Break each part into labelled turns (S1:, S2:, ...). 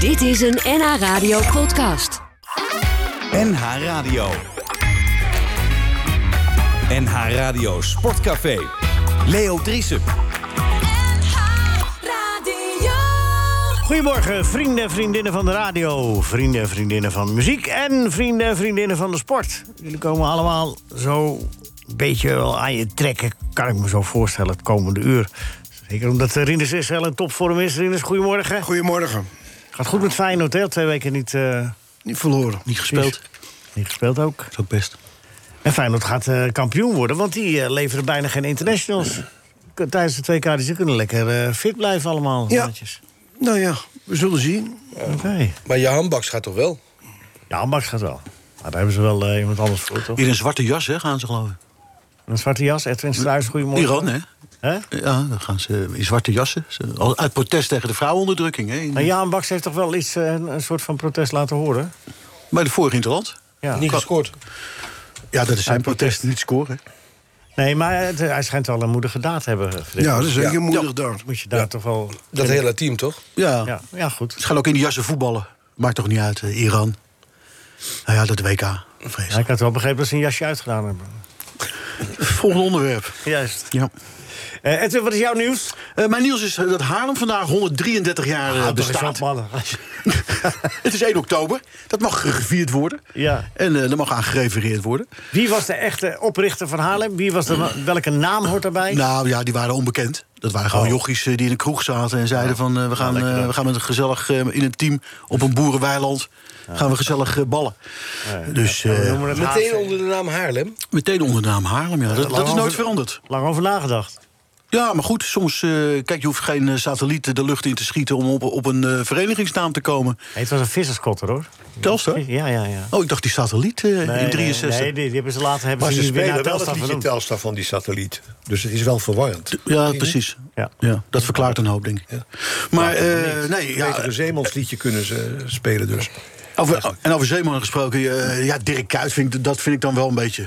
S1: Dit is een NH Radio podcast.
S2: NH Radio. NH Radio Sportcafé. Leo Driessen.
S3: Radio.
S4: Goedemorgen, vrienden en vriendinnen van de radio, vrienden en vriendinnen van muziek en vrienden en vriendinnen van de sport. Jullie komen allemaal zo een beetje wel aan je trekken, kan ik me zo voorstellen, het komende uur. Zeker omdat eh, Rinus Israël in topvorm is. Rinus, goedemorgen.
S5: Goedemorgen.
S4: Gaat goed met Feyenoord, hè? Twee weken niet, eh,
S5: Niet verloren.
S6: Niet gespeeld.
S4: niet gespeeld ook.
S6: Dat is ook best.
S4: En Feyenoord gaat eh, kampioen worden, want die eh, leveren bijna geen internationals. K- Tijdens de twee kaarten, ze kunnen lekker eh, fit blijven allemaal.
S5: Ja.
S4: netjes.
S5: Nou ja, we zullen zien.
S4: Oké.
S7: Maar je handbaks gaat toch wel?
S4: Ja, Max gaat wel. Maar daar hebben ze wel eh, iemand anders voor, toch?
S6: Weer een zwarte jas, hè, gaan ze geloven.
S4: Een zwarte jas, Edwin Struijs, goedemorgen.
S6: Iran, hè?
S4: Hè?
S6: Ja, dan gaan ze in zwarte jassen. Ze- al- Uit protest tegen de vrouwenonderdrukking, hè? in-
S4: Maar Jaan Baks heeft toch wel iets, eh, een, een soort van protest laten horen?
S6: Bij de vorige interland.
S4: Ja.
S7: Niet gescoord.
S6: Ja, dat is zijn protest.
S4: protest.
S6: Niet scoren.
S4: Nee, maar het- hij schijnt wel een moedige daad te hebben. eh, Frits.
S5: Ja, dat is zeker moedig daar.
S4: Moet je daar toch wel...
S7: Dat hele team toch?
S6: Ja.
S4: Ja, ja goed.
S6: Ze gaan ook in die jassen voetballen. Maakt toch niet uit, eh, Iran. Nou ja, dat WK.
S4: Ja, ik
S6: Vreselijk.
S4: had wel begrepen dat ze een jasje uitgedaan hebben.
S6: Volgende onderwerp.
S4: Juist.
S6: Ja.
S4: Eh Edwin, wat is jouw nieuws? Ah,
S6: Eh, mijn nieuws is eh, dat Haarlem vandaag 133 jaar eh, bestaat.
S4: mannen.
S6: Het is 1 oktober. Dat mag gevierd worden.
S4: Ja.
S6: En eh dat mag aan gerefereerd worden.
S4: Wie was de echte oprichter van Haarlem? Wie was de, welke naam hoort daarbij?
S6: Nou ja, die waren onbekend. Dat waren gewoon
S4: Oh.
S6: jochies eh, die in de kroeg zaten en zeiden van... eh, we, gaan,
S4: lekker
S6: eh,
S4: dan.
S6: we gaan met een gezellig eh, in een team op een boerenweiland... gaan we gezellig eh, ballen. dus
S4: We
S6: eh,
S4: noemen het
S7: Meteen
S4: HV.
S7: onder de naam Haarlem.
S6: meteen onder de naam Haarlem, ja. Dat, dat is
S4: over-
S6: nooit veranderd.
S4: Lang over nagedacht.
S6: Ja, maar goed, soms... eh, kijk, je hoeft geen eh, satellieten de lucht in te schieten... om op, op een eh, verenigingsnaam te komen.
S4: Nee, het was een visserskotter, hoor.
S6: Telstar?
S4: Ja, ja, ja.
S6: Oh, ik dacht die satelliet eh, in 63.
S4: Nee, die, die hebben ze later hebben
S8: Maar
S4: ze
S8: ze
S4: die weer naar
S8: spelen wel
S4: Telstar
S8: het liedje
S4: genoemd.
S8: Telstar van die satelliet. Dus het is wel verwarrend.
S6: Ja, precies.
S4: Ja.
S6: Ja. dat verklaart een hoop, denk ik. Maar, eh, nee, ja,
S8: Betere Zeemans liedje kunnen ze spelen dus.
S6: Over, en over Zeeman gesproken, eh, ja, Dirk Kuyt, vind ik, dat vind ik dan wel een beetje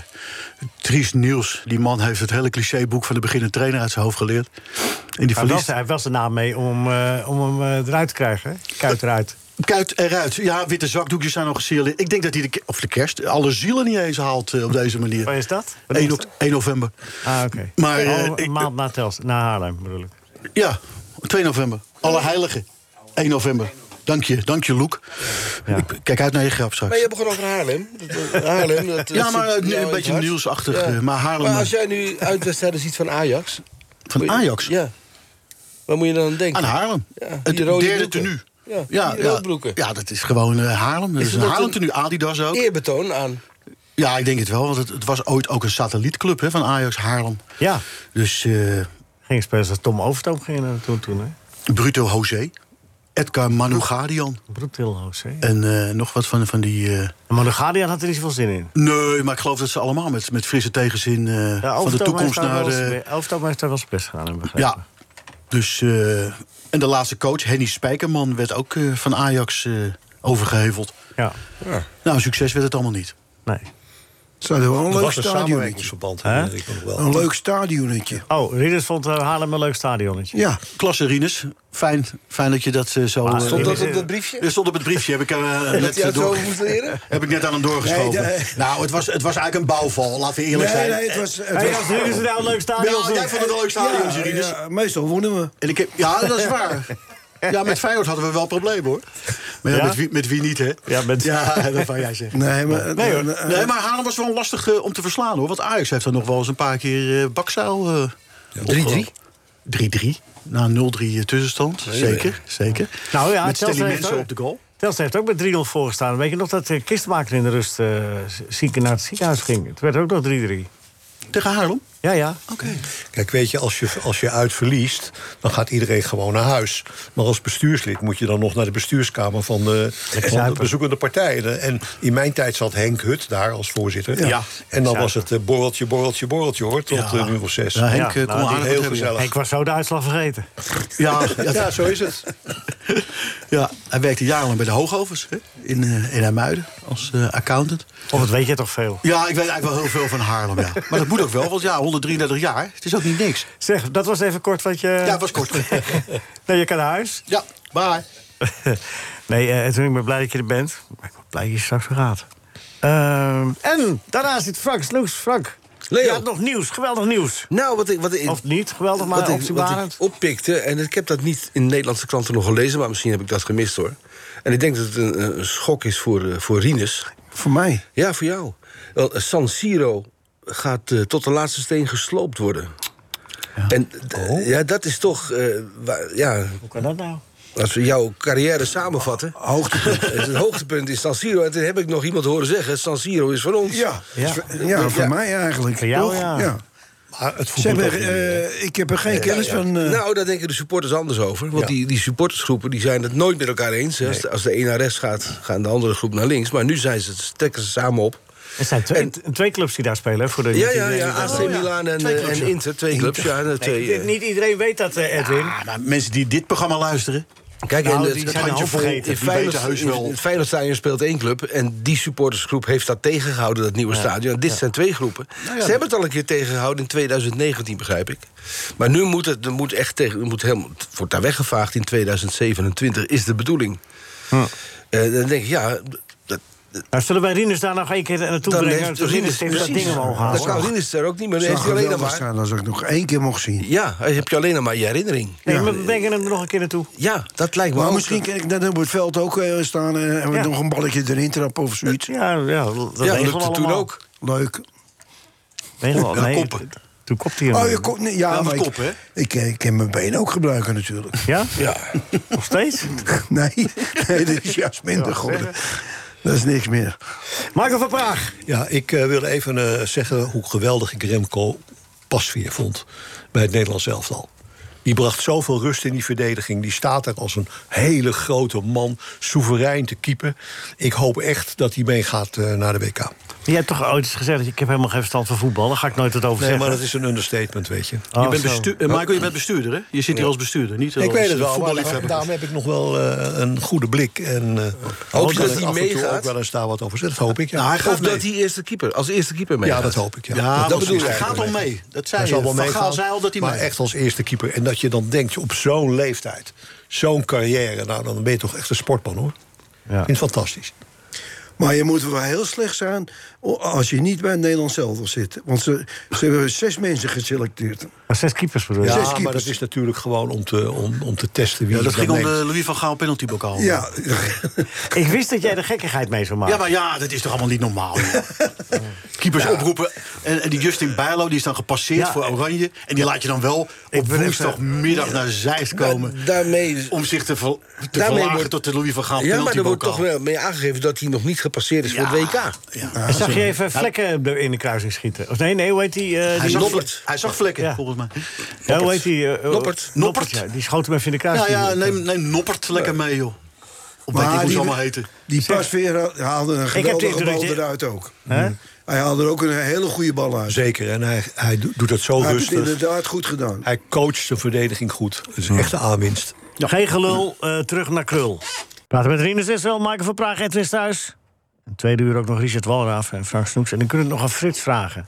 S6: triest nieuws. Die man heeft het hele clichéboek van de beginnende trainer uit zijn hoofd geleerd. En die
S4: Hij was,
S6: verliest.
S4: hij was de naam mee om, hem, eh, om hem eh, eruit te krijgen. hè? Kuit eruit.
S6: Kuyt eruit. Ja, witte zakdoekjes zijn nog gesierd. Ik denk dat hij de, ke- of de kerst alle zielen niet eens haalt eh, op deze manier.
S4: Wat is dat?
S6: 1, ok- 1 november.
S4: Ah, oké.
S6: Maar, eh,
S4: Oh,
S6: ik-
S4: een maand na, Tels, na Haarlem, bedoel ik.
S6: Ja, 2 november. Alle heiligen. 1 november. Dank je, dank je, Loek.
S4: Ja.
S6: Ik kijk uit naar je grap straks.
S7: Maar je begon over Haarlem. Dat- dat- Haarlem dat,
S6: Ja,
S7: dat
S6: maar,
S7: zit
S6: eh, nu
S7: jou
S6: een
S7: in
S6: beetje
S7: het hart.
S6: Niels-achtig, eh, maar Haarlem-
S7: Maar als jij nu uitwedstrijden ziet van Ajax.
S6: Van Ajax.
S7: Ja. Waar moet je dan aan denken?
S6: Aan Haarlem.
S7: Ja, die
S6: het
S7: rode
S6: derde
S7: broeken.
S6: tenue.
S7: Ja, die rode broeken.
S6: ja, dat is gewoon eh, Haarlem. Dat is
S7: het
S6: een
S7: ook
S6: Haarlem
S7: een-
S6: tenue, Adidas ook.
S7: Eerbetoon aan.
S6: Ja, ik denk het wel, want het, het was ooit ook een satellietclub hè, van Ajax Haarlem.
S4: Ja,
S6: Dus eh,
S4: ging spelen als Tom Overtoom ging er toen, toen hè?
S6: Bruto José, Edgar Manugadian
S4: Broektilhoos, hè?
S6: en eh, nog wat van, van die... eh,
S4: Maar de Guardian had er niet zoveel zin in.
S6: Nee, maar ik geloof dat ze allemaal met, met frisse tegenzin eh, van de
S4: Overtoom
S6: toekomst
S4: heeft daar
S6: naar
S4: wel
S6: de...
S4: zijn- Overtoom heeft daar wel zijn best gedaan, heb ik begrepen.
S6: Ja, dus... eh, en de laatste coach, Henny Spijkerman, werd ook eh, van Ajax eh, overgeheveld.
S4: Ja,
S6: Nou, succes werd het allemaal niet.
S4: nee.
S5: Het zou wel een
S8: Er
S5: leuk
S8: was een
S5: stadionnetje.
S8: samenwerkingsverband.
S4: Hè?
S8: herinner ik me nog wel.
S5: Een leuk stadionnetje.
S4: Oh, Ridders vond eh, Haarlem een leuk stadionnetje.
S5: Ja,
S6: Klasse, Rinus. Fijn, fijn dat je dat eh, zo... eh,
S7: Stond dat
S4: eh,
S7: op dat briefje?
S6: Er stond op het briefje, heb ik, eh, net,
S7: Dat hij
S6: eh,
S7: het zo
S6: door,
S7: moest leren?
S6: heb ik net aan hem doorgeschoven.
S5: Nee, nee.
S6: Nou, het was, het was eigenlijk een bouwval, laten we eerlijk
S5: nee,
S6: zijn.
S5: nee, het was... Het
S4: Hey,
S5: was-
S4: als Ridders nou een leuk
S6: Ja,
S4: stadion
S6: jij vond het een leuk stadion,
S5: ja,
S6: Rinus.
S5: ja, meestal wonnen we.
S6: En ik heb, ja, dat is waar. Ja, met Feyenoord hadden we wel problemen, hoor. Maar ja,
S4: Ja?
S6: Met, wie, met wie niet, hè?
S4: Ja, met-
S6: ja dat van jij zeggen.
S5: Nee, maar...
S6: Nee,
S5: eh,
S6: hoor.
S5: eh,
S6: nee, maar Haarlem was wel lastig eh, om te verslaan, hoor. Want Ajax heeft er nog wel eens een paar keer eh bakzaal... eh,
S7: 3-3.
S6: 3-3. Na 0-3 tussenstand. Zeker, zeker.
S4: Nou ja,
S6: Met Stanley
S4: Chelsea heeft
S6: mensen
S4: ook-
S6: op de goal.
S4: Telstra heeft ook met 3-0 voorgestaan. Weet je nog dat de kistmaker in de rust eh, z- zieken naar het ziekenhuis ging? Het werd ook nog 3-3.
S6: Tegen Haarlem?
S4: Ja, ja.
S6: Oké.
S8: Kijk, weet je als, je, als je uit verliest, dan gaat iedereen gewoon naar huis. Maar als bestuurslid moet je dan nog naar de bestuurskamer van de, van de
S4: zuipen.
S8: bezoekende partijen. En in mijn tijd zat Henk Hut daar als voorzitter.
S4: Ja.
S8: En dan was het eh, borreltje, borreltje, borreltje hoor, tot
S6: Ja.
S8: eh, nu of zes.
S6: Ja, Henk,
S4: Ja,
S6: eh, kon
S4: nou, die-
S6: aardig wat
S8: heel
S6: hebben, ja.
S8: gezellig.
S4: Ik was zo de uitslag vergeten.
S6: Ja, ja,
S8: Ja, zo is het.
S6: ja, hij werkte jarenlang bij de Hoogovens hè, in, eh in IJmuiden als eh, accountant.
S4: Of dat weet je toch veel.
S6: Ja, ik weet eigenlijk wel heel veel van Haarlem, ja. Maar dat moet ook wel, want ja, 133 jaar, het is ook niet niks.
S4: Zeg, dat was even kort wat je...
S6: Ja, het was kort.
S4: Nou, je kan naar huis.
S6: Ja, bye.
S4: nee, eh, Edwin, ik ben blij dat je er bent. Maar ik ben blij dat je straks weer gaat. Ehm, en daarna zit Frank Sloes. Frank,
S7: Leo.
S4: je had nog nieuws. Geweldig nieuws.
S7: Nou, wat ik... Wat ik
S4: Of niet, geweldig, maar
S7: wat ik, wat ik
S4: opzienbarend.
S7: oppikte, en ik heb dat niet in Nederlandse kranten nog gelezen... maar misschien heb ik dat gemist, hoor. En ik denk dat het een, een schok is voor, eh, voor Rinus.
S5: Voor mij.
S7: Ja, voor jou. Wel, San Siro gaat eh, tot de laatste steen gesloopt worden. En d- ja, dat is toch... eh, waar- ja,
S4: Hoe kan dat nou?
S7: als we jouw carrière samenvatten... Hoogtepunt. het hoogtepunt is San Siro. En toen heb ik nog iemand horen zeggen... San Siro is voor ons. Dus
S5: Ja,
S4: Ja.
S5: ja. voor mij eigenlijk.
S4: Voor jou,
S5: toch?
S4: ja.
S8: Maar het
S5: Ze
S8: voetbal.
S5: hebben,
S8: ook niet meer.
S5: eh, ik heb er geen kennis van. eh,
S7: Nou, daar denken de supporters anders over. Want
S8: Ja.
S7: die, die supportersgroepen die zijn het nooit met elkaar eens. hè. Als, de, als de een naar rechts gaat, gaan de andere groep naar links. Maar nu zijn ze, trekken ze samen op.
S4: Er zijn twee, twee clubs die daar spelen. hè, Voor de
S7: Ja, ja,
S4: die- Oh,
S7: ja. AC Milan en, eh, en Inter, twee clubs. Ja, en, eh,
S4: Nee,
S7: twee,
S4: dit-
S7: eh,
S4: niet iedereen weet dat, eh, Edwin.
S6: Ah, nou, mensen die dit programma luisteren.
S7: Kijk,
S4: Nou,
S7: in
S4: die
S7: het,
S4: zijn
S7: handje
S4: al
S7: vol,
S4: vergeten.
S7: in
S6: Die weten
S7: Feyenoord-
S6: heus wel.
S7: in het Feyenoordstadion speelt één club... en die supportersgroep heeft dat tegengehouden, dat nieuwe stadion. En dit zijn twee groepen.
S6: Nou
S7: Ze hebben het al een keer tegengehouden in 2019, begrijp ik. Maar nu moet het, er moet echt tegen, er moet helemaal, het wordt daar weggevaagd in 2027, is de bedoeling. Eh, dan denk ik, ja... Dat,
S4: Nou, zullen wij Rinus daar nog één keer naartoe
S7: dan
S4: brengen?
S7: heeft
S4: dat Rinus tegen dat
S7: precies.
S4: ding omhoog
S7: Dan
S4: halen.
S7: kan Rinus er ook niet meer. Dan
S5: zou
S7: heeft hij alleen
S5: geweldig
S7: nog maar...
S5: staan als ik nog één keer mocht zien.
S7: Ja, dan heb je alleen nog maar je herinnering.
S4: Nee, maar we brengen hem er nog een keer naartoe.
S7: Ja, dat lijkt me
S5: Maar
S7: ook-
S5: misschien kan ik net op het veld ook eh, staan eh, en
S4: Ja.
S5: nog een balletje erin trappen of zoiets.
S4: Ja, ja dat
S7: Ja,
S4: regelen we
S7: lukte toen
S4: allemaal.
S7: ook.
S5: Leuk.
S4: Regelen we al. Nee,
S6: koppen.
S4: t- Toen kopte hij hem.
S5: Oh, je kop, nee, ja,
S6: Ja,
S5: maar
S6: maar
S5: ik,
S6: kop, hè?
S5: Ik, eh, kan mijn been ook gebruiken natuurlijk.
S4: Ja?
S7: Ja.
S4: Nog steeds?
S5: nee, nee, dat is juist minder geworden. Dat is niks meer.
S4: Marco van Praag.
S8: Ja, ik eh, wil even eh, zeggen hoe geweldig ik Remco Pasveer vond bij het Nederlands elftal. Die bracht zoveel rust in die verdediging. Die staat er als een hele grote man, soeverein te keeper. Ik hoop echt dat hij meegaat eh, naar de WK.
S4: Je hebt toch ooit eens gezegd... dat je- ik heb helemaal geen verstand van voetbal. Daar ga ik nooit wat over
S8: Nee,
S4: zeggen.
S8: maar dat is een understatement, weet je.
S4: Oh,
S6: je bent
S4: zo.
S6: bestu- eh, Michael, je bent bestuurder, hè? Je zit hier als bestuurder, niet als
S8: ik weet het wel, maar daar-
S6: voetballiefhebber.
S8: daarom heb ik nog wel eh, een goede blik. En eh,
S7: Hoop je
S8: kan
S7: dat
S8: ik
S7: hij
S8: af en toe
S7: meegaat?
S8: ook wel eens daar wat over zeggen. Dat hoop ik, ja.
S6: Nou, hij gaat
S7: Of dat
S6: mee.
S7: hij eerste keeper, als eerste keeper mee
S8: Ja, dat hoop ik. Ja,
S6: Ja,
S8: dat
S6: dat
S7: bedoel
S6: bedoel
S7: ik
S6: Hij gaat al
S7: eigenlijk.
S6: mee. Dat zei
S8: Hij zal
S6: je.
S8: wel
S6: Van Gaal
S8: meegaan,
S6: zei al dat hij
S8: maar
S6: mee
S8: echt als eerste keeper. En dat je dan denkt op zo'n leeftijd, zo'n carrière... nou, dan ben je toch echt een sportman, hoor.
S4: Ja.
S8: Ik vind het fantastisch.
S5: Maar je moet wel heel slecht zijn o- als je niet bij het Nederlands zelf zit. Want ze, ze hebben zes mensen geselecteerd.
S4: Maar zes keepers bedoel je?
S5: Zes
S8: Ja, maar
S5: keepers.
S8: dat is natuurlijk gewoon om te, om, om te testen wie
S6: Ja, dat
S8: het
S6: ging
S8: dan
S6: om de
S8: neemt.
S6: Louis van Gaal penaltybokaal.
S5: Ja,
S4: Ik wist dat jij de gekkigheid mee zou maken.
S6: Ja, maar ja, dat is toch allemaal niet normaal. joh. Keepers oproepen. En, en die Justin Bijlo, die is dan gepasseerd
S4: Ja,
S6: voor Oranje. En die laat je dan wel op
S4: ben even-
S6: woensdagmiddag naar Zeist komen.
S7: daarmee-
S6: om zich te, ver, te
S7: Daarmee
S6: verlagen
S7: wordt-
S6: tot de Louis van Gaal
S7: Ja, maar er wordt toch
S6: penaltybokaal.
S7: wel mee aangegeven dat hij nog niet gepasseerd is voor het WK.
S6: Ja.
S4: En zag je even vlekken be- in de kruising schieten? Of nee, nee, hoe heet die? eh,
S6: Hij,
S4: die
S6: zag,
S7: Noppert.
S6: hij zag vlekken,
S4: Ja.
S6: volgens mij.
S4: ja, hoe heet die? eh, eh,
S7: Noppert.
S4: Noppert,
S6: Noppert.
S4: ja, die schoot hem even in de
S6: Ja,
S4: kruising.
S6: ja, neem, neem Noppert lekker mee, joh. Of weet ik
S5: Maar
S6: hoe ze
S5: die-
S6: allemaal heten.
S5: die
S7: eh.
S5: pasveer haalde een
S4: heb de
S5: geweldige
S4: indruk
S5: bal
S4: dat je-
S5: eruit ook.
S4: Hè?
S5: Hij haalde er ook een hele goede bal uit.
S8: Zeker, en hij, hij do- doet dat zo
S5: Hij heeft het
S8: rustig.
S5: inderdaad goed gedaan.
S8: Hij coacht de verdediging goed. Het is echt een aanwinst.
S4: Geen gelul, eh, terug naar Krul. Praten met Rinus Israël, Michael van Praag, Edwin thuis. Een tweede uur ook nog Richard Walraaf en Frank Snoeks. En dan kunnen we nog aan Frits vragen.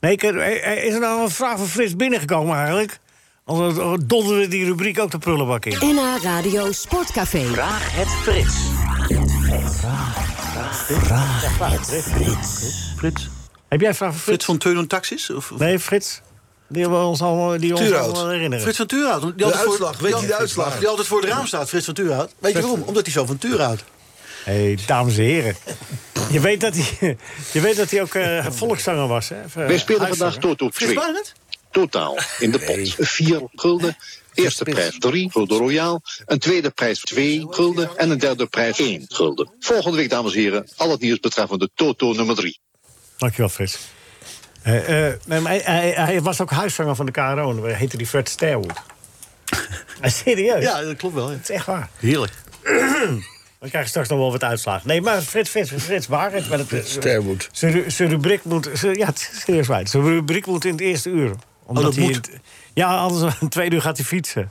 S4: Nee, ik- eh, eh, is er nou een vraag van Frits binnengekomen eigenlijk? Anders donderen we die rubriek ook de prullenbak in.
S1: NH Radio Sportcafé.
S3: Vraag het Frits.
S4: Heb jij een vraag van Frits?
S6: Frits van Teulen Taxis? Of, of-
S4: Nee, Frits. Die hebben we ons allemaal, die ons
S7: Tuurhout.
S4: allemaal herinneren.
S6: Frits van Tuurhout. Die
S7: De
S6: altijd voor-
S7: uitslag, weet je de
S6: die-
S7: uitslag?
S6: Die altijd voor het raam staat, Frits van Tuurhout. Weet je waarom? Omdat hij zo van Tuurhout.
S4: hey, dames en heren. Je weet dat hij, je weet dat hij ook eh volkszanger was, hè? eh,
S9: Wij spelen vandaag tot op
S6: Frits
S9: 2.
S6: Barend?
S9: Totaal in de pot 4 gulden. Eerste prijs 3 voor de Royaal. Een tweede prijs 2 gulden. En een derde prijs 1 gulden. Volgende week, dames en heren, al het nieuws betreffende Toto nummer 3.
S4: Dankjewel, Frits. Eh, eh, nee, maar hij, hij- hij was ook huiszanger van de KRO. en Hij heette die Fred Sterwood. Ah, Serieus?
S6: Ja, dat klopt wel. ja.
S4: Dat is echt waar.
S6: Heerlijk.
S4: We krijgen straks nog wel wat uitslagen. Nee, maar Frits, Frits, Frits Barend. Maar dat,
S7: Sterwood.
S4: Zijn ru- zijn rubriek moet... zijn- ja, het is serieus waar. Zijn rubriek moet in het eerste uur. Omdat
S6: Oh, dat
S4: hij
S6: moet.
S4: in het- ja, anders in het tweede uur gaat hij fietsen.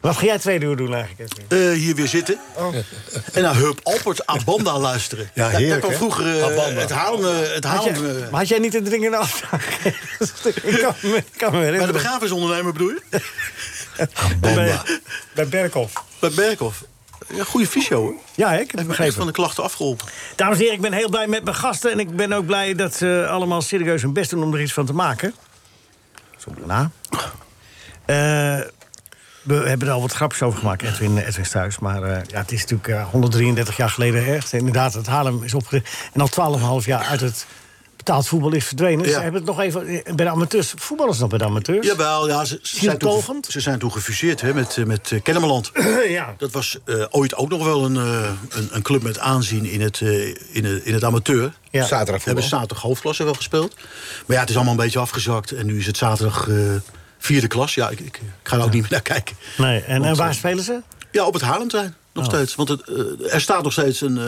S4: Wat ga jij het tweede uur doen eigenlijk? Oh. Edwin?
S6: Eh, hier weer zitten. Eh, En naar Hub Alpert Abanda luisteren.
S8: Ja,
S6: Daar- Daar
S8: heerlijk,
S6: kwam
S8: hè?
S6: vroeger eh,
S8: Abanda.
S6: het Haarlem... eh, Het
S4: Had
S6: Haarlem
S4: jij-
S6: eh,
S4: maar had jij niet een dringende afspraak? ik kan me, ik kan me
S6: bij de
S4: herinneren.
S6: begrafenisondernemer bedoel je?
S4: Bij, bij Berkhoff.
S6: Bij Berkhoff. Ja, goede fysio. hoor.
S4: Ja, ik heb
S6: Heeft
S4: het
S6: me echt van
S4: begrepen.
S6: de klachten afgeholpen.
S4: Dames en heren, ik ben heel blij met mijn gasten. En ik ben ook blij dat ze allemaal serieus hun best doen om er iets van te maken. Sommigen na. Eh, we hebben er al wat grapjes over gemaakt, Edwin, Edwin Stuys. Maar eh, ja, het is natuurlijk eh, 133 jaar geleden echt. Inderdaad, het Haarlem is opgericht. En al 12,5 jaar uit het betaald voetbal is verdwenen.
S6: Ja.
S4: Ze hebben het nog even eh, bij de amateurs. Voetbal is nog bij de amateurs.
S6: Jawel, ja, ze, ze, zijn toen,
S4: Tolgend?
S6: ze zijn toen gefuseerd hè, met, eh, met eh, Kennemerland.
S4: ja.
S6: Dat was eh, ooit ook nog wel een, eh, een, een club met aanzien in het, eh, in, het- in het amateur.
S4: Ja.
S7: Zaterdagvoetbal.
S6: Hebben zaterdag hoofdklasse wel gespeeld. Maar ja, het is allemaal een beetje afgezakt. En nu is het zaterdag eh, vierde klas. Ja, ik, ik, ik ga er ook niet meer naar kijken.
S4: Nee, en, en
S6: Want,
S4: waar
S6: eh,
S4: spelen ze?
S6: Ja, op het Haarlemtrein. Nog
S4: Oh.
S6: steeds. Want het, eh, er staat nog steeds een, eh,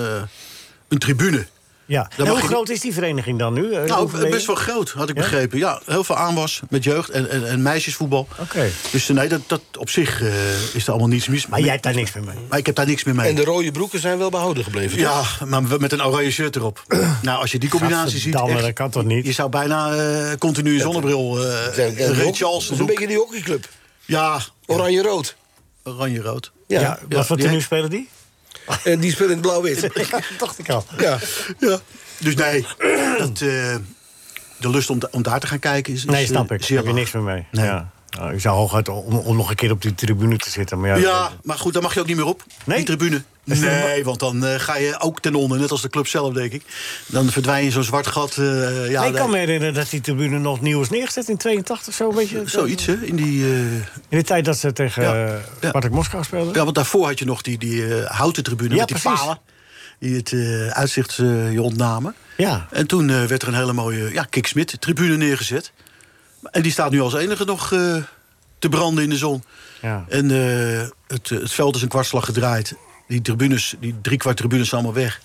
S6: een tribune.
S4: Ja. En
S6: mag
S4: hoe
S6: je-
S4: groot is die vereniging dan nu? Eh,
S6: Nou,
S4: hoeveel leden?
S6: best wel groot, had ik begrepen. Ja, heel veel aanwas met jeugd en, en, en meisjesvoetbal.
S4: Oké.
S6: Dus eh, nee, dat, dat op zich eh, is er allemaal niets mis.
S4: Maar jij hebt daar niks meer mee.
S6: Maar ik heb daar niks meer mee.
S7: En de rode broeken zijn wel behouden gebleven. toch?
S6: Ja, maar we- met een oranje shirt erop. nou, als je die combinatie ziet...
S4: Gadverdamme,
S6: echt,
S4: dat kan toch niet?
S6: Je zou bijna eh, continu een zonnebril... eh
S7: Zijn- zijn-
S6: Ray
S7: hockey-
S6: Charles
S7: dat is een
S6: look.
S7: beetje die hockeyclub.
S6: Ja,
S7: Oranje-rood.
S6: oranje-rood.
S4: Ja,
S7: Ja.
S4: wat voor
S6: die-
S4: tenue spelen die?
S7: En Eh, die speelt in het blauw-wit.
S4: Dat dacht ik al.
S7: ja.
S6: Ja. Dus nee, dat, eh, de lust om, da- om daar te gaan kijken is, is
S4: Nee,
S6: eh,
S4: snap ik.
S6: zeer
S4: Daar heb je
S6: laag.
S4: niks meer mee.
S6: Nee.
S4: Ja. Nou, ik zou hooguit om, om nog een keer op die tribune te zitten. Maar ja,
S6: Ja, maar goed, daar mag je ook niet meer op.
S4: Nee?
S6: Die tribune.
S4: Is het
S6: Nee,
S4: helemaal-
S6: want dan eh, ga je ook ten onder, net als de club zelf, denk ik. Dan verdwijn je in zo'n zwart gat. eh, ja,
S4: Nee, ik
S6: daar-
S4: kan me herinneren dat die tribune nog nieuw is neergezet in 82 zo. Een beetje,
S6: Zoiets, hè? In die, eh,
S4: In de tijd dat ze tegen
S6: Ja,
S4: eh,
S6: ja.
S4: Spartak Moskou speelden.
S6: ja, want daarvoor had je nog die, die eh, houten tribune
S4: Ja,
S6: met die
S4: precies.
S6: palen. Die het eh, uitzicht eh, je ontnamen.
S4: Ja.
S6: En toen eh, werd er een hele mooie ja, Kik Smit tribune neergezet. En die staat nu als enige nog eh, te branden in de zon.
S4: Ja.
S6: En eh, het, eh, het veld is een kwartslag gedraaid. Die tribunes, die driekwart tribunes zijn allemaal weg.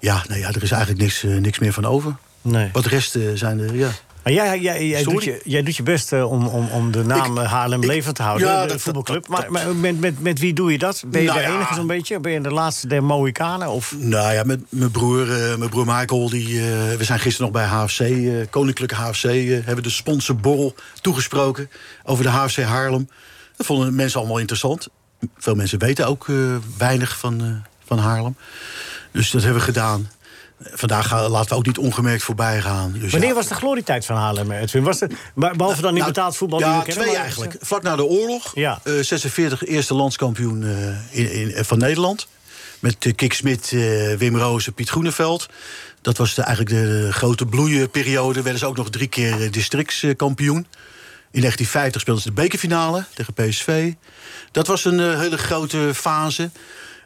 S6: Ja, nee, ja, er is eigenlijk niks, eh, niks meer van over.
S4: Nee.
S6: Wat resten zijn er, ja.
S4: Maar jij, jij, jij,
S6: Sorry?
S4: doet je, jij doet je best eh, om, om, om de naam eh, Haarlem
S6: ik-
S4: levend te houden.
S6: ja,
S4: de
S6: dat- dat-
S4: voetbalclub.
S6: dat-
S4: maar maar met, met, met wie doe je dat? Ben je
S6: Nou
S4: de
S6: ja.
S4: enige zo'n beetje? Ben je de laatste der Mohikanen? Of...
S6: Nou ja, met mijn broer, eh, mijn broer Michael, die, eh, we zijn gisteren nog bij HFC, eh, Koninklijke HFC, eh, hebben de sponsorborrel toegesproken over de HFC Haarlem. Dat vonden mensen allemaal interessant. Veel mensen weten ook eh, weinig van, eh, van Haarlem. Dus dat hebben we gedaan. Vandaag gaan- laten we ook niet ongemerkt voorbij gaan. Dus
S4: Wanneer
S6: ja.
S4: was de glorietijd van Haarlem, Edwin? Was het, maar behalve dan niet
S6: Nou,
S4: betaald voetbal? die
S6: Ja,
S4: we kennen,
S6: twee
S4: maar-
S6: eigenlijk. Vlak na de oorlog.
S4: Ja.
S6: eh, 46 eerste landskampioen eh, in, in, eh, van Nederland. Met eh, Kik Smit, eh, Wim Roos en Piet Groeneveld. Dat was de, eigenlijk de grote bloeienperiode. Werden ze ook nog drie keer eh, districtskampioen. In 1950 speelden ze de bekerfinale tegen PSV. Dat was een eh, hele grote fase.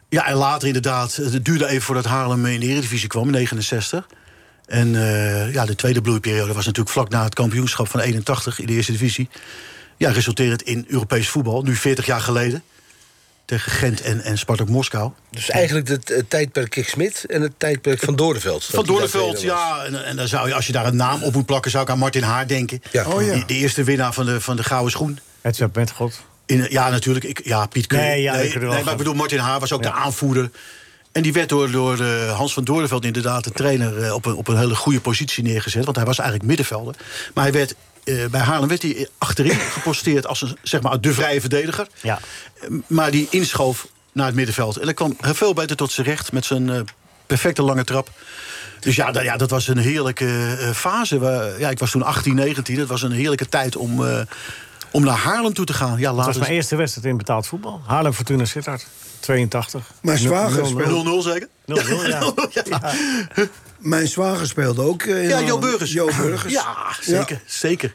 S6: Ja, en later inderdaad. eh, Het duurde even voordat Haarlem in de Eredivisie kwam, in 69. En eh, ja, de tweede bloeiperiode was natuurlijk vlak na het kampioenschap van 81 in de Eerste Divisie. Ja, resulterend in Europees voetbal, nu 40 jaar geleden. Tegen Gent en, en Spartak Moskou.
S7: Dus eigenlijk het, eh, tijdperk Kik Smit en het tijdperk van Doornveld. Dat
S6: Van
S7: die daar
S6: Doornveld,
S7: tweede was.
S6: ja. En, en dan zou je, als je daar een naam op moet plakken, zou ik aan Martin Haar denken.
S7: Ja. Oh, ja.
S6: Die- De, eerste winnaar van de, van de Gouden Schoen.
S4: Het is met God.
S6: In, ja, natuurlijk. Ik, ja, Piet Keur.
S4: Nee, ja, ik
S6: nee,
S4: bedoel-
S6: nee, maar ik bedoel, Martin Haar was ook de aanvoerder. En die werd door, door eh, Hans van Doornveld, inderdaad, de trainer, eh, op een, op een hele goede positie neergezet. Want hij was eigenlijk middenvelder. Maar hij werd, eh, bij Haarlem werd hij achterin geposteerd als een, zeg maar, de vrije verdediger. Eh,
S4: Ja.
S6: Maar die inschoof naar het middenveld. En dat kwam heel veel beter tot zijn recht met zijn eh, perfecte lange trap. Dus ja, da- ja, dat was een heerlijke eh, fase. Waar, ja, ik was toen 18, 19. Dat was een heerlijke tijd om, eh, om naar Haarlem toe te gaan. Ja,
S4: Dat was
S6: later
S4: mijn eerste wedstrijd in betaald voetbal. Haarlem Fortuna Sittard. 82.
S5: Mijn zwager,
S6: 0-0
S5: speelde,
S6: zeker?
S4: 0-0, ja.
S5: mijn zwager speelde ook. eh, in
S6: Ja, Jo
S5: Haarlem.
S6: Burgers.
S5: Jo Burgers.
S6: Ja, zeker. zeker.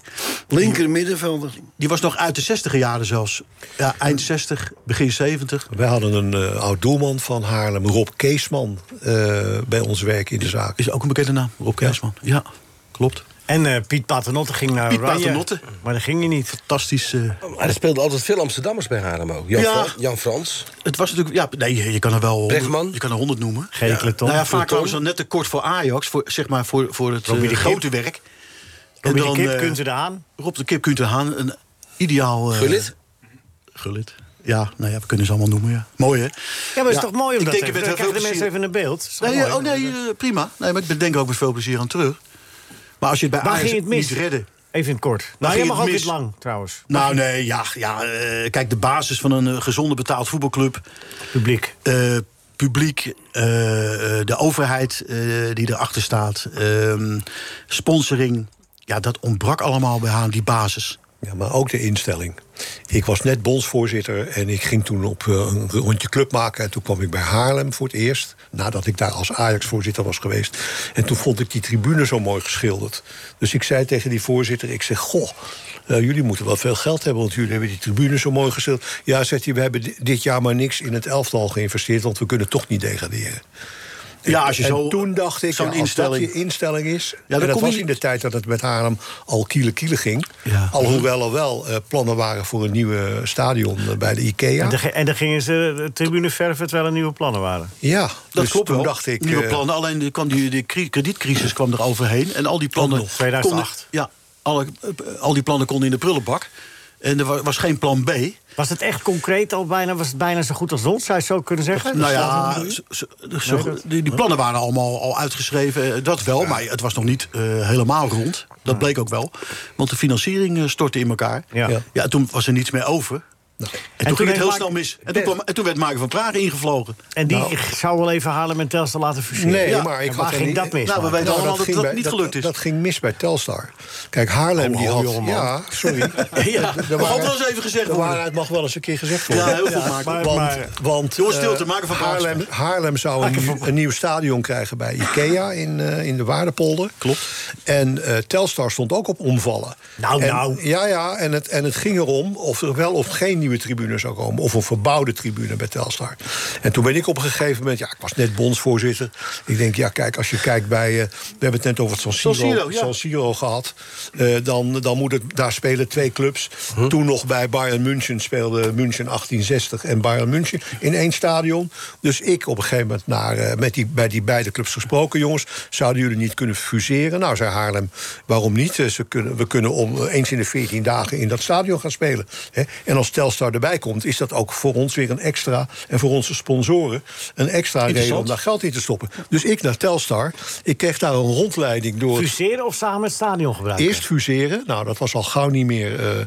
S5: Linker middenvelder.
S6: Die was nog uit de 60 jaren zelfs. Ja, eind 60, begin 70.
S8: Wij hadden een eh, oud doelman van Haarlem, Rob Keesman, eh, bij ons werk in de zaak.
S6: Is ook een bekende naam, Rob Kersman. Ja, klopt.
S4: En eh, Piet Paternotte ging naar
S6: Piet
S4: Oranje.
S6: Paternotte.
S4: Maar dat ging hij niet.
S6: Fantastisch. eh,
S7: Oh, Maar er speelden altijd veel Amsterdammers bij Haarlem ook. Jan,
S6: Ja.
S7: Fran- Jan Frans.
S6: Het was natuurlijk, ja, nee, je kan er wel
S7: Bregman.
S6: je kan er 100 noemen.
S4: Gekeleton.
S6: Nou ja, vaak
S7: Pluton.
S6: waren ze dan net te kort voor Ajax, voor, zeg maar voor, voor het
S4: Robbie
S6: eh,
S4: de Kip.
S6: grote werk. En
S4: Robbie de Kip,
S6: eh,
S4: kunt u eraan?
S6: Rob de Kip, kunt u Haan, een ideaal... eh,
S7: Gullit.
S6: Gullit. Ja, nou ja, we kunnen ze allemaal noemen, ja. Mooi, hè?
S4: Ja, maar het is toch mooi om
S6: ik
S4: dat
S6: denk,
S4: even...
S6: ik
S4: Dan
S6: werd heel
S4: krijgen de
S6: veel
S4: mensen even een beeld. Dat is toch
S6: Nee,
S4: mooi?
S6: eh, oh nee, eh, prima. Nee, maar ik denk ook met veel plezier aan terug. Maar als je het bij
S4: Waar
S6: Ajax
S4: ging het mis?
S6: niet redde...
S4: Even in het kort.
S6: Nou,
S4: Maar jij
S6: je
S4: mag ook
S6: mis-
S4: niet lang, trouwens.
S6: Nou nee, ja, ja eh, kijk, de basis van een eh, gezonde betaald voetbalclub...
S4: Publiek.
S6: eh, publiek, eh, eh, de overheid eh, die erachter staat, ehm, sponsoring. Ja, dat ontbrak allemaal bij Haan, die basis.
S8: Ja, maar ook de instelling. Ik was net bondsvoorzitter en ik ging toen op eh, een rondje club maken. En toen kwam ik bij Haarlem voor het eerst. Nadat ik daar als Ajax-voorzitter was geweest. En toen vond ik die tribune zo mooi geschilderd. Dus ik zei tegen die voorzitter, ik zeg... Goh, eh, jullie moeten wel veel geld hebben, want jullie hebben die tribune zo mooi geschilderd. Ja, zegt hij, we hebben di- dit jaar maar niks in het elftal geïnvesteerd... want we kunnen toch niet degraderen.
S6: Ja, als je
S8: en
S6: zo-
S8: toen dacht ik,
S6: zo'n
S8: ja, als
S6: instelling-
S8: dat je instelling is...
S6: dan
S8: en dat
S6: kom je
S8: was
S6: niet-
S8: in de tijd dat het met Haarlem al kiele kiele ging.
S6: Ja.
S8: Alhoewel er wel eh, plannen waren voor een nieuwe stadion eh, bij de IKEA.
S4: En dan ge- En dan gingen ze de tribune verven terwijl er nieuwe plannen waren.
S8: Ja,
S6: Dat
S8: dus
S6: klopt
S8: toen
S6: wel.
S8: dacht ik...
S6: Nieuwe
S8: eh,
S6: plannen, alleen de, kwam die, de kri- kredietcrisis kwam er overheen. En al die plannen...
S4: nog, 2008.
S6: konden- ja, alle, eh, al die plannen konden in de prullenbak. En er wa- was geen plan B. Dus
S4: Was het echt concreet al bijna? Was het bijna zo goed als ons? Zou je het zo kunnen zeggen?
S6: Nou ja,
S4: Dat is
S6: zo- zo- zo- die, die plannen waren allemaal al uitgeschreven. eh, Dat wel, maar het was nog niet eh, helemaal rond. Dat bleek ook wel. Want de financiering eh, stortte in elkaar.
S4: Ja.
S6: Ja. toen was er niets meer over. En, toen,
S4: toen
S6: ging het heel
S4: heeft
S6: snel
S4: Mark-
S6: mis. En toen, kwam, en toen werd Mark van Praag ingevlogen. Nou.
S4: En die zou wel even Haarlem en Telstar laten fuseren.
S8: Nou. Nee,
S4: Ja,
S8: maar ik
S4: en
S8: had
S4: waar
S8: er
S4: ging
S8: niet-
S4: dat mis?
S6: Nou, we
S4: Mark?
S6: weten allemaal dat
S8: ging
S6: dat
S8: bij-
S6: niet gelukt is.
S8: Dat, ging mis bij Telstar. Kijk, Haarlem die had...
S4: Oh, jongeman.
S8: ja, sorry.
S6: Ja, dat mag ook wel eens even gezegd
S8: De
S6: worden.
S8: waarheid mag wel eens een keer gezegd
S6: Ja,
S8: worden.
S6: heel goed, Mark.
S4: maar-
S8: want,
S4: maar-
S8: want,
S6: Jongens,
S8: eh,
S6: stilte, maken van
S8: Haarlem,
S6: plaats.
S8: Haarlem zou een, nieuw- een nieuw stadion krijgen bij Ikea in, eh, in de Waardepolder. Klopt. En eh, Telstar stond ook op omvallen.
S4: Nou,
S8: en,
S4: nou.
S8: Ja, ja, en het, en het ging erom of er wel of geen nieuwe tribune zou komen. Of een verbouwde tribune bij Telstar. En toen ben ik op een gegeven moment... Ja, ik was net bondsvoorzitter. Ik denk, ja, kijk, als je kijkt bij... eh, we hebben het net over het San Siro,
S6: San Siro, ja.
S8: San Siro gehad. eh, dan, dan moet het... Daar spelen twee clubs. Toen nog bij Bayern München speelde München 1860 en Bayern München in één stadion. Dus ik op een gegeven moment naar, eh, met die, bij die beide clubs gesproken. Jongens, zouden jullie niet kunnen fuseren? Nou, zei Haarlem, waarom niet? Eh, Ze kunnen, we kunnen om eh, eens in de 14 dagen in dat stadion gaan spelen. Hè? En als Telstar erbij komt, is dat ook voor ons weer een extra... en voor onze sponsoren een extra reden om daar geld in te stoppen. Dus ik naar Telstar. Ik kreeg daar een rondleiding door...
S4: Fuseren of samen het stadion gebruiken?
S8: Eerst fuseren. Nou, dat was al gauw niet meer eh,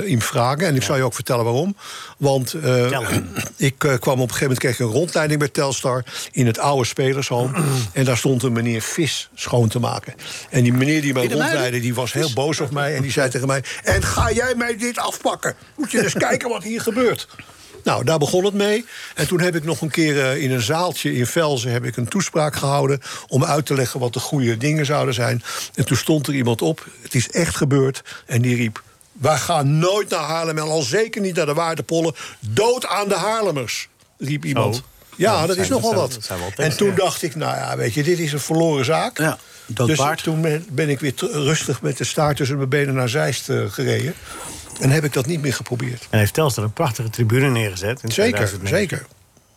S8: eh, in vragen. En ik zal je ook vertellen waarom. Want eh,
S4: Tellen.
S8: ik eh, kwam op een gegeven moment kreeg ik een rondleiding bij Telstar in het oude spelershoom. en daar stond een meneer vis schoon te maken. En die meneer die mij
S6: de Muiden?
S8: rondleidde, die was heel boos op mij. En die
S4: Oh.
S8: zei tegen mij: En ga jij mij dit afpakken? Moet je eens kijken wat hier gebeurt. Nou, daar begon het mee. En toen heb ik nog een keer eh, in een zaaltje in Velzen heb ik een toespraak gehouden om uit te leggen wat de goede dingen zouden zijn. En toen stond er iemand op, het is echt gebeurd, en die riep: Wij gaan nooit naar Haarlem en al zeker niet naar de Waardepollen. Dood aan de Haarlemmers, riep iemand.
S4: Zo.
S8: Ja,
S4: Oh. Ja,
S8: dat,
S4: dat
S8: is
S4: zijn-
S8: nogal
S4: dat zijn-
S8: wat.
S4: dat zijn wel teksten,
S8: en toen
S4: ja.
S8: dacht ik, nou ja, weet je, dit is een verloren zaak.
S6: Ja, dat
S8: dus
S6: paard.
S8: toen ben- ben ik weer ter- rustig met de staart tussen mijn benen naar Zeist eh, gereden. En heb ik dat niet meer geprobeerd.
S4: En heeft Telstar een prachtige tribune neergezet. in
S8: Zeker,
S4: 2009.
S8: zeker.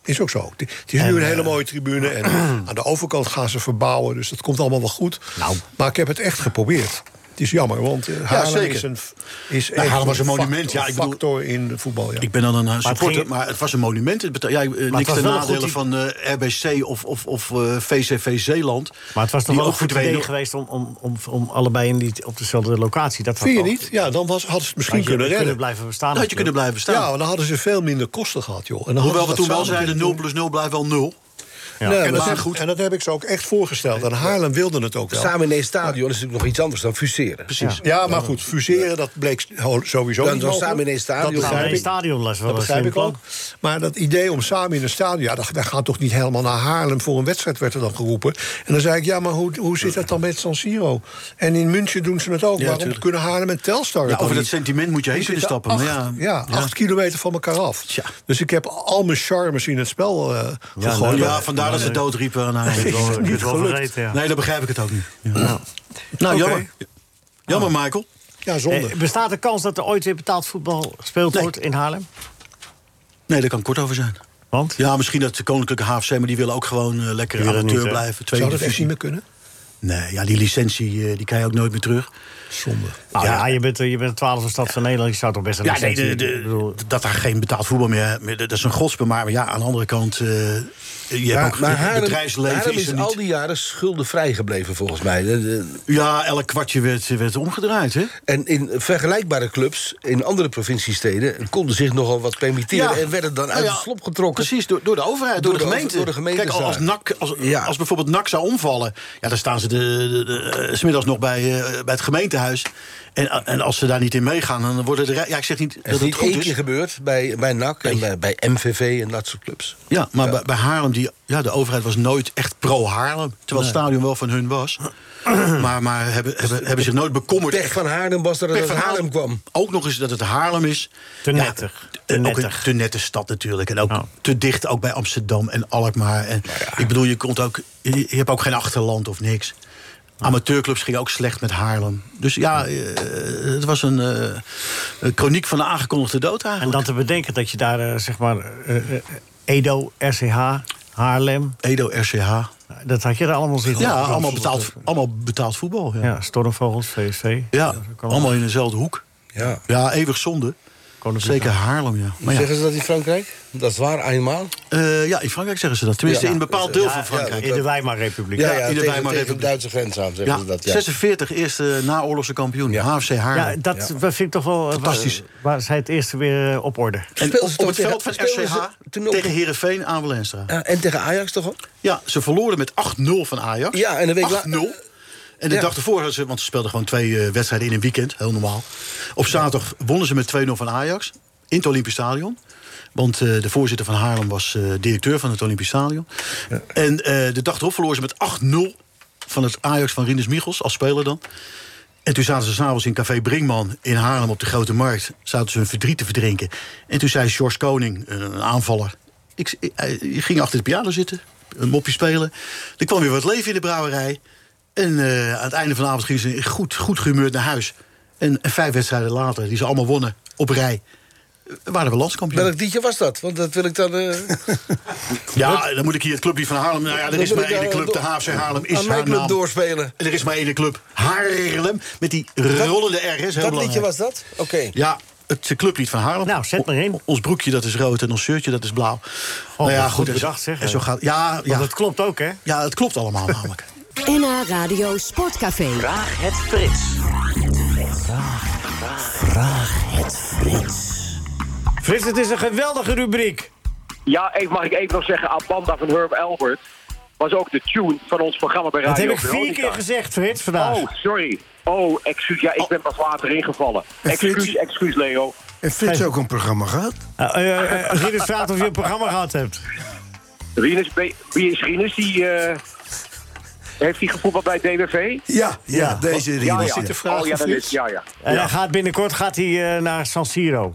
S8: Is ook zo. Het het is nu een hele mooie tribune. En aan de overkant gaan ze verbouwen. Dus dat komt allemaal wel goed.
S4: Nou.
S8: Maar ik heb het echt geprobeerd. Het is jammer, want eh, Haarlem
S6: zeker.
S8: is een, f- is
S6: Nou,
S8: echt
S6: Haarlem was een
S8: factor-
S6: monument, ja, ik bedoel-
S8: factor in de voetbal, ja.
S6: Ik ben dan een eh, supporter,
S4: ging-
S6: maar het was een monument. Het beta- ja, eh, niks
S4: was
S6: ten
S4: wel een
S6: nadele
S4: goed i-
S6: van eh, RBC of, of, of eh, VCV Zeeland.
S4: Maar het was
S6: die
S4: toch wel een
S6: ook
S4: goed idee
S6: verdwenen-
S4: geweest om, om, om, om allebei in die, op dezelfde locatie. Dat had
S8: Vind je
S4: wel-
S8: niet? Ja, dan was, hadden ze het misschien
S4: Had je
S8: kunnen
S4: kunnen,
S8: redden.
S4: blijven bestaan.
S6: Dat had je kunnen
S4: natuurlijk.
S6: blijven staan.
S8: Ja, maar dan hadden ze veel minder kosten gehad, joh. En dan
S6: Hoewel we
S8: hadden
S6: toen
S8: ze dat
S6: wel
S8: samen
S6: zeiden, 0 plus 0 blijft wel 0.
S8: kunnen- Nee,
S6: en
S8: maar
S6: dat
S8: dat
S6: is
S8: goed. En dat heb ik ze ook echt voorgesteld. En Haarlem wilde het ook wel.
S7: Samen in één stadion is natuurlijk nog iets anders dan fuseren. Precies.
S8: Ja, maar goed, fuseren, dat bleek sowieso
S7: Dan-
S8: niet
S7: dan
S8: mogelijk.
S7: samen in één stadion.
S8: Dat
S4: Samen
S8: begrijp
S4: in een
S8: ik.
S4: stadion les wel
S8: Dat
S4: een
S8: begrijp
S4: slim
S8: ik ook.
S4: plan.
S8: Maar dat idee om samen in een stadion... ja, dat, wij gaan toch niet helemaal naar Haarlem voor een wedstrijd, werd er dan geroepen. En dan zei ik, ja, maar hoe, hoe zit dat dan met San Siro? En in München doen ze het ook. Waarom
S6: tuurlijk.
S8: kunnen Haarlem en Telstar het
S6: Ja,
S8: dan
S6: over dat
S8: niet?
S6: sentiment moet je heen kunnen stappen.
S8: Acht,
S6: maar ja,
S8: ja, acht kilometer van elkaar af.
S6: Tja.
S8: Dus ik heb al mijn charmes in het spel eh gegooid.
S6: ja, vandaar dat ze dood riepen. Nou,
S8: is
S6: dat-
S8: niet
S6: dat-
S8: gelukt.
S4: vergeten, ja.
S6: Nee, dan begrijp ik het ook niet. Ja. Nou,
S8: Oké.
S6: jammer. Jammer, Michael.
S8: Ja, zonde.
S4: Eh, bestaat de kans dat er ooit weer betaald voetbal gespeeld
S6: Nee.
S4: wordt in Haarlem?
S6: Nee, daar kan kort over zijn.
S4: Want?
S6: Ja, misschien dat de Koninklijke HFC, maar die willen ook gewoon eh, lekker
S4: Die willen
S6: amateur
S4: niet, hè?
S6: blijven. Tweede
S8: Zou dat echt
S6: divisie.
S8: niet meer kunnen?
S6: Nee, ja, die licentie eh, die kan je ook nooit meer terug.
S8: Zonde.
S4: Nou ja,
S6: Ah, Ja.
S4: je bent eh, je bent de twaalfde stad van Nederland. Je zou toch best een
S6: Ja, nee,
S4: licentie-
S6: de- de-
S4: ik bedoel,
S6: dat daar geen betaald voetbal meer... meer- Dat is een godsbewaar. Maar ja, aan de andere kant... eh, je hebt ook
S7: maar
S6: het
S7: Haarlem,
S6: bedrijfsleven
S7: Haarlem
S6: is
S7: is,
S6: er
S7: al
S6: niet.
S7: die jaren schuldenvrij gebleven, volgens mij. De- de-
S6: Ja, elk kwartje werd, werd omgedraaid, hè?
S7: En in vergelijkbare clubs in andere provinciesteden... konden zich nogal wat permitteren en werden dan uit
S6: Nou ja,
S7: de slop getrokken.
S6: Precies, door, door de overheid, door,
S7: Door
S6: de,
S7: de over-
S6: gemeente.
S7: door de gemeente
S6: Kijk, als,
S7: is daar.
S6: NAC, als,
S7: Ja.
S6: als bijvoorbeeld NAC zou omvallen... Ja, dan staan ze de, de, de- smiddags nog bij, eh, bij het gemeentehuis. En, eh, en als ze daar niet in meegaan, dan worden de... re- Ja, ik zeg niet
S7: Dat
S6: dat het
S7: is
S6: goed
S7: één
S6: is.
S7: keer gebeurd bij, bij NAC en bij, bij MVV en dat soort clubs.
S6: Ja, maar Bij, bij Haarlem, die, ja, de overheid was nooit echt pro-Haarlem. Terwijl het stadion wel van hun was. maar maar hebben, hebben, hebben zich nooit bekommerd.
S7: Pech van Haarlem was dat het
S6: Pech
S7: uit Haarlem kwam.
S6: Ook nog eens dat het Haarlem is.
S4: Te
S6: Ja,
S4: nettig.
S6: t- ook
S4: Te
S6: een
S4: nettig.
S6: te nette stad natuurlijk. En ook
S4: Ja.
S6: te dicht ook bij Amsterdam en Alkmaar. En
S7: Nou
S6: Ik bedoel, je, komt ook, je, je hebt ook geen achterland of niks. Amateurclubs gingen ook slecht met Haarlem. Dus ja, eh, het was een, eh, een chroniek van de aangekondigde dood
S4: En
S6: eigenlijk.
S4: dan te bedenken dat je daar, eh, zeg maar, eh, eh, Edo, RCH, Haarlem...
S6: Edo RCH.
S4: Dat had je er allemaal zitten.
S6: Ja, allemaal betaald, allemaal betaald voetbal. Ja, ja.
S4: eh, Ja, Stormvogels, VSV.
S6: allemaal in dezelfde hoek.
S7: Ja.
S6: Ja, eeuwig zonde.
S4: Koninklijke.
S6: Zeker Haarlem, ja. Maar ja,
S7: Zeggen ze dat in Frankrijk? Dat is waar, eenmaal.
S6: eh, ja, in Frankrijk zeggen ze dat. Tenminste,
S7: Ja.
S6: in een bepaald deel
S7: Ja,
S6: van
S4: Ja,
S6: Frankrijk.
S4: in de Weimarrepubliek.
S7: Ja, ja,
S4: ja.
S6: ieder bij
S7: tegen,
S6: maar
S7: tegen
S6: even-
S7: de Duitse grens aan zeggen
S6: Ja,
S7: ze dat. Ja.
S6: 46, eerste naoorlogse kampioen.
S7: Ja.
S6: HFC Haarlem.
S4: Ja, dat dat vind ik toch wel... eh,
S6: Fantastisch.
S4: Waar, waar zij het eerste weer eh, op orde.
S6: en
S7: Speelden
S6: op,
S7: ze
S6: op
S7: toch
S6: het
S7: tegen-
S6: veld van
S7: speelden ze
S6: RCH
S7: toen ook-
S6: tegen Heerenveen aan Valenstra.
S7: Ja, en tegen Ajax toch ook?
S6: Ja, ze verloren met 8-0 van Ajax.
S7: Ja, en een week la-
S6: 8-0. En de
S7: Ja.
S6: dag ervoor, hadden ze, want ze speelden gewoon twee eh, wedstrijden in een weekend, heel normaal. Op zaterdag wonnen ze met 2-0 van Ajax in het Olympisch Stadion. Want eh, de voorzitter van Haarlem was eh, directeur van het Olympisch Stadion. En eh, de dag erop verloren ze met 8-0 van het Ajax van Rinus Michels, als speler dan. En toen zaten ze s'avonds in Café Brinkman in Haarlem op de Grote Markt. Zaten ze hun verdriet te verdrinken. En toen zei George Koning, een aanvaller... Ik, hij ging achter de piano zitten, een mopje spelen. Er kwam weer wat leven in de brouwerij. En eh, aan het einde van de avond gingen ze goed, goed gehumeurd naar huis. En, en vijf wedstrijden later, die ze allemaal wonnen op rij... waren we landskampioen.
S7: Welk liedje was dat? Want dat wil ik dan...
S6: Oh, nou
S7: eh,
S6: Ja, dan moet ik hier het clublied van Haarlem... Nou ja, er
S7: Dan
S6: is
S7: moet
S6: maar
S7: ik
S6: één
S7: daar eh,
S6: club, de
S7: door-
S6: HFC Haarlem is
S7: aan mijn
S6: haar
S7: club
S6: naam.
S7: doorspelen.
S6: En er is maar één club, Haarlem, met die rollende R. hè, is heel
S7: dat liedje
S6: belangrijk.
S7: was dat? Oké.
S6: Ja, het eh, clublied van Haarlem.
S4: Nou, zet maar in.
S6: O- ons broekje, dat is rood, en ons shirtje, dat is blauw. nou
S4: wat
S6: ja,
S4: goed
S6: en zo-
S4: bedacht, zeg,
S6: En zo
S4: hè.
S6: gaat, ja, ja,
S4: Want dat klopt ook, hè?
S6: ja, het klopt allemaal namelijk.
S1: NH Radio Sportcafé.
S3: Vraag het Frits.
S4: Frits, het is een geweldige rubriek.
S10: Ja, even, mag ik even nog zeggen, Abanda van Herb Albert was ook de tune van ons programma bij
S4: Dat
S10: Radio
S4: heb ik vier
S10: Veronica.
S4: keer gezegd, Frits, vandaag.
S10: Oh, sorry. Oh, excuus. Ja, ik ben pas later ingevallen.
S5: Eh, Frits-
S10: Excuus, excuus, Leo.
S5: En Frits ook een programma gehad?
S4: Eh, eh, eh, Rinus vraagt of je een programma gehad hebt.
S10: Rinus, be- wie is Rinus? Die, eh, heeft hij gevoetbald bij DWV?
S5: Ja, ja, deze Rinus. Ja, ja.
S10: Oh, ja, dat is, ja, ja.
S4: En hij Eh, gaat binnenkort gaat hij, eh, naar San Siro.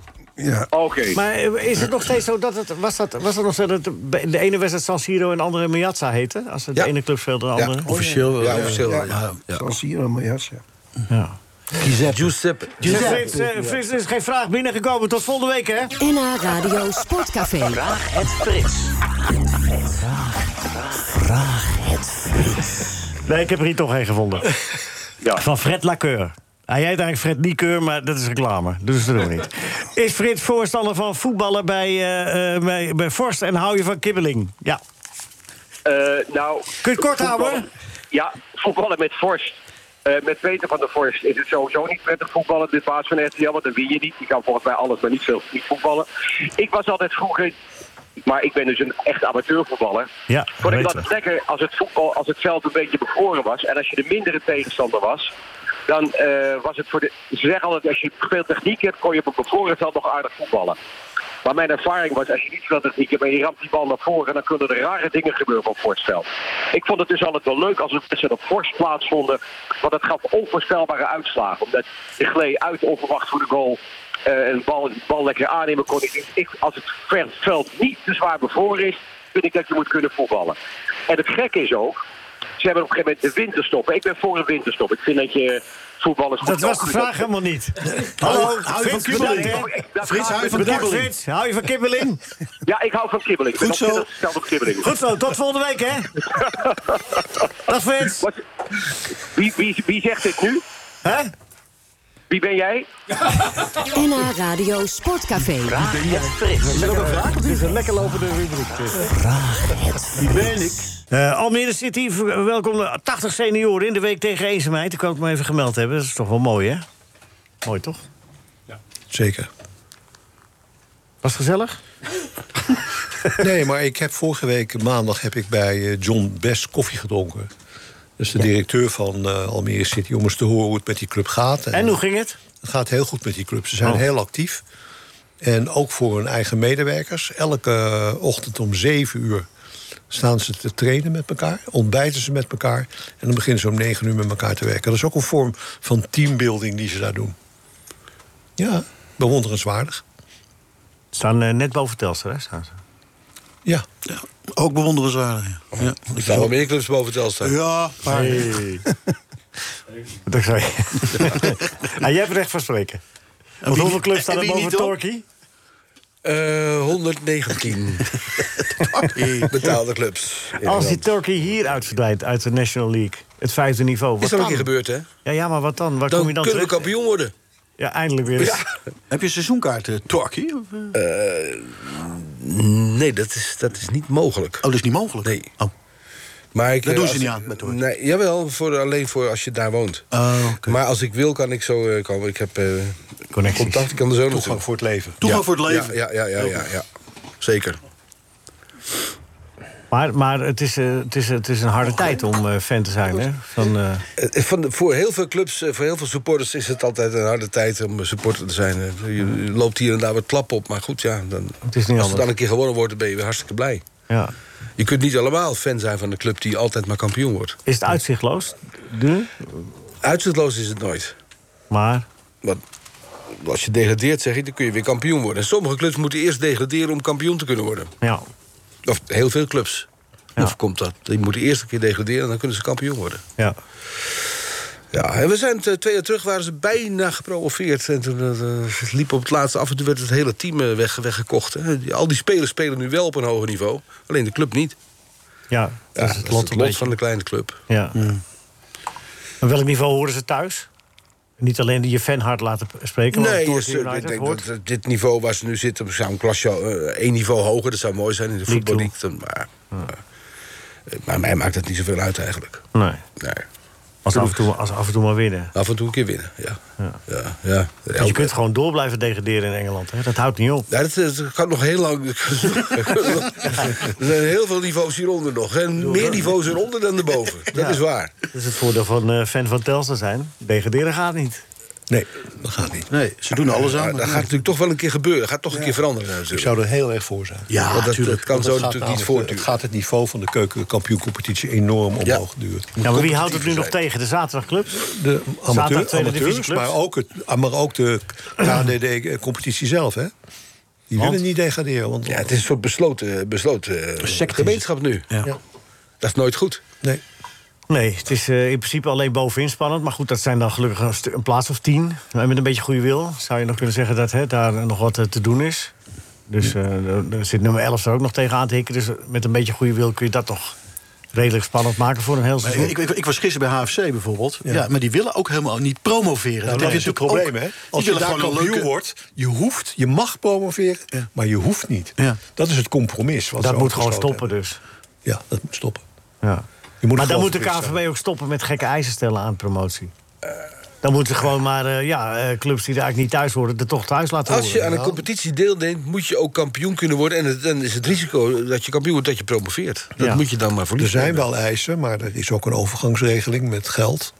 S10: Oké.
S4: Maar eh, is het nog steeds zo dat het... Was dat, was dat nog zo dat de de ene wedstrijd San Siro en de andere Miazza heette? Als het
S7: Ja.
S4: de ene club speelde, de andere...
S7: officieel. Ja, officieel.
S5: ja.
S7: Ja, ja.
S5: Zoals hier allemaal jas, ja.
S7: Giuseppe.
S4: Zeg, Frits, eh, Frits, er is geen vraag binnengekomen. Tot volgende week, hè?
S1: NH Radio Sportcafé.
S3: Vraag het Frits.
S4: Nee, ik heb er hier toch één gevonden.
S10: Ja.
S4: Van Fred Lacour. Hij heet eigenlijk Fred Niekeur, maar dat is reclame. Dus dat doen we niet. Is Frits voorstander van voetballen bij, eh, eh, bij, bij Forst en hou je van kibbeling? Ja.
S10: Eh, nou,
S4: Kun je het kort
S10: voetballen-
S4: houden?
S10: Ja, voetballen met Forst. Eh, met Peter van der Forst is het sowieso niet prettig voetballen. De baas van RTL, want dan win je niet. Die kan volgens mij alles, maar niet veel niet voetballen. Ik was altijd vroeger... Maar ik ben dus een echt amateurvoetballer.
S4: Ja,
S10: Vond ik
S4: weten
S10: dat
S4: we.
S10: het lekker als het, voetbal, als het veld een beetje bevroren was. En als je de mindere tegenstander was, dan eh, was het voor de... Ze zeggen altijd, als je veel techniek hebt, kon je op een bevroren veld nog aardig voetballen. Maar mijn ervaring was, als je niet veel techniek hebt en je ramt die bal naar voren, dan kunnen er rare dingen gebeuren op Forstveld. Ik vond het dus altijd wel leuk als er wedstrijden op Forst plaatsvonden, want het gaf onvoorspelbare uitslagen. Omdat je gleed uit onverwacht voor de goal eh, en de bal, de bal lekker aannemen kon. Ik, ik, als het ver- veld niet te zwaar bevroren is, vind ik dat je moet kunnen voetballen. En het gekke is ook, ze hebben op een gegeven moment de winterstop. Ik ben voor een winterstop. Ik vind dat je voetballers...
S4: Dat
S10: moet-
S4: was de vraag helemaal niet. Hallo,
S6: hou je van
S4: Frits,
S6: kibbeling? Oh,
S4: bedankt, hè.
S10: Ik- dat
S6: Frits,
S10: gaat
S6: hou je
S10: met-
S6: van
S4: Bedankt,
S6: kibbeling?
S4: Frits. Hou je van kibbeling?
S10: Ja, ik hou van kibbeling. Ik ben
S6: Goed zo.
S10: opgelegd gesteld op kibbeling.
S4: Goed zo, tot volgende week, hè? Dag, Frits.
S10: Wat, wie, wie, wie zegt dit nu?
S4: Hè?
S10: Wie ben jij?
S1: NH Radio Sportcafé.
S3: Het Frits.
S4: Is dat ook een vraag? Het is een lekker lopende rubriek. dus.
S6: Wie ben ik?
S4: Eh, Almere City welkom 80 senioren in de week tegen eenzaamheid. Ik kan het maar even gemeld hebben. Dat is toch wel mooi, hè? Mooi, toch?
S8: Zeker.
S4: Was het gezellig?
S8: Nee, maar ik heb vorige week maandag heb ik bij eh, John Best koffie gedronken. Dat is de directeur van eh, Almere City. Om eens te horen hoe het met die club gaat.
S4: En hoe ging het?
S8: Het gaat heel goed met die club. Ze zijn
S4: Oh.
S8: heel actief. En ook voor hun eigen medewerkers. Elke eh, ochtend om zeven uur staan ze te trainen met elkaar. Ontbijten ze met elkaar. En dan beginnen ze om negen uur met elkaar te werken. Dat is ook een vorm van teambuilding die ze daar doen. Ja, bewonderenswaardig.
S4: Ze staan eh, net boven Telstra, hè? Staan ze.
S8: Ja.
S6: Ja, ook bewonderenswaardig. Ja. Ja.
S7: Er staan wel meer clubs boven Telstra.
S6: Ja, maar
S4: Dat zou je. ah, jij hebt recht van spreken. Want
S6: wie-
S4: hoeveel clubs staan
S6: en
S4: er
S6: wie
S4: boven
S6: niet, hoor?
S4: Torquay?
S7: Eh, 119 betaalde clubs. in
S4: Als die
S7: Nederland.
S4: Torquay hier uitverdwijnt uit de National League, het vijfde niveau.
S6: oh,
S4: Wat
S7: Is dat
S4: dan?
S7: ook een keer gebeurd, hè?
S4: Ja, ja, maar wat dan? Waar kom je
S7: Dan
S4: dan
S7: kunnen we
S4: terug?
S7: kampioen worden.
S4: Ja, eindelijk weer. eens.
S6: heb je seizoenkaarten, Torky? Oh,
S7: Eh, Nee, dat is, dat is niet mogelijk.
S6: dat is niet mogelijk.
S7: Nee.
S6: Oh,
S7: Maar ik,
S6: Dat
S7: eh,
S6: doen ze
S7: als
S6: niet
S7: ik-
S6: aan met hoor.
S7: nee, Jawel, voor, alleen voor als je daar woont.
S6: Oh, oké.
S7: Maar als ik wil, kan ik zo eh, komen. Ik heb eh,
S4: Connecties.
S7: contact, ik kan er zo naartoe.
S8: Toegang voor het leven.
S6: Toegang
S7: Ja,
S6: voor het leven.
S7: Ja, ja, ja, ja, ja, ja. Zeker.
S4: Maar, maar het, is, eh, het, is, het is een
S7: Oh,
S4: harde tijd om eh, fan te zijn, hè? Van, eh,
S7: Eh, eh, Van, de- voor heel veel clubs, eh, voor heel veel supporters is het altijd een harde tijd om eh, supporter te zijn. Eh, Je je loopt hier en daar wat klap op, maar goed, ja. Dan,
S4: Het is niet
S7: als het
S4: anders.
S7: dan een keer gewonnen wordt, dan ben je weer hartstikke blij.
S4: ja.
S7: Je kunt niet allemaal fan zijn van de club die altijd maar kampioen wordt.
S4: Is het uitzichtloos? Nu?
S7: Uitzichtloos is het nooit.
S4: Maar
S7: Want als je degradeert, zeg ik, dan kun je weer kampioen worden. En sommige clubs moeten eerst degraderen om kampioen te kunnen worden.
S4: ja,
S7: Of heel veel clubs.
S4: Ja.
S7: Of komt dat? Die moeten eerst een keer degraderen en dan kunnen ze kampioen worden.
S4: ja.
S7: Ja, en we zijn eh, twee jaar terug, waren ze bijna gepromoveerd. En toen eh, liep op het laatste af en toen werd het hele team eh, weg, weggekocht. hè. Die- Al die spelers spelen nu wel op een hoger niveau. Alleen de club niet.
S4: ja,
S7: Ja,
S4: dat is het lot, een beetje.
S7: van de kleine club.
S4: Ja. En welk niveau horen ze thuis? Niet alleen je fan hard laten p- spreken, maar
S7: nee,
S4: Torquay
S7: dus, eh,
S4: United
S7: ik denk
S4: hoort.
S7: dat eh, dit niveau waar ze nu zitten... zou een klasje eh, één niveau hoger, dat zou mooi zijn in de
S4: League
S7: voetbal.
S4: Two.
S7: League, dan- Maar, maar, eh, maar mij maakt het niet zoveel uit eigenlijk.
S4: Nee,
S7: Nee. Nou.
S4: als af, en toe, als af en toe maar winnen.
S7: Af en toe een keer winnen, ja. ja. ja,
S4: Want je kunt gewoon door blijven degraderen in Engeland, hè? Dat houdt niet op.
S7: Ja, dat, dat kan nog heel lang. er zijn heel veel niveaus hieronder nog. Er zijn meer niveaus eronder dan erboven. Dat is waar.
S4: Dat is het voordeel van eh, fan van Telstra zijn. Degraderen gaat niet.
S8: Nee, dat gaat niet.
S6: Nee, ze doen alles
S7: Maar
S6: aan.
S7: dat gaat natuurlijk toch wel een keer gebeuren. Dat gaat toch een keer veranderen.
S8: Ik
S7: Natuurlijk.
S8: zou er heel erg voor zijn.
S6: Ja,
S7: Want dat,
S6: natuurlijk.
S7: dat kan
S8: Want
S7: zo
S8: het gaat
S7: natuurlijk
S8: namelijk,
S7: niet
S8: eh,
S7: voortduren.
S8: Het gaat het niveau van de keukenkampioencompetitie enorm omhoog duwen.
S4: Ja, maar wie houdt het nu nog
S7: competitiever
S4: tegen? De zaterdagclubs?
S8: De
S4: Zaterdag
S8: amateur,
S4: tweede
S8: amateurs,
S4: divisieclubs.
S8: maar ook, het, ah, maar ook de KDD-competitie eh, zelf, hè? Die willen niet degraderen. Want,
S7: Ja, het is een soort besloten, besloten eh, gemeenschap nu.
S6: Ja.
S7: Dat is nooit goed.
S8: nee,
S4: Nee, het is eh, in principe alleen bovenin spannend. Maar goed, dat zijn dan gelukkig een, stu- een plaats of tien. En met een beetje goede wil zou je nog kunnen zeggen dat hè, daar nog wat eh, te doen is. Dus eh, er- er zit nummer 11 er ook nog tegen aan te hikken. Dus met een beetje goede wil kun je dat toch redelijk spannend maken voor een heel
S6: Maar
S4: seizoen.
S6: Ik, ik, ik was gisteren bij HFC bijvoord. Ja. maar die willen ook helemaal niet promoveren.
S8: Nou, dat
S6: heb
S8: is
S6: je
S8: het
S6: natuurlijk
S8: probleem,
S6: ook.
S8: hè?
S6: Die
S8: Als je
S6: willen
S8: daar
S6: gewoon een
S8: kampioen
S6: leuke-
S8: wordt, je hoeft, je mag promoveren, maar je hoeft niet.
S6: Ja.
S8: Dat is het compromis. Wat
S4: dat
S8: ze
S4: moet gewoon
S8: afgesloten
S4: stoppen
S8: hebben.
S4: dus.
S8: Ja, dat moet stoppen.
S4: Ja.
S8: Je moet
S4: maar dan
S8: gewoon
S4: moet de
S8: verplicht
S4: KNVB ook stoppen met gekke eisen stellen aan promotie. Dan moeten gewoon maar eh, ja, eh, clubs die er eigenlijk niet thuis horen... er toch thuis laten
S7: Als je
S4: horen. nou?
S7: aan een competitie deelneemt, moet je ook kampioen kunnen worden. En het- dan is het risico dat je kampioen wordt dat je promoveert. Dat
S4: Ja.
S7: moet je dan maar voor
S8: Er
S7: lief
S8: zijn
S7: nemen.
S8: wel eisen, maar er is ook een overgangsregeling met geld.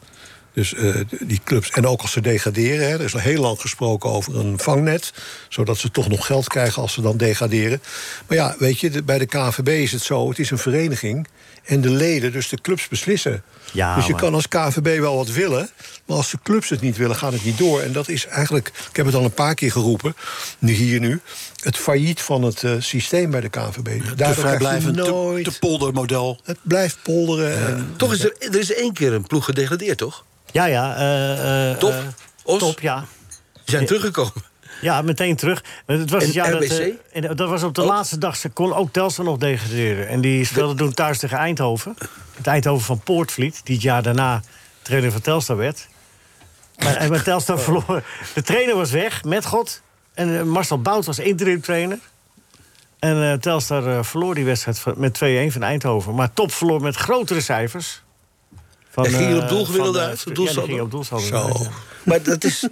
S8: Dus eh, die clubs, en ook als ze degraderen, hè, er is al heel lang gesproken over een vangnet, zodat ze toch nog geld krijgen als ze dan degraderen. Maar ja, weet je, de- bij de KVB is het zo, het is een vereniging en de leden, dus de clubs beslissen.
S4: Ja,
S8: dus je
S4: maar-
S8: kan als KVB wel wat willen, maar als de clubs het niet willen, gaat het niet door. En dat is eigenlijk, ik heb het al een paar keer geroepen, nu hier nu, het failliet van het eh, systeem bij de KVB.
S6: Te
S8: Daardoor krijg je
S6: vrijblijvend, te,
S8: nooit
S6: te poldermodel.
S8: het blijft polderen. en-
S7: Toch is er, er is één keer een ploeg gedegradeerd, toch?
S4: Ja, ja. eh, eh,
S7: Top.
S4: eh,
S7: Os?
S4: top, ja.
S7: Ze zijn teruggekomen.
S4: Ja, meteen terug. Het was het
S7: En
S4: jaar dat,
S7: RBC?
S4: eh, en dat was op de
S7: Ook?
S4: laatste dag. Ze kon ook Telstra nog degraderen. En die speelde toen thuis tegen Eindhoven. Het Eindhoven van Poortvliet, die het jaar daarna trainer van Telstra werd. Maar, eh, maar Telstar verloor. De trainer was weg, met God. En eh, Marcel Bout was interim trainer. En eh, Telstar eh, verloor die wedstrijd van- met 2-1 van Eindhoven. Maar top verloor met grotere cijfers. Van,
S7: En ging je op
S4: eh,
S7: doelgewilde
S4: van, eh,
S7: uit?
S4: Ja, die
S7: Doelsaldo?
S4: ging op doelsaldo
S7: Zo.
S4: uit, ja.
S7: Maar dat is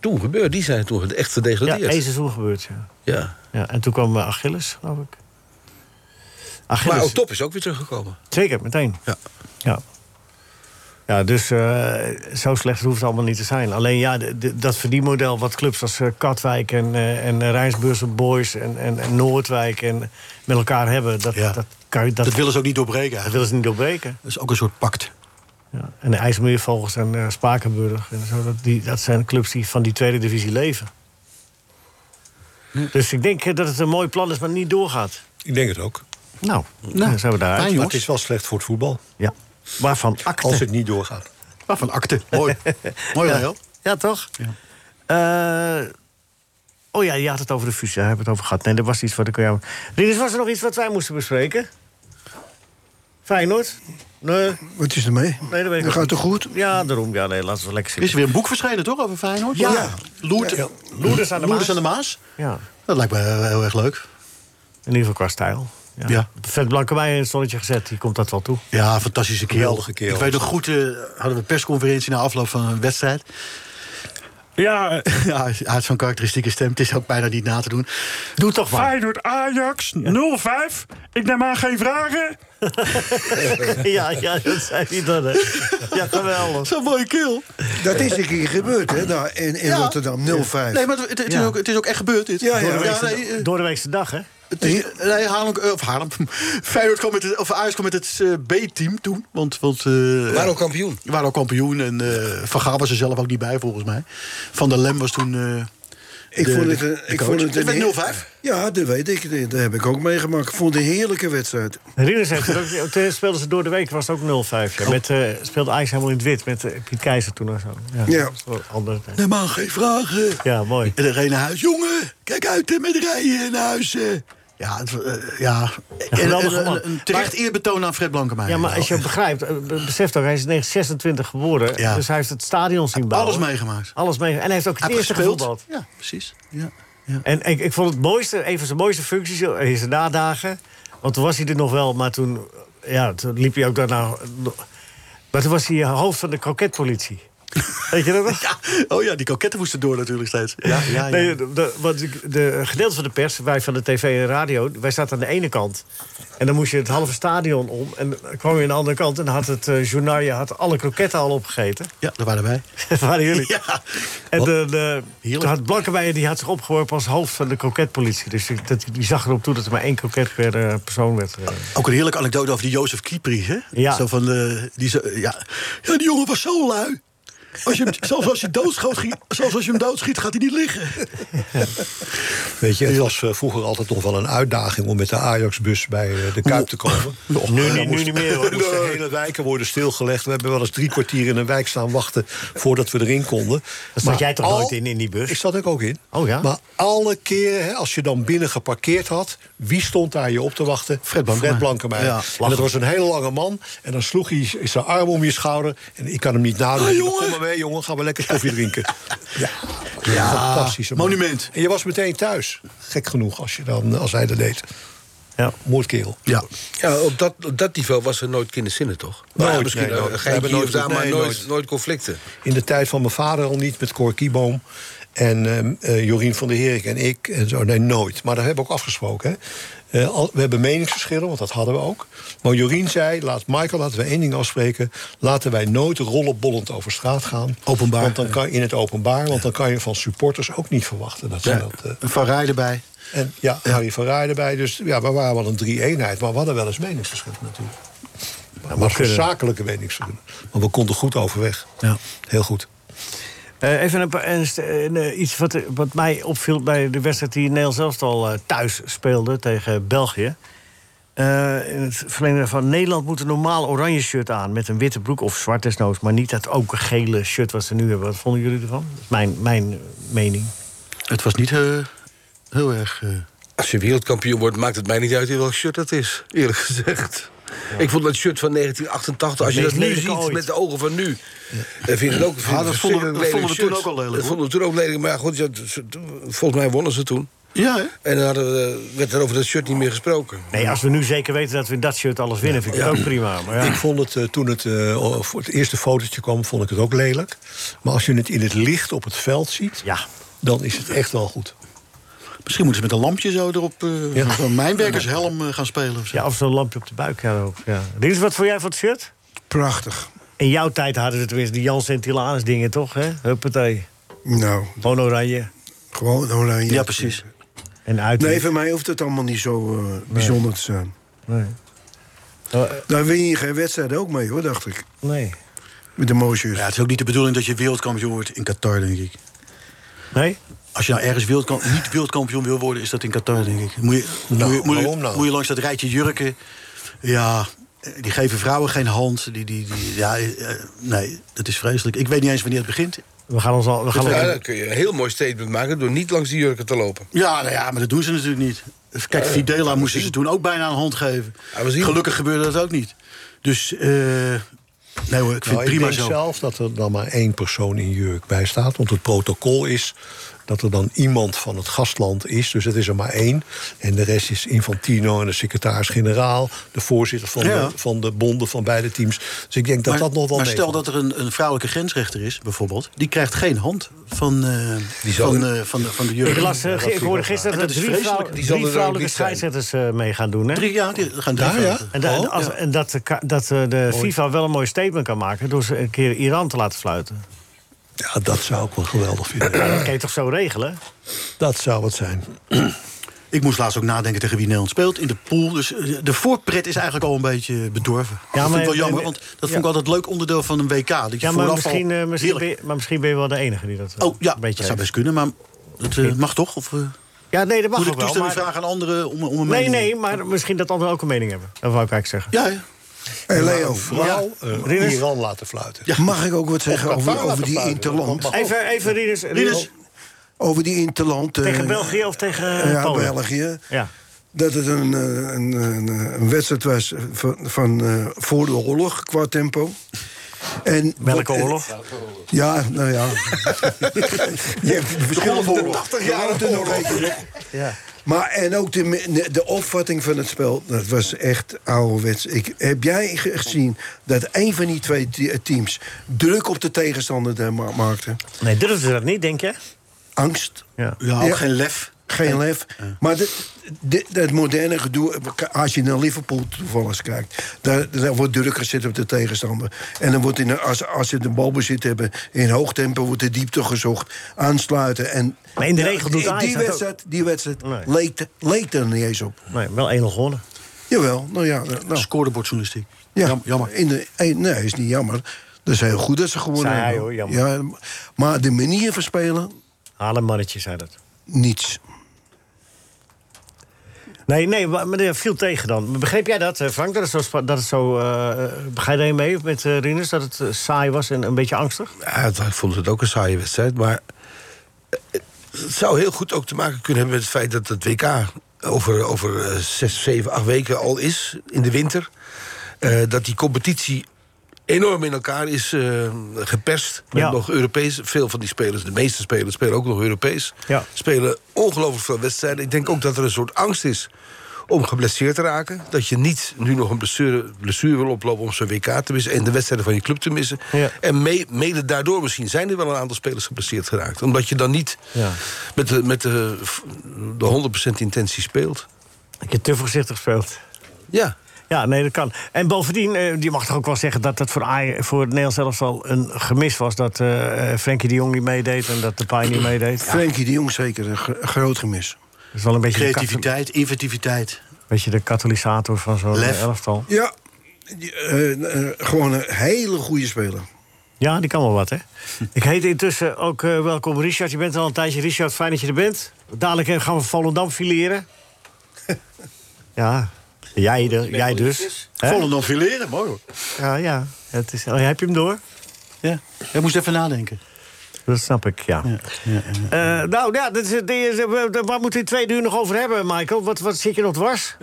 S7: toen gebeurd. Die zijn toen echt
S4: Ja,
S7: gedegradeerd.
S4: één seizoen gebeurd, ja.
S7: Ja.
S4: ja. En toen kwam eh, Achilles, geloof ik. Achilles.
S7: Maar ook top is ook weer teruggekomen.
S4: Zeker, meteen.
S7: Ja.
S4: Ja, ja dus eh, zo slecht hoeft het allemaal niet te zijn. Alleen ja, de- de- dat verdienmodel wat clubs als eh, Katwijk en, eh en Rijnsburgse Boys en, en, en Noordwijk en, met elkaar hebben... Dat, dat, kan, je- dat,
S6: Dat willen ze ook niet doorbreken.
S4: dat
S6: eigenlijk.
S4: willen ze niet doorbreken.
S6: Dat is ook een soort pact.
S4: Ja. En de IJsselmeervogels en eh, Spakenburg en zo, dat, die, dat zijn clubs die van die tweede divisie leven. Dus ik denk eh, dat het een mooi plan is, maar niet doorgaat.
S8: Ik denk het ook.
S4: Nou, dan zijn we daar.
S6: fijn,
S8: Maar
S6: jongens.
S8: het is wel slecht voor het voetbal.
S4: Ja. Waarvan acte.
S8: Als het niet doorgaat.
S6: Ah, Van akte. Mooi. Mooi,
S4: ja.
S6: Leo.
S4: Ja, toch? Eh, oh ja, je had het over de fusie. Daar hebben we het over gehad. Nee, dat was iets wat ik... Ja, Rinus, was er nog iets wat wij moesten bespreken? Feyenoord? Nee,
S5: Wat is er mee?
S4: nee dat weet ik
S5: Dat gaat toch goed?
S4: Ja, daarom. Ja, nee, laten we lekker
S6: Er is
S4: zitten.
S6: weer een boek verschenen, toch, over Feyenoord?
S4: Ja.
S6: Loert,
S4: Loerders aan de
S6: Loerders
S4: Maas.
S6: aan de Maas.
S4: Ja,
S6: Dat lijkt me eh, heel erg leuk.
S4: in ieder geval qua stijl. Ja.
S6: Ja.
S4: Vet Blanke in het zonnetje gezet. Die komt dat wel toe.
S6: Ja, fantastische kerel.
S8: Geweldige kerel.
S6: Ik weet nog goed, eh, hadden we een persconferentie na afloop van een wedstrijd. Ja, ja hij had zo'n karakteristieke stem. Het is ook bijna niet na te doen.
S4: Doe toch maar.
S11: Feyenoord Ajax 05. Ik neem aan geen vragen.
S4: ja, ja, dat zijn die dan. hè. eh, Ja, geweldig.
S6: Zo'n mooie keel.
S5: Dat is een keer gebeurd, hè? daar in, in Rotterdam, 05.
S6: Nee, maar het, het is
S4: Ja.
S6: ook, het is ook echt gebeurd, dit.
S5: Ja, ja.
S6: nee, eh,
S4: Door de weekse dag, hè?
S6: het is, nee, Haarlem, eh, of Haarlem. Feyenoord kwam met het, of Ajax kwam met het eh, B-team toen. Want, want eh,
S7: Maar ook kampioen.
S6: We waren al kampioen en eh, Van Gaal was er zelf ook niet bij, volgens mij. Van der Lem was toen... eh,
S5: Ik
S6: de-
S5: vond het
S6: de-
S5: een,
S6: de
S5: ik
S6: coach.
S5: vond het
S6: Het
S5: een
S6: werd
S5: heer-
S6: 0-5.
S5: Ja, dat weet ik. Dat heb ik ook meegemaakt. Ik vond het een heerlijke wedstrijd.
S4: Rinus heeft het ook. Toen speelden ze door de week, was het ook 0-5. Ja. Met, eh, speelde IJs helemaal in het wit met eh, Piet Keizer toen of zo. Ja.
S5: Ja.
S4: dat was wel een andere tijd.
S6: Nee man, geen vragen.
S4: Ja, mooi.
S6: En dan reed naar huis. Jongen, kijk uit hè, met rijden naar huis. hè. Ja, het, eh, ja. En,
S4: geweldige
S6: en-
S4: man.
S6: een- een terecht eerbetoon aan Fred Blankenmeijer.
S4: Ja, maar als je het begrijpt, eh, be- beseft ook, hij is in 1926 geboren.
S6: Ja.
S4: Dus hij heeft het stadion zien bouwen.
S6: Alles meegemaakt.
S4: Alles mee. En hij heeft ook het
S6: Hij heeft
S4: eerste
S6: gespeeld.
S4: gevoetbald.
S6: Ja, precies. Ja. Ja.
S4: En ik, ik vond het mooiste, een van zijn mooiste functies eh, in zijn nadagen. Want toen was hij er nog wel, maar toen, eh, ja, toen liep hij ook daarna... eh, Maar toen was hij eh, hoofd van de kroketpolitie. Weet je dat nog?
S6: Ja. Oh ja, die koketten moesten door natuurlijk steeds. Ja, ja, ja.
S4: Nee, de, de- want ik- de gedeelte van de pers, wij van de tv en radio, wij zaten aan de ene kant. En dan moest je het halve stadion om. En dan kwam je aan de andere kant en had het eh journaal, je had alle kroketten al opgegeten.
S6: ja daar waren wij.
S4: Dat waren jullie.
S6: Ja.
S4: En de, de,
S6: Heerlijk.
S4: toen had Blankenmeijer, die had zich opgeworpen als hoofd van de kroketpolitie. Dus die, dat- die zag erop toe dat er maar één kroket per eh, persoon werd. eh.
S6: Ook een heerlijke anekdote over die Jozef Kipri. Hè?
S4: Ja.
S6: Zo van, eh, die, zo, ja. ja, die jongen was zo lui. Als je hem, zelfs, als je doodschoot, ging- zelfs als je hem doodschiet, gaat hij niet liggen.
S8: Weet je, het was eh, vroeger altijd nog wel een uitdaging om met de Ajaxbus bij eh, de Kuip te komen.
S4: nu
S8: Dan
S4: niet- nu
S8: moest-
S4: niet meer, hoor.
S8: moesten hele wijken worden stilgelegd. We hebben wel eens drie kwartier in een wijk staan wachten voordat we erin konden.
S4: zat
S8: Maar
S4: jij toch
S8: al-
S4: nooit in, in die bus?
S8: Ik zat ik ook in.
S4: Oh ja?
S8: Maar alle keren, hè, als je dan binnen geparkeerd had... wie stond daar je op te wachten? Fred, Fred Blankenmeijer.
S6: Ja,
S8: en
S6: lachen.
S8: dat was een hele lange man. En dan sloeg hij z- zijn arm om je schouder. En ik kan hem niet nadoen.
S6: Ah,
S8: Ik
S6: jongen.
S8: dacht, Kom maar mee, jongen. Gaan we lekker koffie drinken. ja,
S6: Ja,
S8: fantastische man.
S6: monument.
S8: En je was meteen thuis. Gek genoeg als, je dan, als hij dat deed.
S4: Ja.
S8: Moordkerel.
S6: Ja.
S7: Ja, op dat, op dat niveau was er nooit kinderzinnen, toch?
S8: Nooit,
S7: ja, misschien
S8: nee,
S7: eh,
S8: nooit. We
S7: geen
S8: hebben
S7: hier of
S8: nooit-
S7: daar, maar
S8: nee,
S7: nooit,
S8: nooit.
S7: nooit conflicten.
S8: In de tijd van mijn vader al niet, met Cor Kieboom. En ehm, eh, Jorien van der Herik en ik en zo. Nee, nooit. Maar daar hebben we ook afgesproken. Hè. Eh, al- we hebben meningsverschillen, want dat hadden we ook. Maar Jorien zei, laat Michael, laten we één ding afspreken. Laten wij nooit rollenbollend over straat gaan.
S6: Openbaar, eh.
S8: Want dan
S6: ja.
S8: kan, in het openbaar. Want dan kan je van supporters ook niet verwachten. Dat ze dat, eh,
S6: Een Van Rij erbij.
S8: en ja, Harry van Rij erbij. Dus ja, we waren wel een drie-eenheid. Maar we hadden wel eens meningsverschillen natuurlijk. Maar wat voor zakelijke meningsverschillen. Want we konden goed overweg.
S6: Ja.
S8: Heel goed.
S4: Eh, even een, paar- een st- een, eh, iets wat, eh, wat mij opviel bij de wedstrijd die Nederland zelfs al eh, thuis speelde tegen België. Eh, in het verleden van Nederland moet een normaal oranje shirt aan met een witte broek of zwart desnoods, maar niet dat ook gele shirt wat ze nu hebben. Wat vonden jullie ervan? Dat is mijn, mijn eh, mening.
S6: Het was niet eh, heel erg... eh,
S7: Als je wereldkampioen wordt, maakt het mij niet uit in welk shirt dat is, eerlijk gezegd. Ik vond dat shirt van 1988, als je dat nu
S6: Meest
S7: ziet
S6: lelijke ooit.
S7: met de ogen van nu... dan vind ik het ook
S6: Ja, dat
S7: vind ik
S5: Ah,
S7: het
S6: vonden we-
S7: verschrikkelijk
S6: dat vonden we toen
S7: lelijk shirt.
S6: ook al lelijk,
S7: Dat
S6: hoor.
S7: vonden we toen ook lelijk, maar ja, goed, ja, ze- volgens mij wonnen ze toen.
S6: Ja,
S7: En dan hadden we, werd er over dat shirt niet meer gesproken.
S4: Nee, als we nu zeker weten dat we in dat shirt alles winnen, vind ik het ook prima. Maar ja.
S8: Ik vond het eh, toen het eh, o- voor het eerste fotootje kwam, vond ik het ook lelijk. Maar als je het in het licht op het veld ziet, dan is het echt wel goed. Nou,
S6: Misschien moeten ze met een lampje zo erop. eh Zo'n mijnwerkershelm eh, gaan spelen. Of zo.
S4: Ja, of zo'n lampje op de buik. Ja, ook, ja. Dit is wat voor jij van het shirt?
S5: Prachtig.
S4: In jouw tijd hadden we tenminste die Jan Sentilanus dingen, toch? Hè? Huppatee.
S5: Nou.
S4: Gewoon oranje.
S5: Gewoon oranje.
S4: Ja, precies. En uit.
S5: Nee, voor mij hoeft het allemaal niet zo eh, bijzonder te zijn.
S4: Nee. Eh,
S5: Daar win je geen wedstrijd ook mee, hoor, dacht ik.
S4: Nee.
S5: Met de mooie
S6: Ja, het is ook niet de bedoeling dat je wereldkampioen wordt in Qatar, denk ik.
S4: Nee?
S6: Als je nou ergens wereldkamp- niet wereldkampioen wil worden, is dat in Qatar, denk ik. Moet je,
S8: Nou,
S6: moet je, moet je-
S8: waarom nou?
S6: moet je langs dat rijtje jurken. Ja, eh, die geven vrouwen geen hand. Die, die, die, ja, eh, nee, dat is vreselijk. Ik weet niet eens wanneer het begint.
S4: We gaan ons
S6: Oh,
S4: al... We gaan
S7: ja,
S4: al-
S7: dan Dus kun je een heel mooi statement maken door niet langs die jurken te lopen.
S6: Ja, nou ja, maar dat doen ze natuurlijk niet. Kijk,
S7: Ja,
S6: Fidela
S7: gaan we
S6: moesten ze
S7: zien.
S6: toen ook bijna een hand geven.
S7: Gaan we zien.
S6: Gelukkig gebeurde dat ook niet. Dus, eh, nee hoor, ik vind
S8: Nou,
S6: het prima
S8: denk
S6: zo.
S8: zelf dat er dan maar één persoon in jurk bij staat. Want het protocol is dat er dan iemand van het gastland is. Dus het is er maar één. En de rest is Infantino en de secretaris-generaal. De voorzitter van,
S6: Ja.
S8: de, van de bonden van beide teams. Dus ik denk dat dat nog wel
S6: maar
S8: mee
S6: stel
S8: valt.
S6: dat er een, een vrouwelijke grensrechter is, bijvoorbeeld. Die krijgt geen hand van, eh,
S7: zal-
S6: van, eh, van, de- van de jeugd.
S4: Ik, las, eh, ik hoorde gisteren
S6: En
S4: dat,
S6: dat is
S4: er drie,
S6: vreselijk.
S4: vrouw,
S6: Die
S4: drie
S6: zullen er ook
S4: vrouwelijke
S6: niet zijn.
S4: scheidsrechters eh, mee gaan doen, hè?
S6: Drie, ja, die gaan drie
S8: Daar, ja?
S6: vrouwen.
S4: En, da- en
S8: Oh,
S4: als,
S8: ja.
S4: en dat, de, ka- dat eh, de FIFA wel een mooi statement kan maken... door ze een keer Iran te laten fluiten.
S8: Ja, dat zou ik wel geweldig vinden.
S4: Dat kan je toch zo regelen?
S8: dat zou het zijn.
S6: Ik moest laatst ook nadenken tegen wie Nederland speelt in de pool. Dus eh, de voorpret is eigenlijk al een beetje bedorven. dat vind
S4: maar-
S6: ik wel jammer,
S4: en-
S6: want dat
S4: ja.
S6: vond ik altijd een leuk onderdeel van een WK. Dat je
S4: Ja, maar
S6: vooraf al-
S4: misschien, eh, misschien ben
S6: Heerlijk.
S4: je, maar misschien ben je wel de enige die dat eh,
S6: Oh ja,
S4: een
S6: dat
S4: beetje
S6: zou best
S4: heeft.
S6: kunnen, maar dat eh, mag toch? Of, eh,
S4: Ja, nee, dat mag
S6: moet ik
S4: ook wel.
S6: toestemming
S4: maar-
S6: vragen aan anderen om, om een
S4: Nee,
S6: mening?
S4: nee, maar misschien dat anderen ook een mening hebben. Dat wou ik eigenlijk zeggen.
S6: Ja, Nou, ja.
S5: Hey Leo,
S8: Vrouw eh,
S4: Ridders?
S8: Iran laten fluiten.
S5: mag ik ook wat zeggen
S8: Op
S5: over,
S8: elkaar
S5: over die
S8: laten
S5: Interland?
S8: fluiten.
S4: Even, even Rinus,
S5: eh,
S6: Rinus.
S5: Over die Interland. eh,
S4: Tegen België of tegen eh,
S5: ja,
S4: Polen?
S5: België.
S4: Ja.
S5: Dat het een, eh, een, een, een wedstrijd was van, van eh, voor de oorlog qua tempo. En,
S4: Welke
S5: en-
S4: oorlog?
S5: Ja, nou ja. je hebt verschillende 80 jaar nog even.
S4: Ja.
S5: Maar en ook de, me- de opvatting van het spel, dat was echt ouderwets. Ik, heb jij ge- gezien dat een van die twee te- teams druk op de tegenstander eh, ma- maakte?
S4: Nee, durfden ze dat niet, denk je?
S5: Angst,
S4: Ja.
S6: Ja, ook
S5: Ja.
S6: geen lef.
S5: geen lef. Maar dit- dit- dat moderne gedoe, als je naar Liverpool toevallig kijkt... daar, daar wordt druk gezet op de tegenstander. En dan wordt in, een- als, als ze de balbezit hebben in hoog tempo... wordt de diepte gezocht, aansluiten. En,
S4: Maar in de regel doet
S5: die,
S4: Ajax
S5: die
S4: dat
S5: wedstrijd, die wedstrijd
S4: Nee.
S5: leek, leek er niet eens op.
S4: Nee, wel 1-0 gewonnen.
S5: Jawel, nou ja. Nou,
S6: Scorebordjournalistiek.
S5: ja.
S6: Jam- Jammer.
S5: In de, eh, nee, is niet jammer. Dat is heel goed dat ze gewonnen
S4: Zei hij,
S5: hebben.
S4: hoor, jammer.
S5: ja, maar de manier van spelen,
S4: Haal een mannetje, zei dat.
S5: niets.
S4: Nee, nee, maar maar dat viel tegen dan. Begreep jij dat, eh, Frank? Dat het zo... spa- Dat het zo eh, eh, ga je daarin mee met eh, Rinus? Dat het eh, saai was en een beetje angstig?
S7: Ja, het- ik vond het ook een saaie wedstrijd, maar... eh, Het zou heel goed ook te maken kunnen hebben met het feit dat het WK... over, over eh, zes, zeven, acht weken al is, in de winter. Eh, dat die competitie enorm in elkaar is eh, geperst. Met
S4: Ja.
S7: nog Europees. Veel van die spelers, de meeste spelers, spelen ook nog Europees.
S4: Ja.
S7: Spelen ongelooflijk veel wedstrijden. Ik denk ook dat er een soort angst is om geblesseerd te raken. Dat je niet nu nog een blessure, blessure wil oplopen om zo'n WK te missen... en de wedstrijden van je club te missen.
S4: Ja.
S7: En mee- mede daardoor misschien zijn er wel een aantal spelers geblesseerd geraakt. Omdat je dan niet
S4: Ja.
S7: met, de, met de, de 100% intentie speelt.
S4: Dat je te voorzichtig speelt.
S7: Ja,
S4: Ja, nee, dat kan. En bovendien, eh, je mag toch ook wel zeggen dat dat voor, Aj- voor het Nederlands zelfs al een gemis was... dat eh eh, Frenkie de Jong niet meedeed en dat de Pai niet meedeed. Ja,
S5: Frenkie de Jong zeker een gro- groot gemis.
S4: dat is wel een beetje, De,
S6: Creativiteit, inventiviteit.
S4: kat- beetje de katalysator van zo'n
S6: Lef.
S4: eh, elftal.
S5: Ja, die, eh, eh, gewoon een hele goede speler.
S4: Ja, die kan wel wat, hè? Ik heet intussen ook eh, welkom Richard. Je bent al een tijdje. Richard, fijn dat je er bent. Dadelijk eh, gaan we Volendam fileren. ja, jij, de- jij dus. Hè?
S6: Volendam fileren, mooi hoor.
S4: Ja, ja. Het is, oh, heb je hem door?
S6: Ja, jij moest even nadenken.
S4: Dat snap ik, ja. Eh, nou ja, dit is, dit is- we- we- waar moeten we het tweede uur nog over hebben, Michael? Wat, wat zit je nog dwars?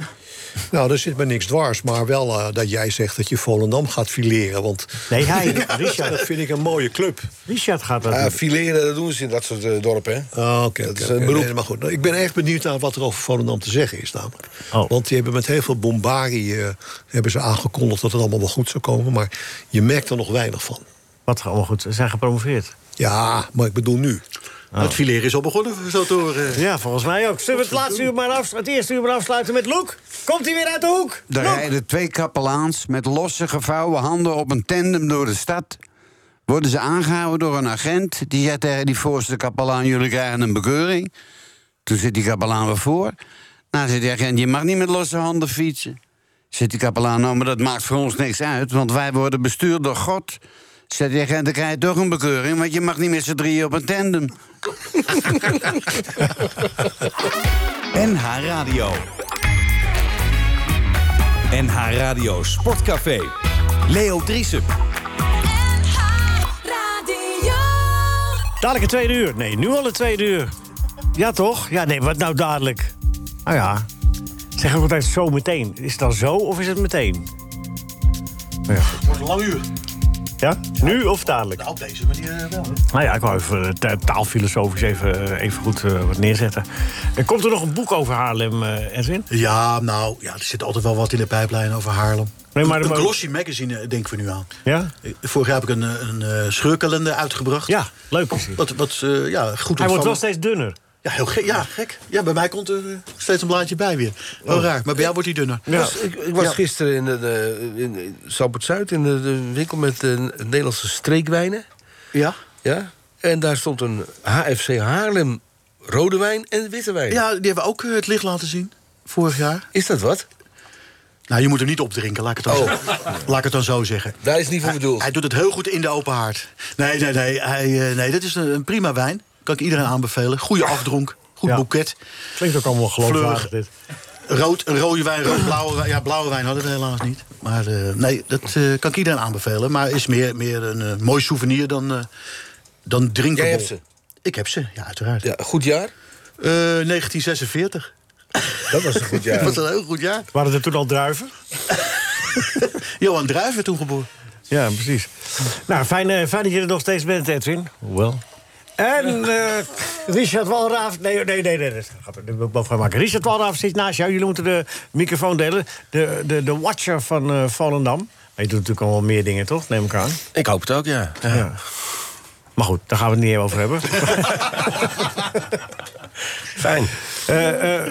S8: Nou, daar zit me niks dwars. Maar wel eh, dat jij zegt dat je Volendam gaat fileren. Want
S4: Nee, hij,
S8: Richard. dat vind ik een mooie club.
S4: Richard gaat
S8: dat
S7: Ja, fileren, dat doen ze in dat soort eh, dorpen. hè.
S8: Ah, Oké,
S7: Dat
S8: oké,
S7: is
S8: oké.
S7: een beroep.
S8: Nee, maar goed. Nou, ik ben erg benieuwd naar wat er over Volendam te zeggen is namelijk.
S4: Oh.
S8: Want die hebben met heel veel bombarie eh, hebben ze aangekondigd dat het allemaal wel goed zou komen. Maar je merkt er nog weinig van.
S4: Wat allemaal goed. Ze zijn gepromoveerd.
S8: Ja, maar ik bedoel nu.
S6: Het fileren is al begonnen, zo te horen.
S4: Oh. Ja, volgens mij ook. Zullen we het laatste uur maar af, het eerste uur maar afsluiten met Loek? Komt hij weer uit de hoek?
S12: Er rijden twee kapelaans met losse gevouwen handen op een tandem door de stad. Worden ze aangehouden door een agent. Die zegt tegen die voorste kapelaan, jullie krijgen een bekeuring. Toen zit die kapelaan weer voor. Nou, zegt die agent, je mag niet met losse handen fietsen. Zit die kapelaan, nou, maar dat maakt voor ons niks uit... want wij worden bestuurd door God. Zegt die agent, dan krijg je toch een bekeuring... want je mag niet met z'n drieën op een tandem.
S2: NH Radio. NH Radio Sportcafé. Leo Driessen.
S4: Dadelijk het tweede uur. Nee, nu al het tweede uur. Ja, toch? Ja, nee, wat nou dadelijk? Ah ja. Zeg ook altijd zo meteen. Is het dan zo of is het meteen? Ja.
S6: Het wordt een lang uur.
S4: Ja? Nu of dadelijk?
S6: Nou, op deze manier wel.
S4: Nou ja, ik wou even eh, ta- taalfilosofisch even, eh, even goed eh, wat neerzetten. Er komt er nog een boek over Haarlem, eh, Edwin?
S6: Ja, nou, ja, er zit altijd wel wat in de pijplijn over Haarlem.
S4: Nee, maar-
S6: een
S4: maar-
S6: glossy magazine eh, denken we nu aan.
S4: Ja?
S6: Eh, Vorig jaar heb ik een, eh, een eh, scheurkalender uitgebracht.
S4: Ja, leuk.
S6: Wat, wat eh, ja, goed
S4: Hij wordt wel
S6: ontvangen.
S4: steeds dunner.
S6: Ja, heel gek. Ja, gek. Ja, bij mij komt er eh, steeds een blaadje bij weer. Heel
S7: Oh.
S6: raar. Maar bij jou wordt hij dunner.
S7: Dus ik, ik was gisteren in, de, in, in Zuid in de, de winkel met de Nederlandse streekwijnen.
S6: Ja?
S7: Ja? En daar stond een HFC Haarlem rode wijn en witte wijn.
S6: Ja, die hebben ook eh, het licht laten zien. Vorig jaar.
S7: Is dat wat?
S6: Nou, je moet hem niet opdrinken, laat ik het dan, zo, laat ik het dan zo zeggen.
S7: Oh. Daar is niet voor bedoeld.
S6: Hij doet het heel goed in de open haard. Nee, nee, nee. Hij, eh, nee dit is een, een prima wijn. Kan ik iedereen aanbevelen. Goede afdronk. Goed
S4: Ja.
S6: boeket.
S4: Klinkt ook allemaal geloofwaardig
S6: Fleurig.
S4: dit.
S6: Rood, een rode wijn, rood, blauwe wijn. Ja, blauwe wijn hadden we helaas niet. Maar eh, nee, dat eh, kan ik iedereen aanbevelen. Maar is meer, meer een eh, mooi souvenir dan, eh dan drinken.
S7: Jij hebt ze?
S6: Ik heb ze, ja, uiteraard.
S7: Ja, goed jaar?
S6: Eh, 1946.
S7: Dat was een goed
S6: Dat
S7: jaar.
S6: was een heel goed jaar.
S4: Waren er toen al druiven?
S6: Johan Druijf werd toen geboren.
S4: Ja, precies. Nou, fijn, eh, fijn dat je er nog steeds bent, Edwin. Wel. En eh, Richard Walraaf... Nee, nee, nee, nee. Dat gaat er nu wel van maken. Richard Walraaf zit naast jou. Jullie moeten de microfoon delen. De, de, de watcher van eh Volendam. Maar je doet natuurlijk al wel meer dingen, toch? Neem ik aan.
S7: Ik hoop het ook, ja.
S4: Ja. Maar goed, daar gaan we het niet over hebben.
S7: Fijn.
S4: Eh, eh,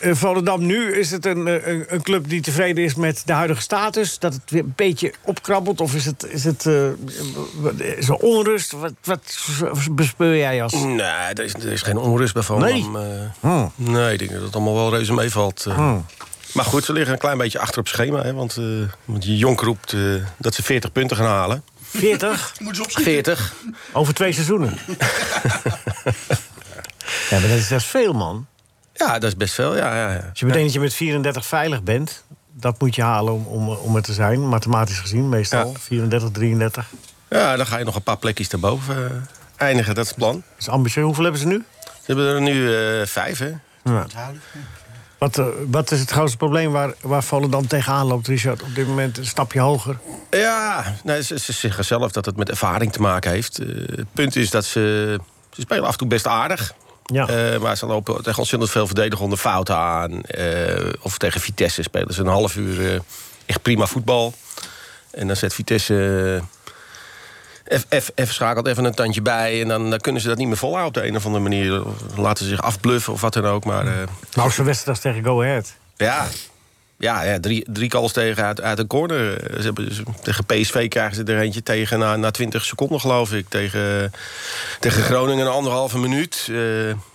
S4: eh, Volendam nu, is het een, eh, een- een club die tevreden is met de huidige status? Dat het weer een beetje opkrabbelt? Of is het, is het eh, wat- is er onrust? Wat, wat bespeur jij als...
S7: Nee, er is, er is geen onrust bij Van
S4: Nee.
S13: eh,
S4: Oh.
S7: Nee, ik denk dat het allemaal wel reuze meevalt. eh.
S4: Hmm.
S13: Maar goed, ze liggen een klein beetje achter op schema. Hè, want, eh want Jonk roept eh, dat ze 40 punten gaan halen.
S4: 40?
S6: Moet je opschieten.
S7: 40.
S4: Over twee seizoenen. ja, maar dat is echt veel, man.
S13: Ja, dat is best veel. Ja, ja, ja.
S4: Als je bedenkt dat je met 34 veilig bent... dat moet je halen om, om, om er te zijn. Mathematisch gezien meestal. 34, 33.
S13: ja, dan ga je nog een paar plekjes daarboven eh, eindigen. Dat is het plan.
S4: Dat is ambitieus. Hoeveel hebben ze nu?
S13: Ze hebben er nu eh, vijf, hè?
S4: Ja. Wat, eh, wat is het grootste probleem waar, waar Volendam tegenaan loopt, Richard? Op dit moment een stapje hoger.
S13: Ja, nee, ze, ze zeggen zelf dat het met ervaring te maken heeft. Eh, het punt is dat ze... Ze spelen af en toe best aardig.
S4: Ja.
S13: Eh, maar ze lopen tegen ontzettend veel verdedigende fouten aan. Eh, of tegen Vitesse spelen ze een half uur eh, echt prima voetbal. En dan zet Vitesse... eh, F, F, F schakelt even een tandje bij. En dan, dan kunnen ze dat niet meer volhouden op de een of andere manier. Of Laten ze zich afbluffen of wat dan ook. Maar eh,
S4: Nou, zo'n wedstrijd als tegen Go Ahead.
S13: ja, ja, ja drie, drie calls tegen uit, uit een corner. Eh, Ze hebben, ze- tegen PSV krijgen ze er eentje tegen na, na 20 seconden, geloof ik. Tegen, tegen Groningen een anderhalve minuut. Eh,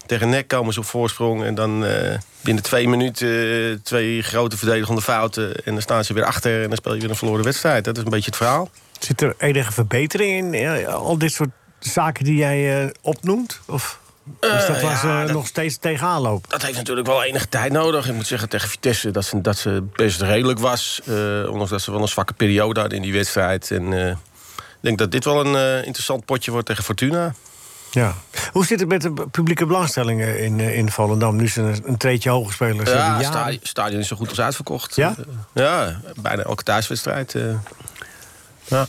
S13: tegen NEC komen ze op voorsprong. En dan eh, binnen twee minuten eh, twee grote verdedigende fouten. En dan staan ze weer achter en dan speel je weer een verloren wedstrijd. Dat is een beetje het verhaal.
S4: Zit er enige verbetering in eh, al dit soort zaken die jij eh, opnoemt? Of is dat
S13: Eh,
S4: waar ze
S13: ja, dat-
S4: nog steeds tegenaan lopen?
S13: Dat heeft natuurlijk wel enige tijd nodig. Ik moet zeggen tegen Vitesse dat ze, dat ze best redelijk was. eh, ondanks dat ze wel een zwakke periode hadden in die wedstrijd. En eh, ik denk dat dit wel een eh, interessant potje wordt tegen Fortuna.
S4: Ja. Hoe zit het met de publieke belangstellingen in, eh, in Volendam? Nu ze een, een treedje hoger spelen. ze
S13: Ja,
S4: hebben
S13: het
S4: jaren-
S13: stadion, stadion is zo goed als uitverkocht. Eh,
S4: Ja?
S13: Ja, bijna elke thuiswedstrijd. eh. ja.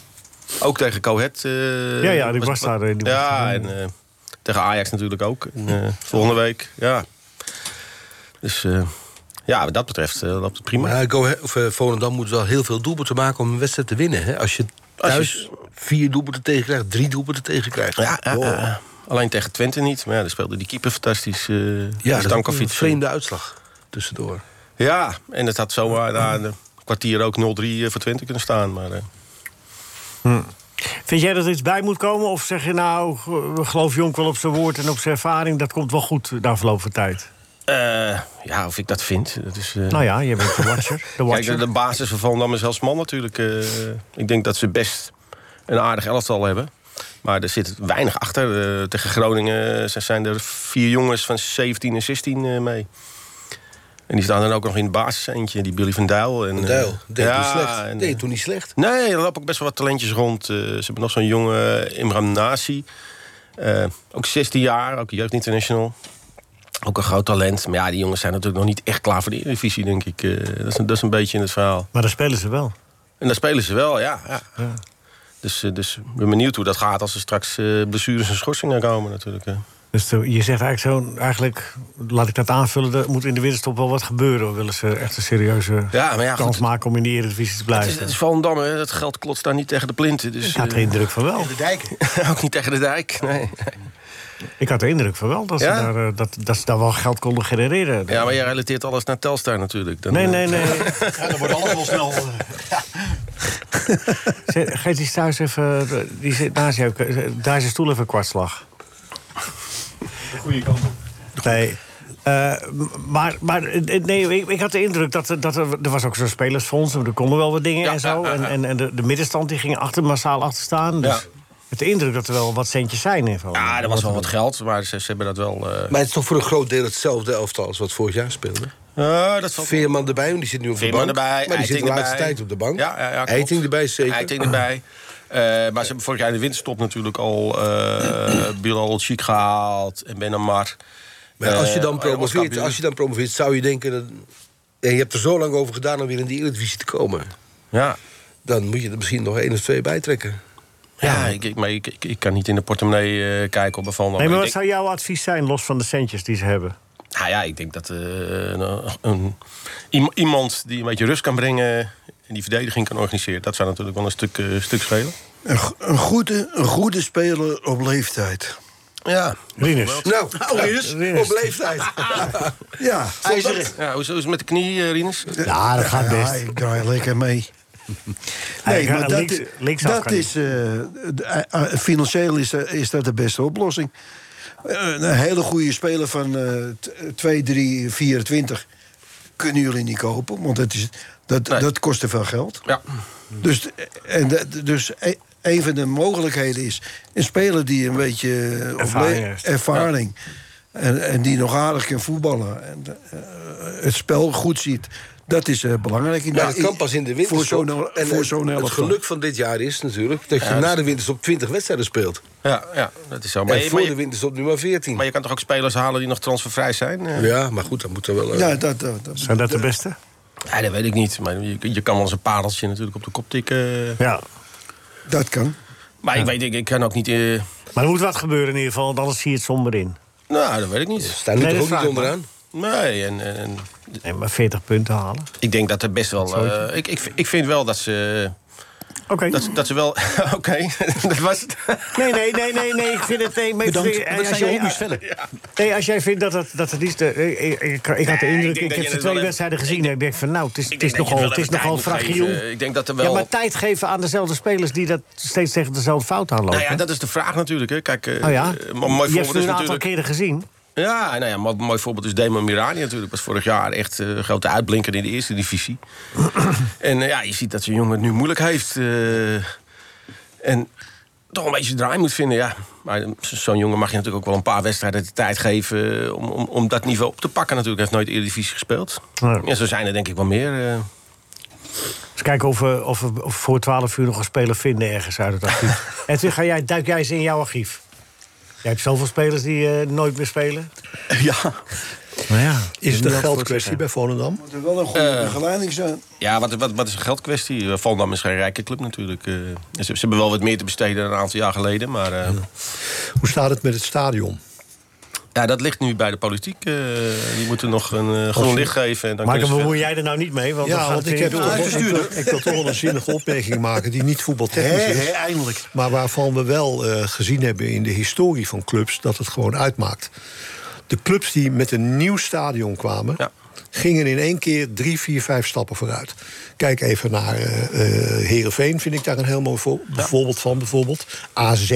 S13: Ook tegen Cohet. eh,
S4: Ja, ja, die was daar, eh, die was
S13: ja,
S4: daar.
S13: en eh, tegen Ajax natuurlijk ook. En, eh, volgende week, ja. Dus eh, ja, wat dat betreft eh, loopt het prima.
S7: Maar Go Ahead- of, eh, Volendam moet wel heel veel doelpunten maken om een wedstrijd te winnen. Hè? Als je
S13: Als je-
S7: thuis vier doelpunten tegenkrijgt, drie doelpunten tegenkrijgt.
S13: Ja, ja,
S7: Wow.
S13: ja. Alleen tegen Twente niet. Maar ja, daar speelde die keeper fantastisch. eh
S7: Ja, dat is ook een
S13: Stankovic.
S7: vreemde uitslag tussendoor.
S13: Ja, en het had zomaar na een kwartier ook 0-3 voor Twente kunnen staan. Maar, eh,
S4: Vind jij dat er iets bij moet komen? Of zeg je nou, we geloven Jonk wel op zijn woord en op zijn ervaring... dat komt wel goed eh, na verloop van tijd?
S13: Eh, ja, of ik dat vind. Dat is, eh,
S4: Nou ja, je bent de watcher. De
S13: Kijk,
S4: watcher.
S13: de, de basis van Volendam is als man natuurlijk. eh, ik denk dat ze best een aardig elftal hebben. Maar er zit weinig achter. Eh, tegen Groningen zijn- zijn er vier jongens van 17 en 16 eh, mee. En die staan dan ook nog in het basis eentje. Die Billy van Dijl. En,
S7: Van Dijl,
S13: eh,
S7: deed
S13: ja,
S7: toen slecht.
S13: en,
S7: deed toen niet slecht.
S13: Nee, er lopen ook best wel wat talentjes rond. Eh, ze hebben nog zo'n jonge Imran Nasi. Eh, ook 16 jaar, ook Jeugd International. Ook een groot talent. Maar ja, die jongens zijn natuurlijk nog niet echt klaar voor de Eredivisie, denk ik. Eh, dat, is een, dat is een beetje in het verhaal.
S4: Maar daar spelen ze wel.
S13: En daar spelen ze wel, ja. ja. Dus, eh, dus ik ben benieuwd hoe dat gaat als er straks eh, blessures en schorsingen komen natuurlijk. eh.
S4: Dus de- je zegt eigenlijk zo, eigenlijk, laat ik dat aanvullen... er moet in de winterstop wel wat gebeuren. Willen ze echt een serieuze
S13: Ja, maar ja,
S4: kans
S13: goed.
S4: maken om in de Eredivisie te
S13: Het
S4: blijven?
S13: is, het is Volendam, hè. dat geld klotst daar niet tegen de plinten. Dus,
S4: Ik had
S13: eh,
S4: de indruk van wel.
S13: ook niet tegen de dijk, nee.
S4: Ik had de indruk van wel dat,
S13: Ja?
S4: ze, daar, eh, dat, dat ze daar wel geld konden genereren.
S13: Ja, maar jij relateert alles naar Telstar natuurlijk. Dan,
S4: Nee,
S13: eh, Ah,
S4: nee, nee.
S6: Ja, dan wordt alles wel snel. eh,
S4: Zet- Geef die thuis even. Die zit naast jou. Daar is een stoel even kwartslag.
S11: De goede kant op.
S4: Nee. Eh, m- maar maar eh, nee, ik, ik had de indruk dat, er- dat er, er was ook zo'n spelersfonds. Er konden wel wat dingen en zo. En, en, en de, de middenstand die ging achter, massaal achter staan. Dus met de indruk dat er wel wat centjes zijn. In ieder geval.
S13: Ja, er was wel wat geld, maar ze, ze hebben dat wel... eh,
S7: Maar het is toch voor een groot deel hetzelfde elftal als wat vorig jaar speelde?
S13: Ja, Ah, dat
S7: Veerman erbij, want die zit nu op
S13: Veerman
S7: de bank.
S13: erbij,
S7: maar die zit de
S13: Eiting
S7: laatste
S13: erbij.
S7: tijd op de bank.
S13: Ja, ja, ja, klopt.
S7: Eiting erbij zeker.
S13: Eiting erbij. Eh, maar ze hebben vorig jaar in de winterstop natuurlijk al eh Bilal Chic gehaald en Benamar.
S7: Maar als je,
S13: Eh,
S7: dan
S13: eh,
S7: promoveert,
S13: Oscar
S7: als je dan promoveert, zou je denken... Dat, en je hebt er zo lang over gedaan om weer in die Eredivisie te komen.
S13: Ja.
S7: Dan moet je er misschien nog één of twee bijtrekken.
S13: Ja, ik, ik, maar ik, ik, ik kan niet in de portemonnee eh, kijken op een Volendam.
S4: Nee, maar
S13: Ik
S4: wat
S13: denk-
S4: zou jouw advies zijn, los van de centjes die ze hebben?
S13: Nou ja, ik denk dat eh, een, een- iem- iemand die een beetje rust kan brengen... en die verdediging kan organiseren, dat zou natuurlijk wel een stuk, eh, stuk schelen.
S5: Een, go- een goede, een goede speler op leeftijd.
S13: Ja.
S4: Rinus.
S7: Nou, oh, Rinus,
S4: Rinus.
S7: op leeftijd.
S5: Ja.
S7: IJzeren.
S13: Ja, hoe is hoe is het met de knie, eh, Rinus?
S4: Ja, dat gaat
S5: Ja,
S4: best.
S5: ik draai lekker mee.
S4: Hij
S5: Nee,
S4: gaat
S5: maar dat,
S4: links- linksaf
S5: dat
S4: kan
S5: is... eh, d- eh, eh, financieel is, eh, is dat de beste oplossing. Eh, een hele goede speler van eh, t- 2, 3, 24... kunnen jullie niet kopen, want dat, is, dat, dat kost te veel geld.
S13: Ja.
S5: Dus, eh, en, dat- dus e- een van de mogelijkheden is... een speler die een beetje eh, op le-
S4: Ervaring heeft.
S5: ervaring en, en die nog aardig kan voetballen... En, eh, het spel goed ziet... Dat is eh, belangrijk.
S7: Maar
S5: Nou,
S7: dat kan pas in de winterstop.
S5: Voor zo'n,
S7: En
S5: voor zo'n
S7: het, het
S5: elftal.
S7: geluk van dit jaar is natuurlijk... dat je
S13: Ja,
S7: na
S13: dus-
S7: de winterstop 20 wedstrijden speelt.
S13: Ja, ja, dat is zo. Maar,
S7: En
S13: je-
S7: voor
S13: maar,
S7: de
S13: je,
S7: winterstop nu maar 14.
S13: maar je kan toch ook spelers halen die nog transfervrij zijn? Eh,
S7: ja, maar goed, dan moet er wel... eh,
S5: Ja, dat, dat, dat-
S4: Zijn dat de beste?
S13: Ja, dat weet ik niet. Maar je, je kan wel eens een pareltje natuurlijk op de kop
S11: eh,
S13: tikken.
S4: Ja.
S5: dat kan.
S13: Maar ik weet, ik, ik kan ook niet... eh,
S4: Maar er moet wat gebeuren in ieder geval, want anders zie je het somber in.
S13: nou, dat weet ik niet.
S7: Staan nu
S4: Nee,
S7: toch
S4: dat
S7: ook niet
S4: vraag ik me.
S7: onderaan?
S13: Nee, en, en, en
S4: Nee, maar 40 punten halen.
S13: ik denk dat er best wel... eh, ik, ik, ik vind wel dat ze...
S4: Oké.
S13: Dat, ze- dat ze wel... Oké, dat was het.
S4: Nee, nee, nee, nee, nee, ik vind het... Nee, maar ik
S8: Bedankt.
S4: vind- eh, en
S8: Wat
S4: als
S8: zijn je
S4: jij-
S8: hobby's verder?
S4: Nee, als jij vindt dat het, dat het is... De, ik, eh, ik, ik had de
S13: Nee, ik
S4: indruk,
S13: denk
S4: ik,
S13: dat
S4: heb
S13: je
S4: ze
S13: het
S4: twee
S13: wel
S4: wedstrijden gezien... en ik denk van, nou, het is,
S13: Ik
S4: het
S13: denk
S4: is
S13: dat je
S4: nogal,
S13: wel
S4: het
S13: even
S4: is nogal
S13: tijd moet
S4: fragiel.
S13: geven. Eh, Ik denk dat er wel...
S4: Ja, maar tijd geven aan dezelfde spelers... die dat steeds tegen dezelfde fout aanlopen.
S13: nou ja, dat is de vraag natuurlijk. Hè. Kijk, eh,
S4: oh ja,
S13: eh, maar mooi
S4: je hebt
S13: voorbeeld
S4: ze nu
S13: is
S4: een aantal
S13: natuurlijk...
S4: keren gezien.
S13: Ja, nou ja, maar een mooi voorbeeld is Damon Mirani natuurlijk. Was vorig jaar echt eh, een grote uitblinker in de eerste divisie. en eh, ja, je ziet dat zo'n jongen het nu moeilijk heeft. eh, en toch een beetje zijn draai moet vinden, ja. Maar zo- zo'n jongen mag je natuurlijk ook wel een paar wedstrijden de tijd geven... eh, om, om, om dat niveau op te pakken natuurlijk. Hij heeft nooit Eredivisie gespeeld.
S4: Ja.
S13: Ja, zo zijn er denk ik wel meer. eh.
S4: Eens kijken of we, of we of we voor 12 uur nog een speler vinden ergens uit het archief. Edwin, ga jij, duik jij eens in jouw archief. Jij hebt zoveel spelers die eh, nooit meer spelen.
S8: Ja.
S4: Nou ja,
S8: Is het
S4: niet
S8: een
S4: altijd
S8: geldkwestie bij Volendam? Eh,
S5: Moet er wel een goede begeleiding zijn.
S13: Eh, Ja, wat, wat, wat is een geldkwestie? Volendam is geen rijke club natuurlijk. eh. ze, ze hebben wel wat meer te besteden dan een aantal jaar geleden. Maar eh,
S8: Hoe staat het met het stadion?
S13: ja, dat ligt nu bij de politiek. eh. die moeten nog een eh, groen licht geven. En dan
S4: Maar dan
S13: kunnen ze verder.
S4: bemoei jij er nou niet mee, want dan
S8: ja,
S4: gaat
S8: want
S4: het
S8: ik,
S4: weer
S8: heb
S4: door.
S8: toch, ik, wil, ik wil toch wel een zinnige opmerking maken die niet voetbaltechnisch
S4: Hè,
S8: is.
S4: hè,
S8: eindelijk. Maar waarvan we wel eh, gezien hebben in de historie van clubs dat het gewoon uitmaakt. De clubs die met een nieuw stadion kwamen. Gingen in één keer drie, vier, vijf stappen vooruit. Kijk even naar eh eh, Heerenveen, vind ik daar een heel mooi voor, voorbeeld van. Bijvoorbeeld AZ.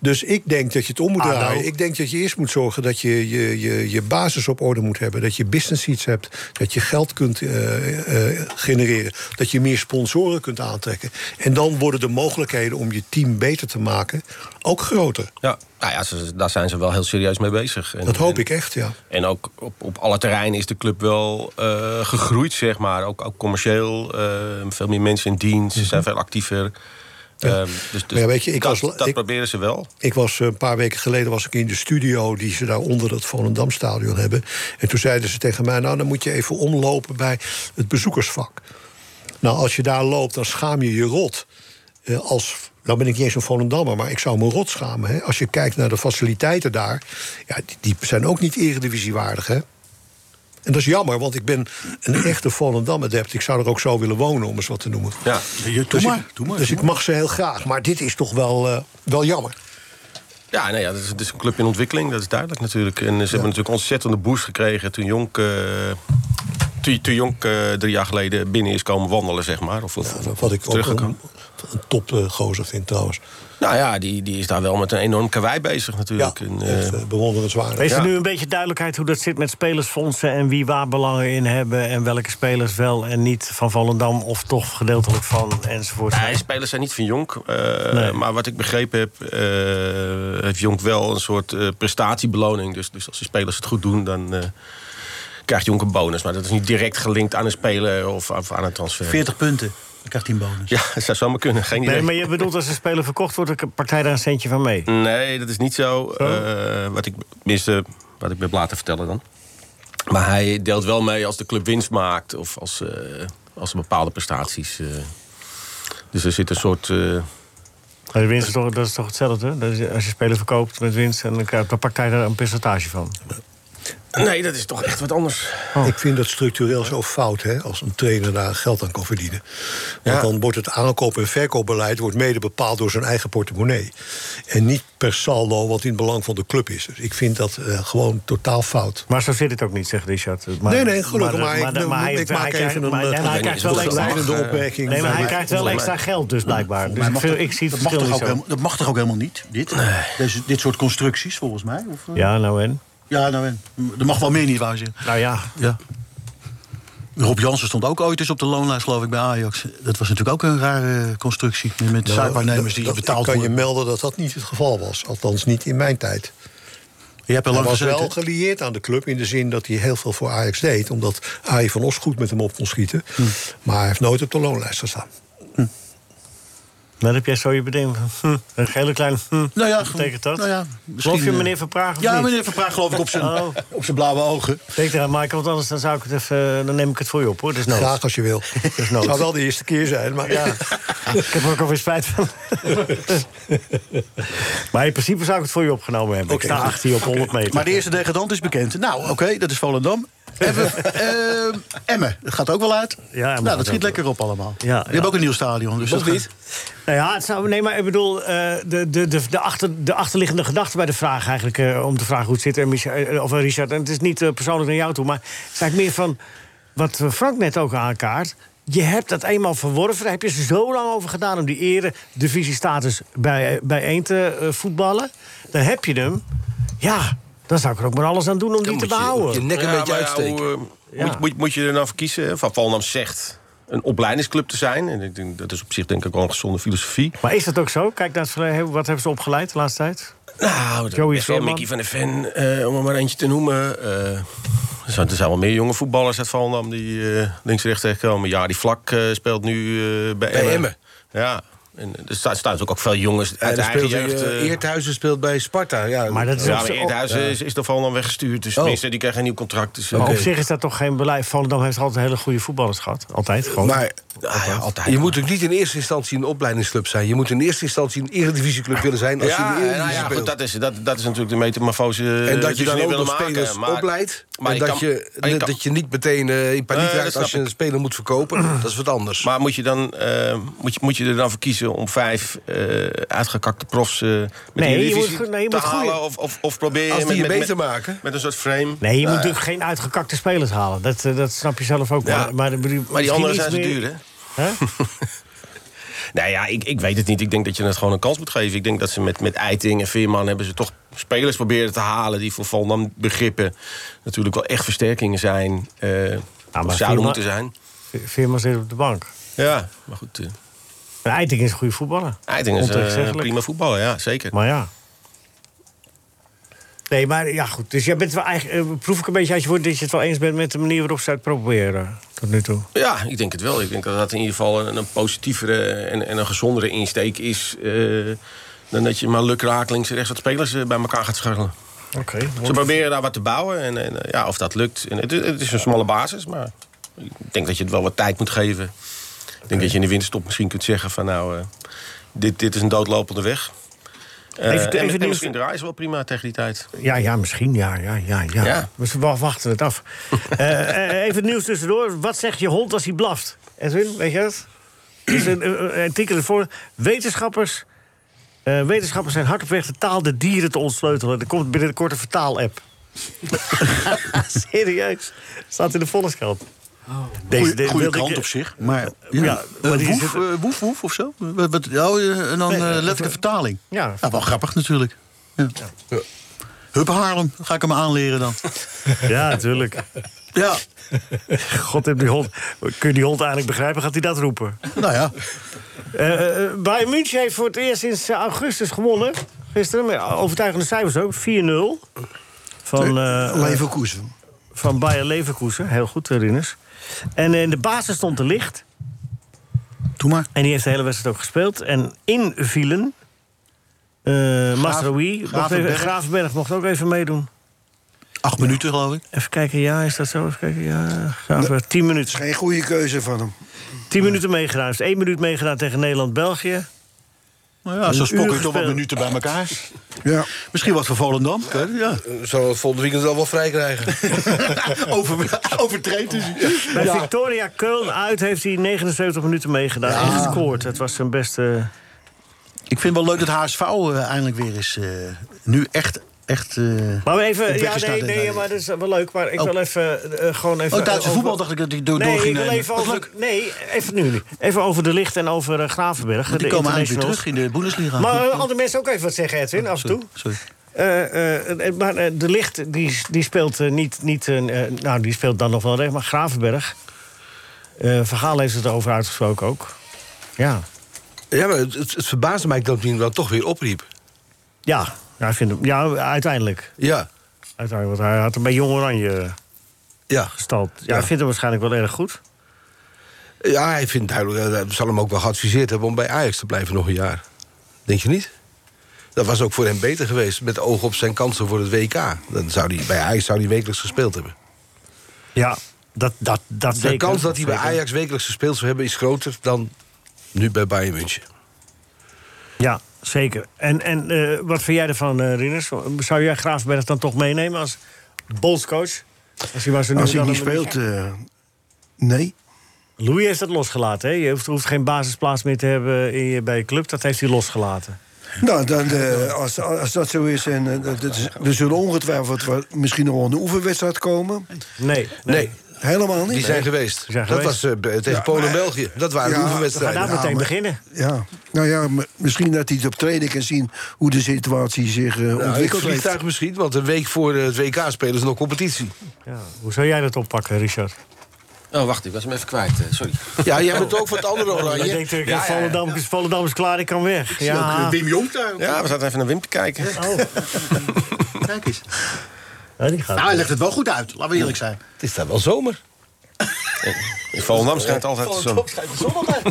S8: Dus ik denk dat je het om
S13: Ah,
S8: moet
S4: ADO.
S13: nou.
S8: draaien. Ik denk dat je eerst moet zorgen dat je je, je je basis op orde moet hebben. Dat je business seats hebt. Dat je geld kunt eh, eh, genereren. Dat je meer sponsoren kunt aantrekken. En dan worden de mogelijkheden om je team beter te maken ook groter.
S13: Ja, nou ja, ze- daar zijn ze wel heel serieus mee bezig. En,
S8: Dat hoop ik echt, ja.
S13: En ook op, op alle terreinen is de club wel eh, gegroeid, zeg maar. Ook, ook commercieel, eh, veel meer mensen in dienst, ze zijn veel actiever. Ehm, dus dus
S8: Maar Mhm. ja, weet je, ik
S13: dat,
S8: was la-
S13: dat
S8: ik-
S13: proberen ze wel.
S8: Ik was eh, een paar weken geleden was ik in de studio die ze daar onder dat Volendamstadion hebben. En toen zeiden ze tegen mij: Nou, dan moet je even omlopen bij het bezoekersvak. Nou, als je daar loopt, dan schaam je je rot. Eh, als, nou ben ik niet eens een Volendammer, maar ik zou me rot schamen. Hè? Als je kijkt naar de faciliteiten daar, ja, die, die zijn ook niet eredivisiewaardig. Hè? En dat is jammer, want ik ben een echte Volendam-adept. Ik zou er ook zo willen wonen, om eens wat te noemen.
S13: Ja,
S8: dus ik, dus ik mag ze heel graag, maar dit is toch wel, eh, wel jammer.
S13: Ja, nee, ja het, is, het is een club in ontwikkeling, dat is duidelijk natuurlijk. En ze hebben natuurlijk ontzettende boost gekregen toen Jonk... eh, toen, toen Jonk eh, drie jaar geleden binnen is komen wandelen, zeg maar. Of, of,
S8: Wat ik ook
S13: teruggekomen.
S8: een, een topgozer vind trouwens.
S13: Nou ja, die, die is daar wel met een enorm kawaii bezig natuurlijk. Ja, en, eh,
S8: bewonderenswaardig.
S4: Heeft er
S13: Ja.
S4: nu een beetje duidelijkheid hoe dat zit met spelersfondsen... en wie waar belangen in hebben en welke spelers wel en niet van Volendam... of toch gedeeltelijk van enzovoort.
S13: Nee, spelers zijn niet van Jonk. eh,
S4: Nee.
S13: Maar wat ik begrepen heb, eh, heeft Jonk wel een soort eh, prestatiebeloning. Dus, dus als de spelers het goed doen, dan eh, krijgt Jonk een bonus. Maar dat is niet direct gelinkt aan een speler of, of aan een transfer.
S6: 40 punten. Dan krijgt hij een bonus.
S13: Ja, dat zou zomaar kunnen. Geen idee.
S4: Nee, maar je bedoelt als een speler verkocht wordt... een partij daar een centje van mee.
S13: Nee, dat is niet zo. Eh, wat ik tenminste, wat ik ben laten vertellen dan. Maar hij deelt wel mee als de club winst maakt of als, eh, als er bepaalde prestaties. eh. dus er zit een soort. eh,
S4: Maar de winst is toch, dat is toch hetzelfde? hè? Dat is- als je speler verkoopt met winst... en dan krijgt de partij daar een percentage van.
S13: Nee, dat is toch echt wat anders.
S4: Oh.
S8: Ik vind dat structureel zo fout, hè, als een trainer daar geld aan kan verdienen. Want dan wordt het aankoop- en verkoopbeleid wordt mede bepaald door zijn eigen portemonnee. En niet per saldo wat in het belang van de club is. Dus ik vind dat eh, gewoon totaal fout.
S4: Maar zo zit het ook niet, zegt Richard. Maar-
S8: nee, nee, gelukkig
S4: maar-
S8: maar.
S4: maar-
S8: ik,
S4: maar hij-
S8: ik
S4: hij
S8: maak
S4: krijgt-
S8: even een,
S4: maar- nee, maar hij
S8: eh,
S4: krijgt wel extra-
S8: begeleidende
S4: eh,
S8: opmerking.
S4: nee, maar hij
S8: Maar-
S4: krijgt wel extra geld dus blijkbaar. Dus
S6: Maar
S4: ik
S6: mag
S4: vind-
S6: toch-
S4: ik zie het
S6: dat, mag
S4: verschil
S6: toch
S4: niet
S6: ook
S4: zo.
S6: helemaal, dat mag toch ook helemaal niet, dit? Deze, dit soort constructies, volgens mij? Of, eh?
S4: Ja, nou en?
S6: Ja, nou, en? er mag wel meer niet waar zeggen.
S4: Nou ja.
S6: ja. Rob Jansen stond ook ooit eens op de loonlijst, geloof ik, bij Ajax. Dat was natuurlijk ook een rare constructie. Met
S8: Nou,
S6: zaakwaarnemers
S8: dat-
S6: die
S8: dat-
S6: betaald
S8: ik kan je
S6: worden.
S8: melden dat dat niet het geval was. Althans, niet in mijn tijd.
S6: Je hebt er lang
S8: hij was
S6: gezeten.
S8: wel gelieerd aan de club in de zin dat hij heel veel voor Ajax deed. Omdat Arie van Os goed met hem op kon schieten.
S6: Hm.
S8: Maar hij heeft nooit op de loonlijst gestaan.
S4: Dan heb jij zo je bedenking van, hm, een hele kleine hm.
S6: Nou ja,
S4: Wat betekent dat?
S6: Nou ja, misschien,
S4: Geloof je
S6: eh,
S4: meneer Verpraag of
S6: Ja,
S4: niet?
S6: meneer Verpraag geloof ik op zijn,
S4: Oh.
S6: op zijn blauwe ogen.
S4: Denk eraan, Michael, want anders dan zou ik het even, eh, dan neem ik het voor je op hoor. Dus
S8: Graag als je wil.
S4: nood.
S8: zou wel de eerste keer zijn, maar ja.
S4: Ik heb er ook alweer spijt van. maar in principe zou ik het voor je opgenomen hebben.
S6: Oké,
S4: ik sta
S6: goed.
S4: achter je op 100 meter.
S6: Maar de eerste degradant is bekend. Nou, oké, dat is Volendam. Even, eh, Emmen, dat gaat ook wel uit.
S4: Ja, Emmen
S6: nou,
S4: gaat
S6: dat schiet
S4: ook
S6: lekker op allemaal.
S4: ja.
S6: Die hebben ook een nieuw stadion. Dus dat niet?
S4: Nou ja, het zou, nee, maar ik bedoel, eh, de, de, de, de, achter, de achterliggende gedachte bij de vraag eigenlijk... eh, om te vragen hoe het zit, en Micha- eh, of eh, Richard... en het is niet eh, persoonlijk naar jou toe, maar het is eigenlijk meer van... wat eh, Frank net ook aankaart... Je hebt dat eenmaal verworven, daar heb je zo lang over gedaan... om die ere divisiestatus bij, bijeen te eh, voetballen. Dan heb je hem. Ja, dan zou ik er ook maar alles aan doen om die te behouden.
S13: Nou Ja, maar ja, hoe, eh,
S4: Ja.
S13: moet, moet, moet je er nou voor kiezen? hè? Van Volendam zegt een opleidingsclub te zijn. En ik denk, dat is op zich denk ik wel een gezonde filosofie.
S4: Maar is dat ook zo? Kijk naar het verleden. Wat hebben ze opgeleid de laatste tijd?
S13: Nou, dat
S4: Joey
S13: best wel
S4: Veerman.
S13: Mickey van de Ven, eh, om er maar eentje te noemen. Eh, er, zijn, er zijn wel meer jonge voetballers uit Volendam die eh links en rechts terechtkomen. Ja, die Vlak eh, speelt nu eh, bij,
S7: Bij Emmen.
S13: Ja, En er staan staan natuurlijk ook veel jongens uit de
S7: daar
S13: eigen
S7: speelt hij,
S13: jeugd.
S7: eh,
S13: eh,
S7: Eerthuizen speelt bij Sparta. Ja, eh,
S4: Maar dat is
S13: ja,
S4: ook zo-
S13: maar Eerthuizen
S4: ja.
S13: is, is dan dan weggestuurd. Dus
S4: Oh.
S13: tenminste, die krijgt een nieuw contract. Dus,
S4: Maar
S13: oké.
S4: op zich is dat toch geen beleid. Volendam heeft altijd hele goede voetballers gehad. Altijd gewoon.
S7: Maar ah ja, altijd. je moet ook niet in eerste instantie een opleidingsclub zijn. Je moet in eerste instantie een eredivisieclub willen zijn als je in
S13: ja,
S7: de Eredivisie
S13: nou ja,
S7: speelt.
S13: goed, dat is, dat, dat is natuurlijk de metamorfose eh,
S7: En dat je
S13: die ze
S7: dan
S13: nu
S7: ook
S13: willen
S7: nog
S13: maken,
S7: spelers
S13: maar-
S7: opleidt.
S13: maar
S7: en dat, je,
S13: kan- je kan-
S7: dat je niet meteen eh, in paniek
S13: Eh, dat
S7: raakt
S13: snap
S7: als je
S13: ik.
S7: een speler moet verkopen. dat is wat anders.
S13: Maar moet je, dan, eh, moet, je, moet je er dan voor kiezen om vijf eh, uitgekakte profs eh met
S4: Nee,
S13: de
S4: je
S13: Eredivisie
S4: moet goed- nee, je
S13: te
S4: moet goeie-
S13: halen? Of, of, of probeer je
S4: Als die
S13: met,
S4: je
S13: met-
S4: beter
S13: met- Met een soort frame.
S4: Nee, je moet
S13: Nou,
S4: natuurlijk geen uitgekakte spelers halen. Dat, eh, dat snap je zelf ook. wel.
S13: Ja,
S4: Maar, maar,
S13: Maar die
S4: misschien
S13: anderen
S4: iets
S13: zijn ze
S4: meer-
S13: duur, hè?
S4: Hè?
S13: Nou ja, ik, ik weet het niet. Ik denk dat je het gewoon een kans moet geven. Ik denk dat ze met, met Eiting en Veerman hebben ze toch spelers proberen te halen... die voor Volendam begrippen natuurlijk wel echt versterkingen zijn. eh, of zouden
S4: Nou, Veerman-
S13: moeten zijn.
S4: Ve- Veerman zit op de bank.
S13: Ja, maar goed. eh,
S4: Maar Eiting is een goede voetballer.
S13: Eiting is eh,
S4: Ontegenzeggelijk.
S13: prima voetballer, ja, zeker.
S4: Maar ja. Nee, maar ja, goed. Dus jij bent wel eigenlijk, eh, proef ik een beetje uit je woord dat je het wel eens bent met de manier waarop ze het proberen. Tot nu toe.
S13: Ja, ik denk het wel. Ik denk dat dat in ieder geval een, een positievere en, en een gezondere insteek is... eh, dan dat je maar lukrakelings rechts wat spelers eh, bij elkaar gaat scharrelen.
S4: Oké.
S13: Ze proberen daar wat te bouwen. En, en, eh, ja, of dat lukt. En het, het is een smalle basis, maar ik denk dat je het wel wat tijd moet geven. Ik denk dat je in de winterstop misschien kunt zeggen van nou, eh, dit, dit is een doodlopende weg. Eh,
S4: Even-
S13: en,
S4: even
S13: en
S4: nieuws-
S13: misschien draaien ze wel prima tegen die tijd.
S4: Ja, ja, misschien. Ja, ja, ja. ja.
S13: Ja.
S4: We z- wa- wachten het af. Eh, eh, even het nieuws tussendoor. Wat zegt je hond als hij blaft? Edwin, weet je dat? Er is een eh, eh, artikel ervoor. Wetenschappers, eh, wetenschappers zijn hard op weg de taal de dieren te ontsleutelen. Er komt binnenkort een vertaal-app. Serieus. Staat in de Volkskrant.
S6: Goeie-
S4: de-
S6: goeie
S4: wilde ik-
S6: krant op zich. Maar ja,
S4: ja, maar die
S6: eh, woef,
S4: zit-
S6: eh, woef, woef of zo? Wat, wat, oh, eh, en dan
S4: Nee,
S6: eh,
S4: eh,
S6: letterlijke vertaling.
S4: Ja.
S6: Nou, wel grappig natuurlijk. Ja. Hup Haarlem, ga ik hem aanleren dan.
S4: Ja, natuurlijk.
S6: Ja.
S4: God, heb die hond. Kun je die hond eigenlijk begrijpen? Gaat hij dat roepen?
S6: Nou ja.
S4: Eh, eh, Bayern München heeft voor het eerst sinds eh, augustus gewonnen. Gisteren, met overtuigende cijfers ook. 4-0. Van, eh,
S5: Leverkusen.
S4: Van Bayer Leverkusen. Heel goed, eh, Rinus. En in de basis stond de licht.
S6: Doe maar.
S4: En die heeft de hele wedstrijd ook gespeeld. En in vielen... eh Masraoui. Wacht even,
S6: Gravenberg.
S4: Gravenberg mocht ook even meedoen.
S6: Acht minuten, geloof ik.
S4: Even kijken, ja, is dat zo? Even kijken, ja. Gravenberg, tien minuten.
S5: is geen goede keuze van hem.
S4: Tien minuten meegedaan. Heeft één minuut meegedaan tegen Nederland-België.
S6: Nou ja, zo
S4: Een
S6: spok
S4: uur
S6: je toch wat
S4: gespeeld.
S6: minuten bij elkaar.
S5: Ja.
S6: Misschien wat voor Volendam. Ja. Ja.
S7: Zou het volgende eh, weekend al wel vrij krijgen.
S6: Over, overtreed dus.
S4: Bij
S6: Ja.
S4: Victoria Keulen uit heeft hij 79 minuten meegedaan en gescoord. Het was zijn beste...
S6: Ik vind wel leuk dat HSV eh, eindelijk weer is. eh, nu echt. echt eh,
S4: Maar
S6: op
S4: even,
S6: weg
S4: ja,
S6: is
S4: nee,
S6: naar de-
S4: nee, maar dat is wel leuk. Maar ik
S6: Oh.
S4: wil even, eh, gewoon even...
S6: Oh, Duitse
S4: over-
S6: voetbal dacht ik dat ik door,
S4: nee,
S6: door ging
S4: ik wil
S6: nemen.
S4: even
S6: Dat is
S4: over,
S6: leuk.
S4: nee, even nu. niet. Even over de licht en over eh, Gravenberg.
S6: Want die
S4: de
S6: komen eindelijk weer
S4: internationals.
S6: terug in de Bundesliga.
S4: Maar eh, andere mensen ook even wat zeggen, Edwin, af en toe. Nou,
S6: Sorry.
S4: Eh, eh, eh, maar eh, de licht die, die speelt eh, niet. niet eh, eh, nou, die speelt dan nog wel recht, maar Gravenberg. eh Vergaal heeft het erover uitgesproken ook. Ja.
S7: Ja, maar het, het verbaasde mij dat hij hem dan toch weer opriep.
S4: Ja, ja, ik vind hem, ja uiteindelijk.
S7: Ja.
S4: Uiteindelijk, want hij had hem bij Jong Oranje
S7: Ja.
S4: gestald. Ja, ik vind hem waarschijnlijk wel erg goed.
S7: Ja, hij vindt duidelijk, eh, dat zal hem ook wel geadviseerd hebben om bij Ajax te blijven nog een jaar. Denk je niet? Dat was ook voor hem beter geweest, met oog op zijn kansen voor het WK. Dan zou hij, bij Ajax zou hij wekelijks gespeeld hebben.
S4: Ja, dat, dat, dat
S7: De
S4: zeker.
S7: kans dat hij bij
S4: Zeker.
S7: Ajax wekelijks gespeeld zou hebben is groter dan nu bij Bayern München.
S4: Ja, zeker. En, en eh, wat vind jij ervan, eh Rinus? Zou jij Graafberg dan toch meenemen als bolscoach? Als hij, maar zo nu
S5: Als hij
S4: dan
S5: niet
S4: een-
S5: speelt, eh, nee.
S4: Louis heeft dat losgelaten. Hè? Je hoeft, hoeft geen basisplaats meer te hebben in je, bij je club. Dat heeft hij losgelaten.
S5: Nou, dan, eh, als, als dat zo is, en, eh, dat is, er zullen ongetwijfeld wel- misschien nog wel een oefenwedstrijd komen.
S4: Nee.
S7: Nee,
S5: Helemaal niet.
S7: die zijn geweest.
S4: zijn
S7: dat
S4: geweest.
S7: was eh, be- tegen
S5: Ja,
S7: Polen en
S5: maar-
S7: België. Dat waren
S5: Ja,
S7: de
S4: We gaan
S7: oefenwedstrijden.
S4: daar
S5: Ja,
S4: meteen
S5: maar-
S4: beginnen.
S5: Ja, nou ja, m- misschien dat hij het op training kan zien hoe de situatie zich eh,
S7: Nou, ik
S5: ontwikkelt. heeft.
S7: vliegtuig misschien, want een week voor eh, het WK spelen is nog competitie.
S4: Ja. Hoe zou jij dat oppakken, Richard?
S13: Oh, wacht, ik was hem even kwijt. eh, sorry.
S7: Ja, jij bent ook voor het andere
S4: Je
S7: oranje.
S4: denkt, eh, Volendam, is, Volendam is klaar, ik kan weg. Ja.
S6: Wim Jong daar.
S13: Ja, we zaten even naar Wim te kijken.
S4: Oh.
S6: Kijk eens.
S4: Ja, die gaat.
S6: Nou, hij legt het wel goed uit. Laten we eerlijk zijn.
S7: Het is daar wel zomer.
S13: In Volendam schijnt altijd de zon.
S6: schijnt de zon altijd.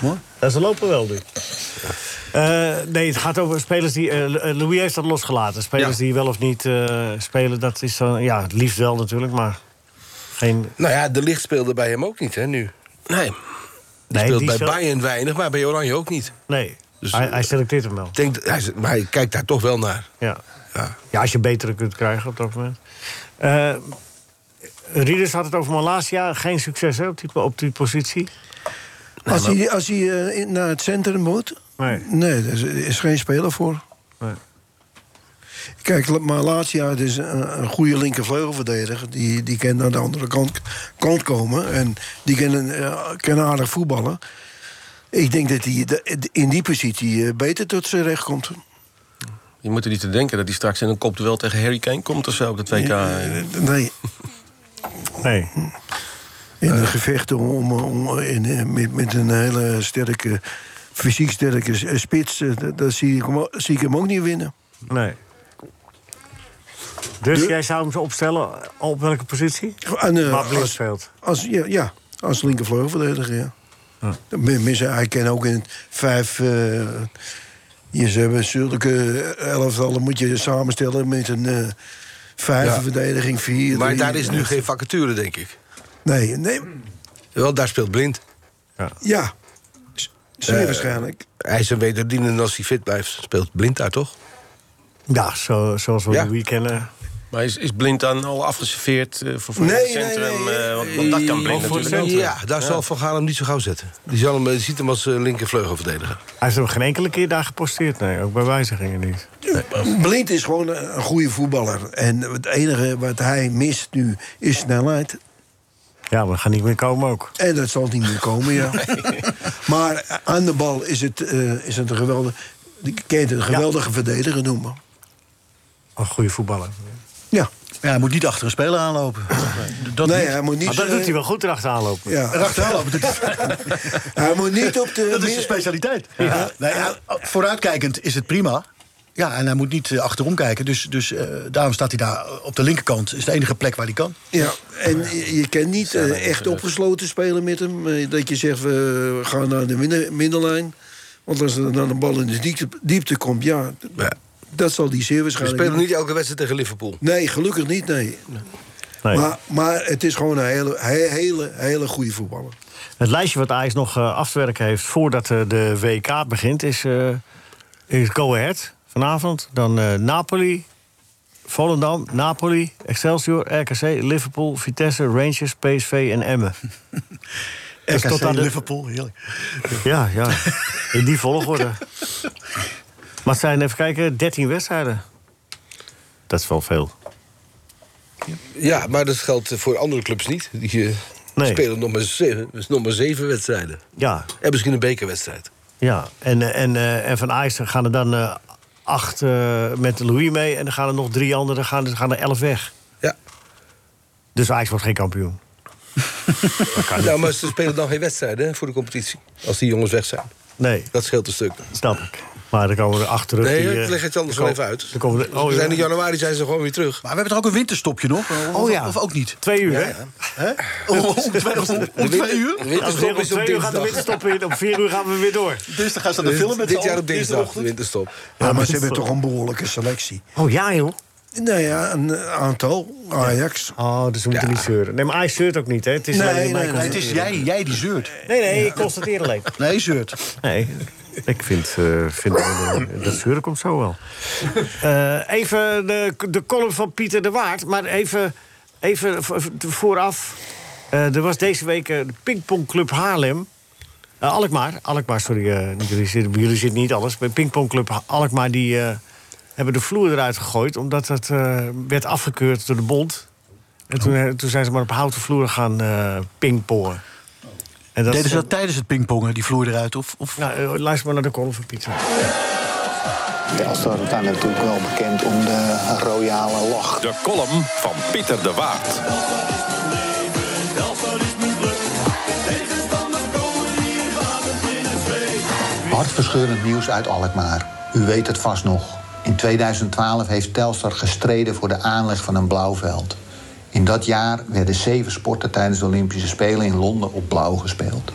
S4: Mooi. Ja, ze lopen wel nu. Eh, nee, het gaat over spelers die... eh, Louis heeft dat losgelaten. Spelers die wel of niet eh, spelen, dat is dan... Ja, het liefst wel natuurlijk, maar geen...
S7: Nou ja, de licht speelde bij hem ook niet, hè, nu. Nee. Die
S4: Nee,
S7: speelt
S4: die
S7: bij
S4: speel-
S7: Bayern weinig, maar bij Oranje ook niet.
S4: Nee,
S7: Dus,
S4: hij,
S7: eh,
S4: hij selecteert hem wel.
S7: Ik Denk, dat- hij, is- maar hij kijkt daar toch wel naar.
S4: Ja. Ja. als je betere kunt krijgen op dat moment. Eh Rieders had het over Malasia. Geen succes hè, op, die, op die positie.
S5: Als hij, als hij eh, in- naar het centrum moet?
S4: Nee.
S5: Nee, daar is, is geen speler voor.
S4: Nee.
S5: Kijk, La- maar laatst jaar is een, een goede linkervleugelverdediger. Die, die kan naar de andere kant, kant komen. En die kan, een, eh, kan aardig voetballen. Ik denk dat hij de- in die positie eh, beter tot zijn recht komt.
S13: Je moet er niet te denken dat hij straks in een kopduel tegen Harry Kane komt of zo op dat WK.
S7: eh,
S5: Nee.
S4: Nee.
S5: In
S7: Eh.
S5: een gevecht om, om, om- in, eh, met, met een hele sterke, fysiek sterke s- eh, spits, eh, dat- dat zie ik, hem ook- zie ik hem ook niet winnen.
S4: Nee. Dus jij zou hem zo opstellen op welke positie?
S5: En, eh,
S4: Waar Blind
S5: als-
S4: speelt.
S5: Als, ja, ja, als linkervleugelverdediger, ja.
S7: Ah.
S5: Mi- mis- hij kan ook in vijf... eh je hebben zulke eh, elftallen moet je samenstellen met een eh vijf
S7: Ja.
S5: verdediging, vier...
S7: maar
S5: drie,
S7: daar is nu
S5: eh,
S7: geen vacature, denk ik.
S5: Nee, nee,
S7: Wel, daar speelt Blind.
S5: ja. Z- Zeer
S7: Eh,
S5: waarschijnlijk.
S7: Hij is een wederdienende als hij fit blijft. Speelt Blind daar toch?
S4: Ja, zo, zoals we
S7: Ja.
S4: Louis kennen.
S13: Maar is, is Blind dan al afgeserveerd eh, voor, voor
S7: Nee,
S13: het
S7: nee,
S13: centrum?
S7: nee.
S13: eh, want, want dat kan Blind
S7: Ja,
S13: natuurlijk ook.
S7: Ja, daar zal Van Gaal hem niet zo gauw zetten. Die, zal hem, die ziet hem als eh, linkervleugelverdediger.
S4: Hij is hem geen enkele keer daar geposteerd. Nee, ook bij wijzigingen niet.
S5: Blind is gewoon een een goede voetballer. En het enige wat hij mist nu is snelheid.
S4: Ja, maar gaat niet meer komen ook.
S5: En dat zal niet meer komen, ja. Maar aan de bal is het, eh, is het een geweldige... Ik kan het een geweldige verdediger noemen.
S4: Een goede voetballer.
S5: Ja.
S6: Ja, hij moet niet achter een speler aanlopen. Dat
S5: nee, hij moet niet... eh,
S4: Maar
S6: eh,
S4: dat doet hij wel goed erachteraan lopen.
S5: Ja.
S6: Erachteraan lopen,
S5: Hij moet niet op de...
S6: Dat is
S5: meer-
S6: zijn specialiteit. Nee, ja, vooruitkijkend is het prima. Ja, en hij moet niet eh, achterom kijken. Dus, dus eh, daarom staat hij daar op de linkerkant. is de enige plek waar hij kan.
S5: Ja, en je- je kan niet eh, echt opgesloten spelen met hem. Eh, Dat je zegt, we gaan naar de midden- middenlijn. Want als er dan een bal in de diepte, diepte komt, ja... d- Dat zal die zeer
S7: We
S5: waarschijnlijk...
S7: spelen niet elke wedstrijd tegen Liverpool.
S5: Nee, gelukkig niet, nee. Maar, maar het is gewoon een hele, he- hele, hele goede voetballer.
S4: Het lijstje wat Ajax nog eh, af te werken heeft voordat eh, de WK begint is, eh is Go Ahead vanavond. Dan eh, Napoli, Volendam, Napoli, Excelsior, RKC, Liverpool, Vitesse, Rangers, PSV en Emmen. Dus
S6: RKC,
S4: tot aan de-
S6: Liverpool, heerlijk.
S4: Ja, ja. In die volgorde. Maar het zijn, even kijken, 13 wedstrijden. Dat is wel veel.
S7: Ja, maar dat geldt eh, voor andere clubs niet. Die eh,
S4: Nee.
S7: spelen nog maar, zeven, dus nog maar zeven wedstrijden.
S4: Ja,
S7: En misschien een bekerwedstrijd.
S4: Ja, en, eh, en, eh, en van Ajax gaan er dan eh, acht eh, met Louis mee... en dan gaan er nog drie anderen, dan gaan, dan gaan er elf weg.
S7: Ja.
S4: Dus Ajax wordt geen kampioen.
S7: Nou, maar ze spelen dan geen wedstrijden hè, voor de competitie. Als die jongens weg zijn.
S4: Nee,
S7: Dat scheelt een stuk.
S4: snap ik. Maar dan komen er acht terug.
S7: Nee,
S4: die, eh,
S7: ik leg het anders
S4: dan
S7: wel
S4: ko-
S7: even uit.
S4: Dan komen er, oh,
S7: we zijn
S4: ja.
S7: in januari zijn ze gewoon weer terug.
S6: Maar we hebben toch ook een winterstopje nog? Of,
S4: Oh ja.
S6: of ook niet?
S4: Twee uur,
S6: Ja,
S4: hè?
S6: ja. Hè?
S7: Oh,
S6: Om, om twee, om- om
S7: De
S6: twee
S7: winter-
S6: uur?
S7: de
S4: Als
S7: winterstop
S4: we om
S7: is op
S4: twee uur gaat de
S7: dinsdag.
S4: winter stoppen in. Om vier uur gaan we weer door.
S6: Dus dan gaan ze naar de film met
S7: Dit
S6: z'n
S7: jaar
S6: allen,
S7: op dinsdag, de
S6: dinsdagochtend.
S7: winterstop.
S5: Ja, maar ze
S4: dat-
S5: hebben toch een behoorlijke selectie.
S4: Oh ja, joh.
S5: Nou ja, een eh, aantal. Ajax.
S4: Oh, dus we moeten niet zeuren. Nee, maar Ajax zeurt ook niet, hè? Het is
S5: Nee,
S4: alleen
S5: nee,
S4: mij
S5: nee,
S6: Nee, het is jij, jij die zeurt.
S4: Nee, nee, ik constateer alleen.
S6: Nee, zeurt.
S4: Nee, ik vind, eh, vind eh, dat zeuren komt zo wel. Eh, even de, de column van Pieter de Waard, maar even, even v- v- vooraf. Eh, er was deze week eh, de Pingpongclub Haarlem. Eh, Alkmaar, Alkmaar, sorry, eh, niet jullie, zitten, bij jullie zitten niet alles. Bij Pingpongclub Ha- Alkmaar die, eh, hebben de vloer eruit gegooid... omdat het eh, werd afgekeurd door de bond. En toen, eh, toen zijn ze maar op houten vloer gaan eh pingpongen. En dat,
S6: Deden ze dat tijdens het pingpongen, die vloer eruit? Of, of...
S4: nou, eh, luister maar naar de column van Pieter.
S14: Als dat dan natuurlijk wel bekend om de royale lach.
S2: De column van Pieter de Waard.
S14: Hartverscheurend nieuws uit Alkmaar. U weet het vast nog. In 2012 heeft Telstar gestreden voor de aanleg van een blauwveld. In dat jaar werden zeven sporten tijdens de Olympische Spelen in Londen op blauw gespeeld.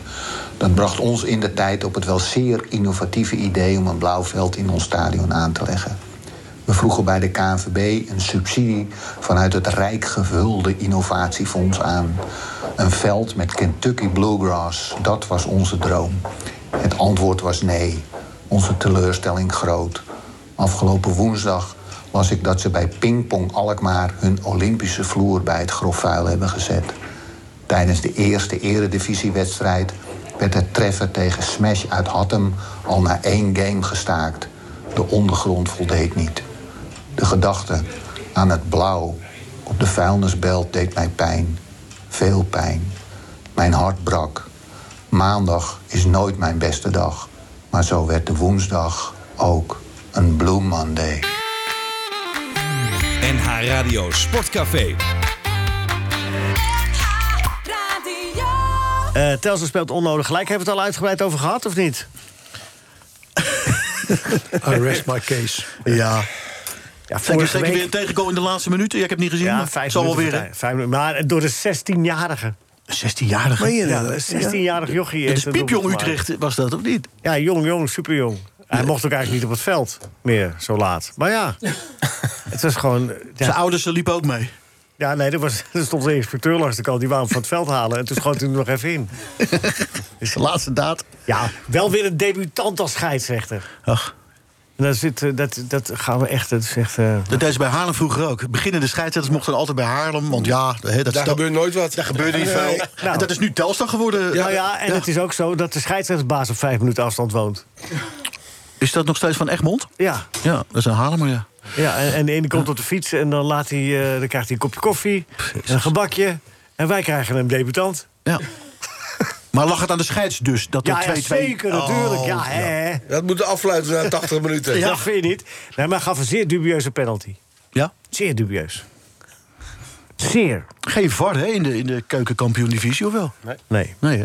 S14: Dat bracht ons in de tijd op het wel zeer innovatieve idee om een blauw veld in ons stadion aan te leggen. We vroegen bij de KNVB een subsidie vanuit het rijk gevulde innovatiefonds aan. Een veld met Kentucky Bluegrass, dat was onze droom. Het antwoord was nee. Onze teleurstelling groot. Afgelopen woensdag las ik dat ze bij Pingpong Alkmaar hun Olympische vloer bij het grofvuil hebben gezet. Tijdens de eerste eredivisiewedstrijd werd het treffen tegen Smash uit Hattem al na één game gestaakt. De ondergrond voldeed niet. De gedachte aan het blauw op de vuilnisbelt deed mij pijn. Veel pijn. Mijn hart brak. Maandag is nooit mijn beste dag. Maar zo werd de woensdag ook een Blue Monday.
S15: NH Radio Sportcafé.
S4: Eh Telstra speelt onnodig gelijk. Hebben we het al uitgebreid over gehad, of niet?
S8: I rest my case.
S6: Ja.
S4: Ja,
S6: Vorige
S4: vorige
S6: zeker weer
S4: week...
S6: een tegengoal in de laatste minuten. Ja, ik heb het niet gezien,
S4: Ja,
S6: maar
S4: vijf
S6: het zal wel
S4: minuten
S6: weer.
S4: voor tijd. Vijf minuten. Maar door de 16-jarige.
S6: 16-jarige.
S4: Meen je dat? Ja, 16-jarig jochie
S6: Het is
S4: heeft een
S6: piepjong
S4: doelpunt gemaakt.
S6: Utrecht, was dat ook niet?
S4: Ja, jong, jong, superjong. Hij mocht ook eigenlijk niet op het veld meer, zo laat. Maar ja, het was gewoon...
S6: Zijn ouders liepen ook mee.
S4: Ja, nee, er, was, er stond een inspecteur langs de kant. Die wou hem van het veld halen. En toen schoot hij hem nog even in.
S6: is de laatste daad.
S4: Ja, wel weer een debutant als scheidsrechter.
S6: Ach.
S4: En dat, zit, eh, dat, dat gaan we echt... Dat is echt eh,
S6: Dat deed ze bij Haarlem vroeger ook. Beginnende scheidsrechters mochten altijd bij Haarlem. Want ja, hè, dat
S7: Daar
S6: sta-
S7: gebeurt nooit wat.
S6: Daar gebeurde niet
S7: Nee.
S6: veel.
S7: Nou.
S6: En dat is nu Telstar geworden.
S4: nou ja, en het is ook zo dat de scheidsrechtsbaas op vijf minuten afstand woont.
S6: Is dat nog steeds van Egmond?
S4: Ja.
S6: Ja, dat is een Haarlemmer, ja.
S4: Ja, en, en de ene komt op de fiets en dan, laat hij, eh, dan krijgt hij een kopje koffie, een gebakje. En wij krijgen een debutant.
S6: Ja. Maar lag het aan de scheids dus? Dat
S4: Ja,
S6: er Oh,
S4: ja,
S6: 2-2
S4: zeker, natuurlijk. Ja, hè, hè.
S7: Dat moet afluiten na 80 minuten.
S4: Dat vind je niet. Nee, maar hij gaf een zeer dubieuze penalty.
S6: Ja?
S4: Zeer dubieus. Zeer.
S6: Geen VAR hè, in de, in de keukenkampioen-divisie, of wel?
S4: Nee. Nee.
S6: hè?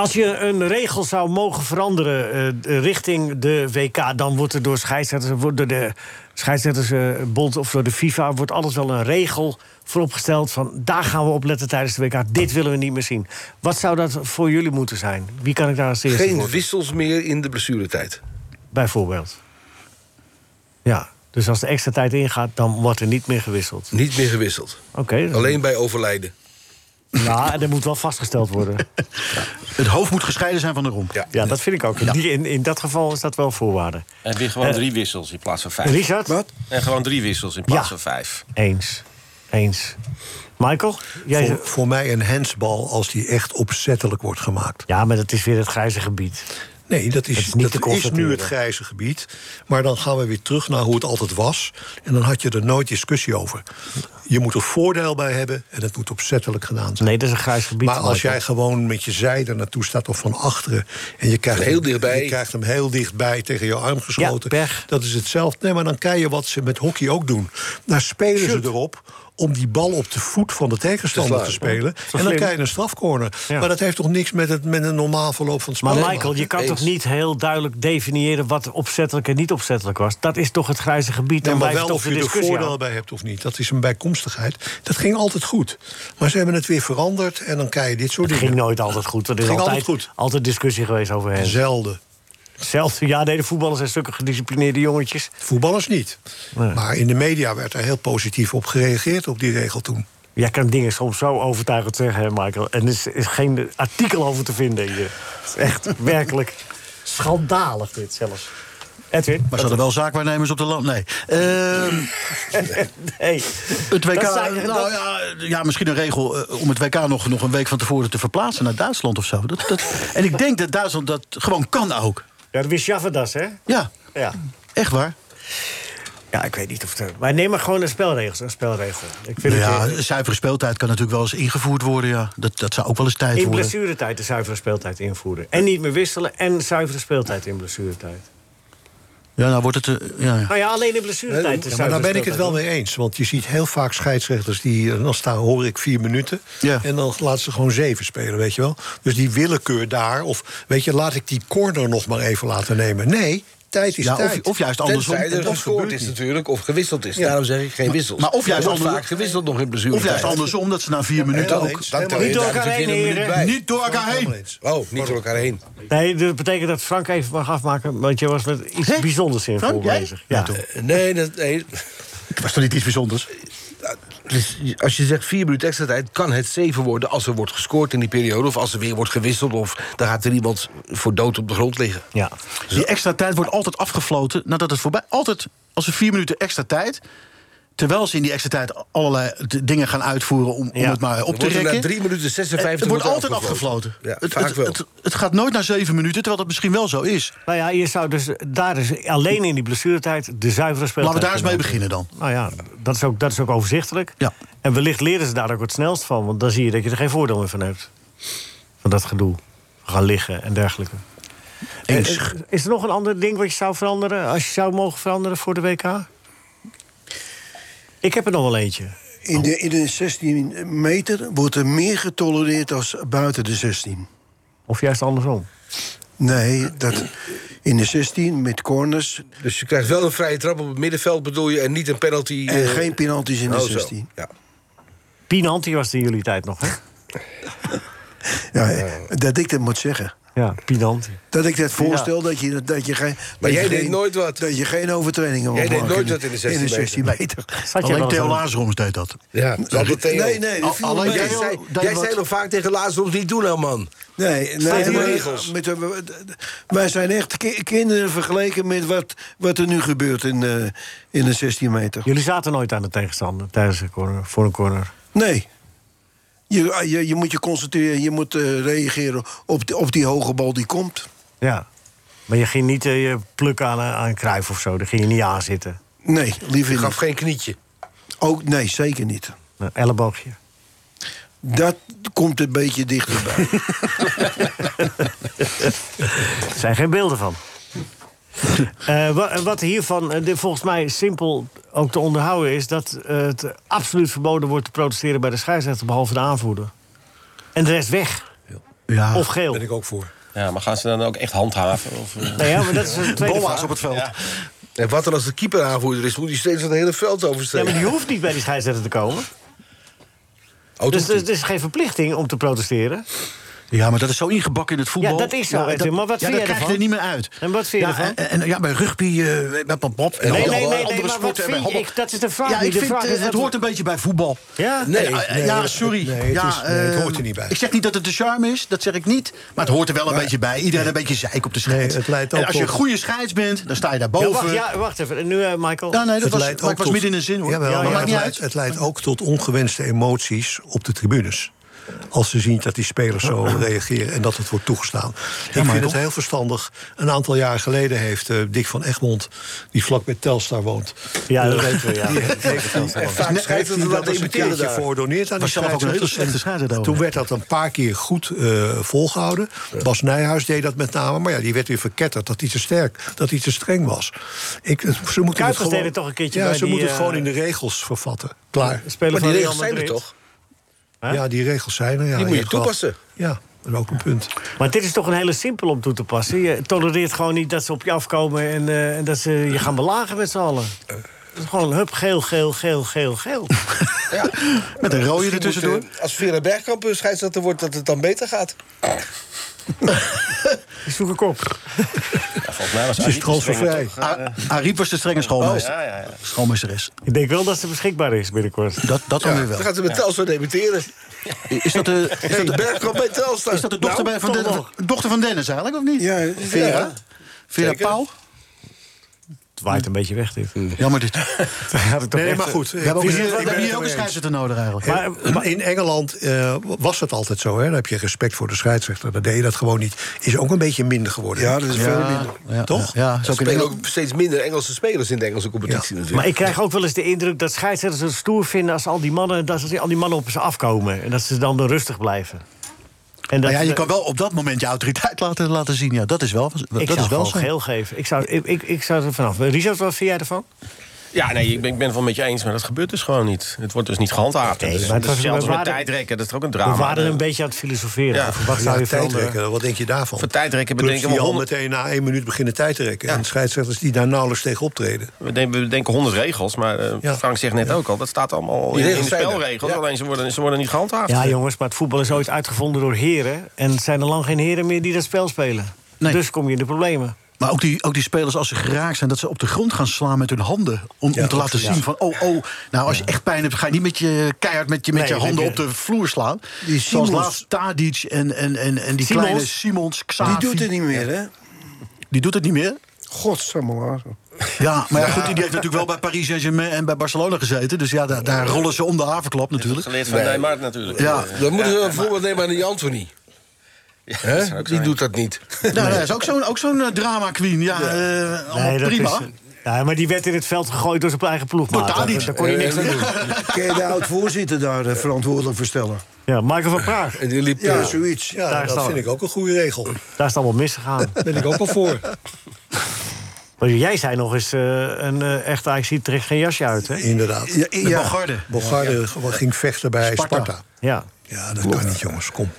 S4: Als je een regel zou mogen veranderen eh, de- richting de WK... dan wordt er door scheidsrechters, wordt door de scheidsrechtersbond of door de FIFA... wordt alles wel een regel vooropgesteld van... daar gaan we op letten tijdens de WK, dit willen we niet meer zien. Wat zou dat voor jullie moeten zijn? Wie kan ik daar als eerste
S7: Geen
S4: voor?
S7: wissels meer in de blessuretijd.
S4: Bijvoorbeeld. Ja, dus als de extra tijd ingaat, dan wordt er niet meer gewisseld.
S7: Niet meer gewisseld.
S4: Oké.
S7: Alleen bij overlijden.
S4: Ja, en dat moet wel vastgesteld worden.
S6: Het hoofd moet gescheiden zijn van de romp.
S7: Ja,
S4: Ja, dat vind ik ook. In, die- in, in dat geval is dat wel een voorwaarde.
S16: En weer gewoon
S4: Eh,
S16: drie wissels in plaats van vijf.
S4: Richard? Wat?
S16: En gewoon drie wissels in plaats
S4: Ja.
S16: van vijf.
S4: Eens. Eens. Michael? Jij...
S8: Voor, voor mij een handsbal als die echt opzettelijk wordt gemaakt.
S4: Ja, maar dat is weer het grijze gebied.
S8: Nee, dat
S4: Dat
S8: is,
S4: is niet te
S8: dat is nu het
S4: constateren.
S8: grijze gebied. Maar dan gaan we weer terug naar hoe het altijd was. En dan had je er nooit discussie over. Je moet er voordeel bij hebben en het moet opzettelijk gedaan zijn.
S4: Nee, dat is een grijs gebied.
S8: Maar als
S4: Michael.
S8: jij gewoon met je zijde naartoe staat of van achteren... en je krijgt,
S7: Heel
S8: hem,
S7: dichtbij.
S8: je krijgt hem heel dichtbij tegen je arm geschoten... dat is hetzelfde. Nee, maar dan kan je wat ze met hockey ook doen. Daar spelen ze erop om die bal op de voet van de tegenstander te,
S4: Te slaan.
S8: spelen. En
S4: Zo
S8: dan
S4: slim.
S8: krijg je een strafcorner.
S4: Ja.
S8: Maar dat heeft toch niks met, het, met een normaal verloop van het spel
S4: Maar
S8: te
S4: Michael, je
S8: maken?
S4: kan toch niet heel duidelijk definiëren... wat opzettelijk en niet opzettelijk was? Dat is toch het grijze gebied?
S8: Nee,
S4: Dan
S8: maar
S4: blijft
S8: wel
S4: toch
S8: of
S4: de
S8: je er
S4: discussie
S8: voordeel
S4: aan.
S8: bij hebt of niet. Dat is een bijkomstigheid. Dat ging altijd goed. Maar ze hebben het weer veranderd en dan krijg je dit soort
S4: Het
S8: dingen.
S4: ging nooit altijd goed. Er
S8: Het
S4: is
S8: ging
S4: altijd,
S8: altijd
S4: altijd discussie geweest over hen.
S8: Zelden.
S4: Zelden. Ja, nee, de voetballers zijn stukken gedisciplineerde jongetjes.
S8: Voetballers niet. Maar in de media werd er heel positief op gereageerd op die regel toen.
S4: Jij kan dingen soms zo overtuigend zeggen, hè, Michael. En er is, is geen artikel over te vinden hier. Het is echt werkelijk schandalig dit zelfs. Edwin?
S6: Maar ze hadden wel zaakwaarnemers op de land. Nee. Ehm,
S4: nee.
S6: Het WK,
S4: Dat zijn-
S6: nou
S4: dat-
S6: ja, ja, misschien een regel eh, om het WK nog, nog een week van tevoren te verplaatsen naar Duitsland of zo. Dat, dat, en ik denk dat Duitsland dat gewoon kan ook.
S4: Ja, dat wist Javadas, hè?
S6: Ja,
S4: Ja.
S6: echt waar.
S4: Ja, ik weet niet of het... Maar neem maar gewoon een spelregel. Een spelregel. Ik vind
S6: Nou ja,
S4: het...
S6: zuivere speeltijd kan natuurlijk wel eens ingevoerd worden. Ja. Dat, dat zou ook wel eens tijd
S4: In
S6: worden.
S4: blessuretijd de zuivere speeltijd invoeren. En niet meer wisselen en zuivere speeltijd in blessuretijd.
S6: Ja, nou wordt het. eh, ja, ja.
S4: Nou ja, alleen in blessuretijd de
S8: Ja, maar daar
S4: zuivere
S8: ben ik het wel
S4: speeltijd.
S8: mee eens. Want je ziet heel vaak scheidsrechters die... eh, dan staan, hoor ik vier minuten. En dan laten ze gewoon zeven spelen, weet je wel. Dus die willekeur daar. Of weet je, laat ik die corner nog maar even laten nemen. Nee, tijd is
S6: Ja, of-
S8: tijd.
S6: of juist andersom.
S7: Tenzij
S6: En
S7: er
S6: dat
S7: gescoord
S6: gebeurt
S7: is
S6: niet.
S7: natuurlijk, of gewisseld is.
S6: Ja.
S7: Daarom zeg ik geen
S6: Maar-
S7: wissels.
S6: maar of juist
S7: Er wordt
S6: ander-
S7: vaak gewisseld nog in blessure.
S6: Of juist andersom, dat ze na vier minuten ook...
S4: Niet door elkaar heen, heren.
S7: Niet door elkaar heen. Oh, niet door elkaar heen.
S4: Nee, dat betekent dat Frank even mag afmaken, want je was met iets bijzonders in
S7: Frank, jij?
S4: bezig. Ja.
S7: Eh, Nee, dat, nee.
S6: Was toch niet iets bijzonders?
S7: Dus als je zegt vier minuten extra tijd, kan het zeven worden als er wordt gescoord in die periode. Of als er weer wordt gewisseld. Of dan gaat er iemand voor dood op de grond liggen.
S4: Ja.
S6: Die extra tijd wordt altijd afgefloten nadat het voorbij... Altijd als er vier minuten extra tijd... terwijl ze in die extra tijd allerlei d- dingen gaan uitvoeren... om, om
S7: Ja.
S6: het maar
S7: Dan
S6: op
S7: wordt
S6: te
S7: er na
S6: rekken. Eh,
S7: drie minuten 56
S6: Het wordt
S7: wordt er
S6: altijd afgefloten.
S7: afgefloten. Ja,
S6: het,
S7: vaak
S6: het-
S7: wel.
S6: het- het gaat nooit naar zeven minuten, terwijl dat misschien wel zo is.
S4: Nou ja, je zou dus daar is alleen in die blessuretijd de zuivere
S6: Laten
S4: speeltijd...
S6: we daar eens mee beginnen
S4: kunnen
S6: dan.
S4: Nou ja, dat is ook, dat is ook overzichtelijk.
S6: Ja.
S4: En wellicht leren ze daar ook het snelst van, want dan zie je dat je er geen voordeel meer van hebt. Van dat gedoe. Gaan liggen en dergelijke.
S6: Eens.
S4: Eh, eh, Is er nog een ander ding wat je zou veranderen, als je zou mogen veranderen voor de WK? Ik heb er nog wel eentje.
S7: Oh,
S5: In de, in de 16 meter wordt er meer getolereerd als buiten de 16.
S4: Of juist andersom?
S5: Nee, dat in de 16 met corners.
S7: Dus je krijgt wel een vrije trap op het middenveld bedoel je. En niet een penalty.
S5: En
S7: eh,
S5: geen penalties in de
S7: oh, zo.
S5: 16.
S7: Ja.
S4: Pinanti was het in jullie tijd nog, hè?
S5: Ja, dat ik dat moet zeggen.
S4: Ja, Pinanti.
S5: Dat ik dat voorstel dat je, dat je geen. dat
S7: jij
S5: je
S7: deed
S5: geen-
S7: nooit wat.
S5: Dat je geen overtredingen
S7: Jij
S5: mag
S7: deed
S5: maken
S7: nooit wat in de 16 meter.
S5: meter.
S4: Zat
S6: Alleen Theo Lazaroms deed dat.
S7: Ja, dat
S5: Nee,
S7: doet Theo.
S5: nee, nee, dat viel
S7: Alleen
S5: mee.
S7: jij
S5: Theo,
S7: zei,
S5: dat
S7: jij
S5: wat-
S7: zei nog vaak tegen Lazarus, niet doen nou man.
S5: Eh, Nee,
S7: Staat
S5: nee
S7: in de
S5: maar-
S7: regels.
S5: met, eh, de- wij zijn echt ki- kinderen vergeleken met wat, wat er nu gebeurt in, eh, in de 16 meter.
S4: Jullie zaten nooit aan de tegenstander tijdens een corner, voor een corner.
S5: Nee. Je, ah, je, je moet je concentreren, je moet eh, reageren op, die- op die hoge bal die komt.
S4: Ja. Maar je ging niet eh, je plukken aan, eh, aan Kruif of zo. Daar ging je niet aan zitten.
S5: Nee, liever
S7: Je
S5: niet.
S7: gaf geen knietje.
S5: Ook, nee, zeker niet.
S4: Een elleboogje.
S5: Dat komt een beetje dichterbij.
S4: Er zijn geen beelden van. Eh, wa- en wat hiervan eh, dit volgens mij simpel ook te onderhouden is... dat eh, het absoluut verboden wordt te protesteren bij de scheidsrechter... behalve de aanvoerder. En de rest weg.
S6: Ja,
S4: Of geel.
S8: ben ik ook voor.
S16: Ja, maar gaan ze dan ook echt handhaven? Of, eh?
S4: Nou ja, maar dat is een tweede vraag.
S6: het veld.
S7: En wat dan als de keeper aanvoerder is, moet hij steeds het hele veld
S4: Ja, maar
S7: oversteken.
S4: die hoeft niet bij die scheidsrechter te komen.
S7: dat
S4: dus
S7: hoeft
S4: er is geen verplichting om te protesteren.
S6: Ja, maar dat is zo ingebakken in het voetbal.
S4: Ja, dat is zo, weet
S6: dat-
S4: je. Maar wat
S6: ja,
S4: vind
S6: dat
S4: jij
S6: krijg je er
S4: ervan?
S6: niet meer uit.
S4: En wat vind je
S6: ja,
S4: ervan?
S6: En, en- ja, bij rugby, eh bij pop, pop, en
S4: nee,
S6: alle-
S4: nee, nee,
S6: andere
S4: maar wat
S6: sporten
S4: vind
S6: hebben
S4: je? Ik- dat is de vraag
S6: Ja,
S4: niet.
S6: ik
S4: De
S6: vind,
S4: vraag
S6: eh,
S4: is
S6: het
S4: wat-
S6: hoort een beetje bij voetbal.
S4: Ja?
S6: Nee,
S7: Nee,
S6: eh,
S7: nee,
S6: ja,
S7: dat-
S6: sorry.
S8: nee, het
S6: ja,
S8: is- nee, het
S6: eh,
S8: hoort er niet bij.
S6: Ik zeg niet dat het de charme is, dat zeg ik niet. Maar het hoort er wel een beetje bij. Iedereen een beetje zeik op de scheids.
S8: Nee, het leidt ook
S6: en als je een
S8: tot-
S6: goede scheids bent, dan sta je daar
S4: Ja,
S6: boven.
S4: wacht, ja, wacht even. En nu, eh, Michael.
S6: Ja, nee, dat
S8: Het
S6: was,
S8: leidt
S6: maar
S8: ook
S6: ik was
S8: tot-
S6: midden in een zin, hoor.
S8: Jawel,
S4: Ja,
S8: maar
S4: ja.
S8: het,
S6: Maakt niet
S8: leidt,
S6: uit.
S8: het leidt ook tot ongewenste emoties op de tribunes. Als ze zien dat die spelers zo reageren en dat het wordt toegestaan. ik vind het heel verstandig. Een aantal jaar geleden heeft eh, Dick van Egmond, die vlak bij Telstar woont.
S4: Ja, dat
S8: eh,
S4: weten we, ja.
S8: die heeft- heeft die-
S7: En vaak
S8: heeft
S7: schijnt
S8: die
S7: het er
S8: dat
S7: wel
S8: eens een
S7: debiteren
S8: keertje
S7: daar.
S8: voor doneert aan die
S6: Was zelf ook een hele
S8: scheidsrechters.
S6: slechte scheidsrechter
S8: En
S6: over.
S8: Toen werd dat een paar keer goed eh, volgehouden. Bas Nijhuis deed dat met name. Maar ja, die werd weer verketterd dat hij te sterk, dat hij te streng was. Ik, eh, ze moeten
S4: Kuipers
S8: het gewoon,
S4: deed het toch een keertje
S8: Ja,
S4: bij
S8: ze
S4: die,
S8: moeten het
S4: eh,
S8: gewoon in de regels vervatten. Klaar.
S4: Speler
S7: Maar die
S4: van Real
S7: regels zijn er
S4: Madrid.
S7: toch?
S4: Hè?
S8: Ja, die regels zijn er. Ja,
S7: Die moet je
S8: hebt wel-
S7: toepassen.
S8: Ja, dat is ook een punt.
S4: Maar dit is toch een hele simpel om toe te passen. Je tolereert gewoon niet dat ze op je afkomen en, eh, en dat ze je gaan belagen met z'n allen. Dat is gewoon hup, geel, geel, geel, geel, geel.
S7: Ja.
S6: Met een rode
S7: Misschien
S6: ertussendoor.
S7: moet, eh, Als Vera Bergkamp een scheidsrechter wordt, dat het dan beter gaat.
S4: Ik zoek een kop.
S16: Ja, volgens mij was
S8: Het is transfervrij.
S6: A-
S16: eh,
S6: Ariep was de
S16: Oh.
S4: Oh,
S6: strenge schoolmeester.
S16: ja, ja, ja.
S6: Schoolmeesteres.
S4: Ik denk wel dat ze beschikbaar is binnenkort.
S6: Dat, dat dan weer wel.
S7: Dan gaat ze met Telstra debuteren.
S6: Is dat de, is dat
S7: Hey,
S6: de,
S7: Bergkamp bij Telstra.
S6: is dat de dochter, bij van,
S4: toch
S6: Den- dochter van Dennis eigenlijk, of niet?
S5: Ja,
S6: Vera?
S5: ja.
S6: Vera
S7: Zeker.
S6: Pauw?
S4: Het waait een beetje weg, dit.
S6: Jammer dit.
S4: Had ik toch
S8: Nee,
S4: echt-
S8: maar goed.
S6: We hebben ook,
S8: Ik
S6: hier,
S8: ben-
S6: we
S8: ik ben
S6: hebben
S8: het
S6: hier ook een
S8: ermee eens.
S6: scheidsrechter nodig eigenlijk.
S4: Maar,
S8: Maar in Engeland eh, was het altijd zo. Hè? Dan heb je respect voor de scheidsrechter. Dan deed je dat gewoon niet. Is ook een beetje minder geworden.
S5: Ja, dat is veel minder.
S6: Ja,
S8: Toch?
S6: Ja, ja, is
S7: Er
S6: ook in
S7: spelen
S6: Engeland.
S7: ook steeds minder Engelse spelers in de Engelse competitie natuurlijk.
S4: maar ik krijg ook wel eens de indruk dat scheidsrechters het stoer vinden... als al die mannen, dat ze, al die mannen op ze afkomen. En dat ze dan rustig blijven. En dat,
S6: Maar ja, je kan wel op dat moment je autoriteit laten, laten zien. Ja, dat is wel,
S4: Ik
S6: dat
S4: zou
S6: is wel
S4: gewoon
S6: zo.
S4: geel geven. Ik zou, ik, ik, ik zou er vanaf. Richard, wat vind jij ervan?
S13: Ja, nee, ik ben, ik ben het wel met je eens, maar dat gebeurt dus gewoon niet. Het wordt dus niet gehandhaafd.
S4: Nee,
S13: Dus
S4: maar het
S13: het is
S4: was-
S13: hetzelfde
S4: we
S13: met
S4: waren-
S13: tijdrekken, dat is toch ook een drama. Eh,
S4: We waren
S13: De-
S4: een beetje aan het filosoferen.
S13: Ja.
S4: over wat zou je veranderen?
S8: tijdrekken, wat denk je daarvan?
S13: Voor tijdrekken
S8: Clubs
S13: bedenken we
S8: die al
S13: honderd-
S8: meteen na één minuut beginnen tijd te rekken. En scheidsrechters die daar nauwelijks tegen optreden.
S13: We denken, we denken honderd regels, maar eh, Frank zegt net ook al... dat staat allemaal
S8: Die
S13: in, in de
S8: regels zijn er.
S13: spelregels,
S8: Ja.
S13: alleen ze worden, ze worden niet gehandhaafd.
S4: Ja, jongens, maar het voetbal is ooit uitgevonden door heren. En zijn er lang geen heren meer die dat spel spelen. Dus kom je in de problemen.
S6: Maar ook die, ook die spelers, als ze geraakt zijn, dat ze op de grond gaan slaan met hun handen. Om, om te laten
S8: absoluut.
S6: zien van, oh, oh, nou, als je echt pijn hebt, ga je niet met je keihard met je, met
S8: Nee,
S6: je handen
S8: met
S6: op
S8: je-
S6: de vloer slaan.
S8: Die
S6: Zoals
S8: Simons-
S6: laatst Tadic en, en, en, en die
S8: Simons?
S6: kleine Simons, Xavi.
S5: Die doet het niet meer, hè?
S6: Die doet het niet meer?
S5: Godsamme.
S6: Ja, maar ja,
S5: Ja.
S6: goed, die heeft natuurlijk wel bij Paris Saint-Germain en bij Barcelona gezeten. Dus ja, daar, daar rollen ze om de havenklap natuurlijk.
S13: Geleerd van Neymar natuurlijk.
S6: Ja.
S7: Dan moeten we een voorbeeld nemen aan die Anthony. Hè?
S13: dat zou ook
S7: die
S13: zijn.
S7: doet dat niet.
S6: Nou, dat is ook zo'n ook zo'n eh, drama queen. Ja, eh, allemaal
S4: dat
S6: prima.
S4: is- ja, maar die werd in het veld gegooid door zijn eigen ploeg.
S6: Door
S4: maat.
S6: Tadic.
S4: Daar, daar Ah, kon je niks
S7: Eh,
S4: aan doen.
S5: Kun Eh, je de oud-voorzitter daar eh, verantwoordelijk voor stellen?
S4: Ja, Michael van Praag.
S7: En die liep,
S5: Ja,
S7: eh,
S5: zoiets.
S8: Ja,
S4: Daar
S8: dat
S4: staan we.
S8: vind ik ook een goede regel.
S4: Daar is het allemaal misgegaan.
S8: Ben ik ook wel voor.
S4: Maar jij zei nog eens, eh, een eh echt Ajaxiet trekt geen jasje uit, hè?
S8: Inderdaad.
S4: Ja, ja. Bogarde.
S8: Bogarde ging vechten bij
S4: Sparta.
S8: Sparta.
S4: Ja,
S8: Ja, dat kan niet, jongens. Kom.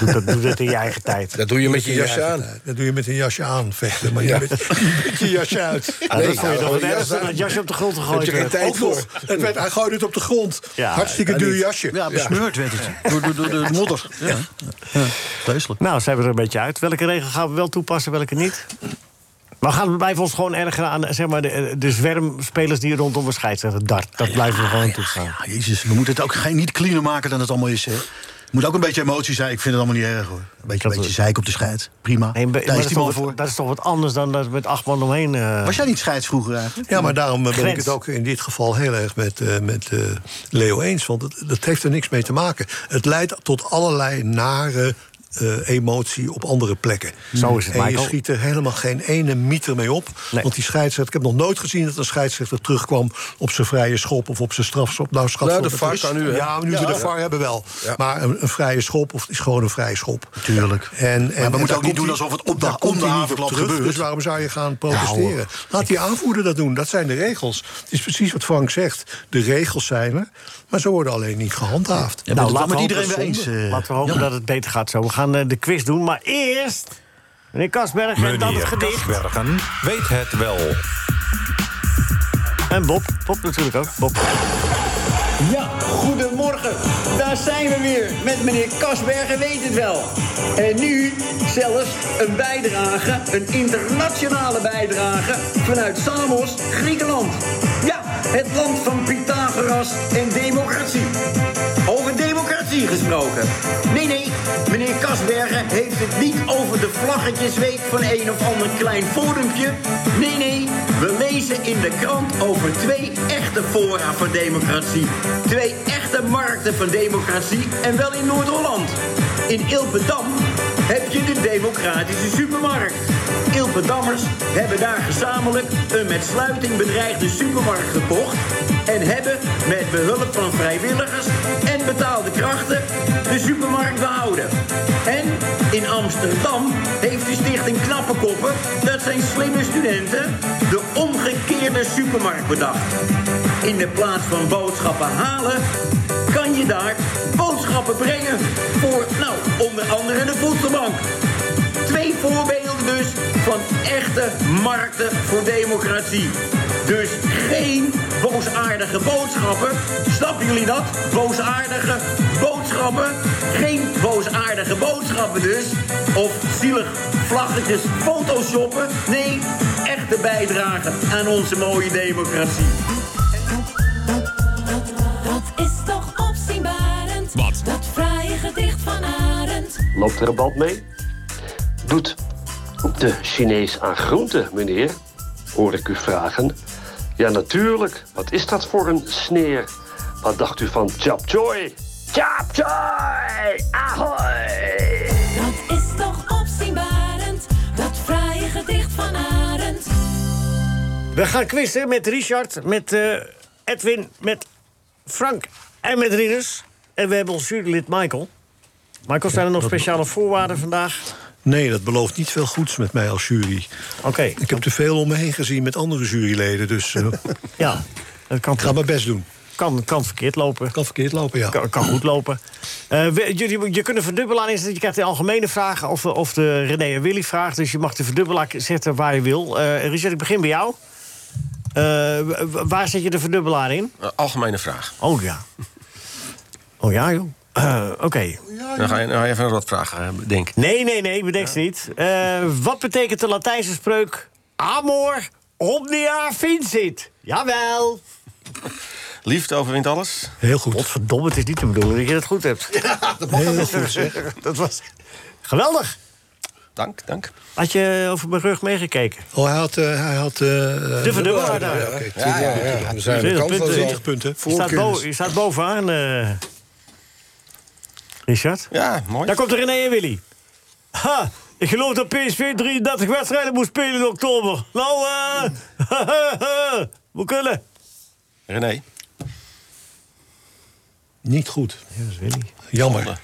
S4: doe dat, doe dat in je eigen tijd.
S7: Dat doe je met je jasje aan.
S8: Dat doe je met een jasje aan vechten, maar niet met, niet met je jasje uit.
S4: Ja, dat vond je toch het ergste, dat jasje op de grond gegooid
S8: Heb je geen
S4: werd.
S8: tijd
S4: Ook nog.
S8: voor. Het werd, hij gooide het op de grond.
S4: Ja,
S8: Hartstikke
S4: ja,
S8: duur
S4: niet.
S8: jasje.
S6: Ja, besmeurd werd het. Door, door, door de modder. Ja. Vreselijk.
S4: Nou, zijn we er een beetje uit. Welke regel gaan we wel toepassen, welke niet? Maar we gaan blijven ons gewoon ergeren aan zeg maar, de, de zwermspelers die rondom een scheidsrechter dart. Dat blijven we gewoon toestaan.
S6: Ah, Jezus, we moeten het ook geen, niet cleaner maken dan het allemaal is. Hè. Er moet ook een beetje emotie zijn. Ik vind het allemaal niet erg hoor. Een beetje, een beetje zeik op de scheid. Prima.
S4: Nee, maar
S6: Daar
S4: dat,
S6: is
S4: is
S6: die
S4: toch
S6: man
S4: wat,
S6: voor.
S4: dat is toch wat anders dan dat met acht man omheen. eh.
S6: Was jij niet scheids vroeger eigenlijk?
S8: Ja, maar daarom eh, ben ik
S4: Grens.
S8: het ook in dit geval heel erg met, eh, met eh, Leo eens. Want het- dat heeft er niks mee te maken. Het leidt tot allerlei nare eh, emotie op andere plekken.
S4: Zo is het,
S8: En je
S4: Michael.
S8: schiet er helemaal geen ene mieter mee op. Want die scheidsrechter, ik heb nog nooit gezien dat een scheidsrechter terugkwam... op zijn vrije schop of op zijn strafschop. Nou, schat,
S7: Nou, de
S8: het
S7: VAR
S8: is-
S7: kan nu, hè?
S8: Ja, nu we
S7: Ja.
S8: de VAR hebben wel. Maar een, een vrije schop of, is gewoon een vrije schop.
S6: Tuurlijk.
S8: En, en,
S6: maar we moeten ook niet doen
S8: hij-
S6: alsof het op
S8: daar
S6: de,
S8: komt
S6: om de
S8: hij niet op
S6: havenklap
S8: terug,
S6: gebeurt.
S8: Dus waarom zou je gaan protesteren?
S6: hoor.
S8: Laat die aanvoerder dat doen. Dat zijn de regels. Het is precies wat Frank zegt. De regels zijn er, maar ze worden alleen niet gehandhaafd.
S6: Ja,
S4: nou,
S6: dat-
S4: laten we
S6: maar
S4: hopen,
S6: iedereen weer eens, eh,
S4: laten we hopen
S6: ja.
S4: dat het beter gaat zo. We gaan eh, de quiz doen, maar eerst... Meneer Kasberg, en dan het gedicht.
S2: Kasbergen weet het wel.
S4: En Bob. Bob natuurlijk ook. Bob.
S17: Ja, goedemorgen. Daar zijn we weer met meneer Kasbergen weet het wel. En nu zelfs een bijdrage, een internationale bijdrage vanuit Samos, Griekenland. Ja, het land van Pythagoras en democratie. Over democratie gesproken. Nee, nee, meneer Kasbergen heeft het niet over de vlaggetjesweek van een of ander klein forumpje. Nee, nee, we lezen in de krant over twee echte fora van democratie. Twee echte markten van democratie en wel in Noord-Holland. In Ilpendam heb je de democratische supermarkt. Ilpendammers hebben daar gezamenlijk een met sluiting bedreigde supermarkt gekocht... en hebben met behulp van vrijwilligers en betaalde krachten de supermarkt behouden. En in Amsterdam heeft de stichting Knappe Koppen... dat zijn slimme studenten de omgekeerde supermarkt bedacht. In de plaats van boodschappen halen kan je daar boodschappen brengen voor, nou, onder andere de voedselbank. Twee voorbeelden dus van echte markten voor democratie. Dus geen boosaardige boodschappen. Snappen jullie dat? Boosaardige boodschappen. Geen boosaardige boodschappen dus. Of zielig vlaggetjes photoshoppen. Nee, echte bijdrage aan onze mooie democratie.
S18: Dat is toch opzienbarend. Wat? Dat fraaie gedicht van Arend.
S19: Loopt er een band mee? Doet de Chinees aan groente, meneer? Hoor ik u vragen. Ja, natuurlijk. Wat is dat voor een sneer? Wat dacht u van Chap Choi? Chap Choi! Ahoy!
S18: Dat is toch opzienbarend. Dat fraaie gedicht van Arend.
S4: We gaan quizzen met Richard, met eh, Edwin, met Frank en met Rinus. En we hebben ons jurylid Michael. Michael, zijn er nog speciale voorwaarden vandaag?
S8: Nee, dat belooft niet veel goeds met mij als jury.
S4: Oké.
S8: Ik heb te veel om me heen gezien met andere juryleden, dus eh,
S4: Ja, dat kan
S8: ik ga mijn best doen.
S4: Kan, kan verkeerd lopen.
S8: Kan verkeerd lopen, ja.
S4: Kan, kan goed lopen. Eh, we- je, je, je kunt een verdubbelaar inzetten. Je krijgt de algemene vraag of, of de René en Willy vraag. Dus je mag de verdubbelaar zetten waar je wil. Eh, Richard, ik begin bij jou. Eh, w- w- waar zet je de verdubbelaar in?
S13: Een Eh, algemene vraag.
S4: Oh ja. Oh ja, joh. Eh, Oké.
S13: Dan ga je, dan ga je even een rotvraag eh, bedenken.
S4: Nee, nee, nee, bedenk ze niet. Eh, wat betekent de Latijnse spreuk... Amor omnia vincit? Jawel.
S13: Liefde overwint alles.
S4: Heel goed. Godverdomme, het is niet te bedoelen dat je dat goed hebt.
S13: Ja,
S4: dat mag Heel wel goed, zeg. Dat was... Geweldig.
S13: Dank, dank.
S4: Had je over mijn rug meegekeken?
S8: Oh, hij had... eh, hij had eh,
S4: De verdubbelaar daar.
S8: Ja, oké, twintig punten. Twintig
S4: We zijn kansloos al.
S8: punten. 20 punten.
S4: Je staat, bo- je staat bovenaan, eh, Richard.
S13: Ja, mooi.
S4: Daar komt René en Willy. Ha, ik geloof dat PSV 33 wedstrijden moet spelen in oktober. Nou, eh, we kunnen.
S13: René.
S8: Niet goed.
S4: Ja, dat is Willy.
S8: Jammer.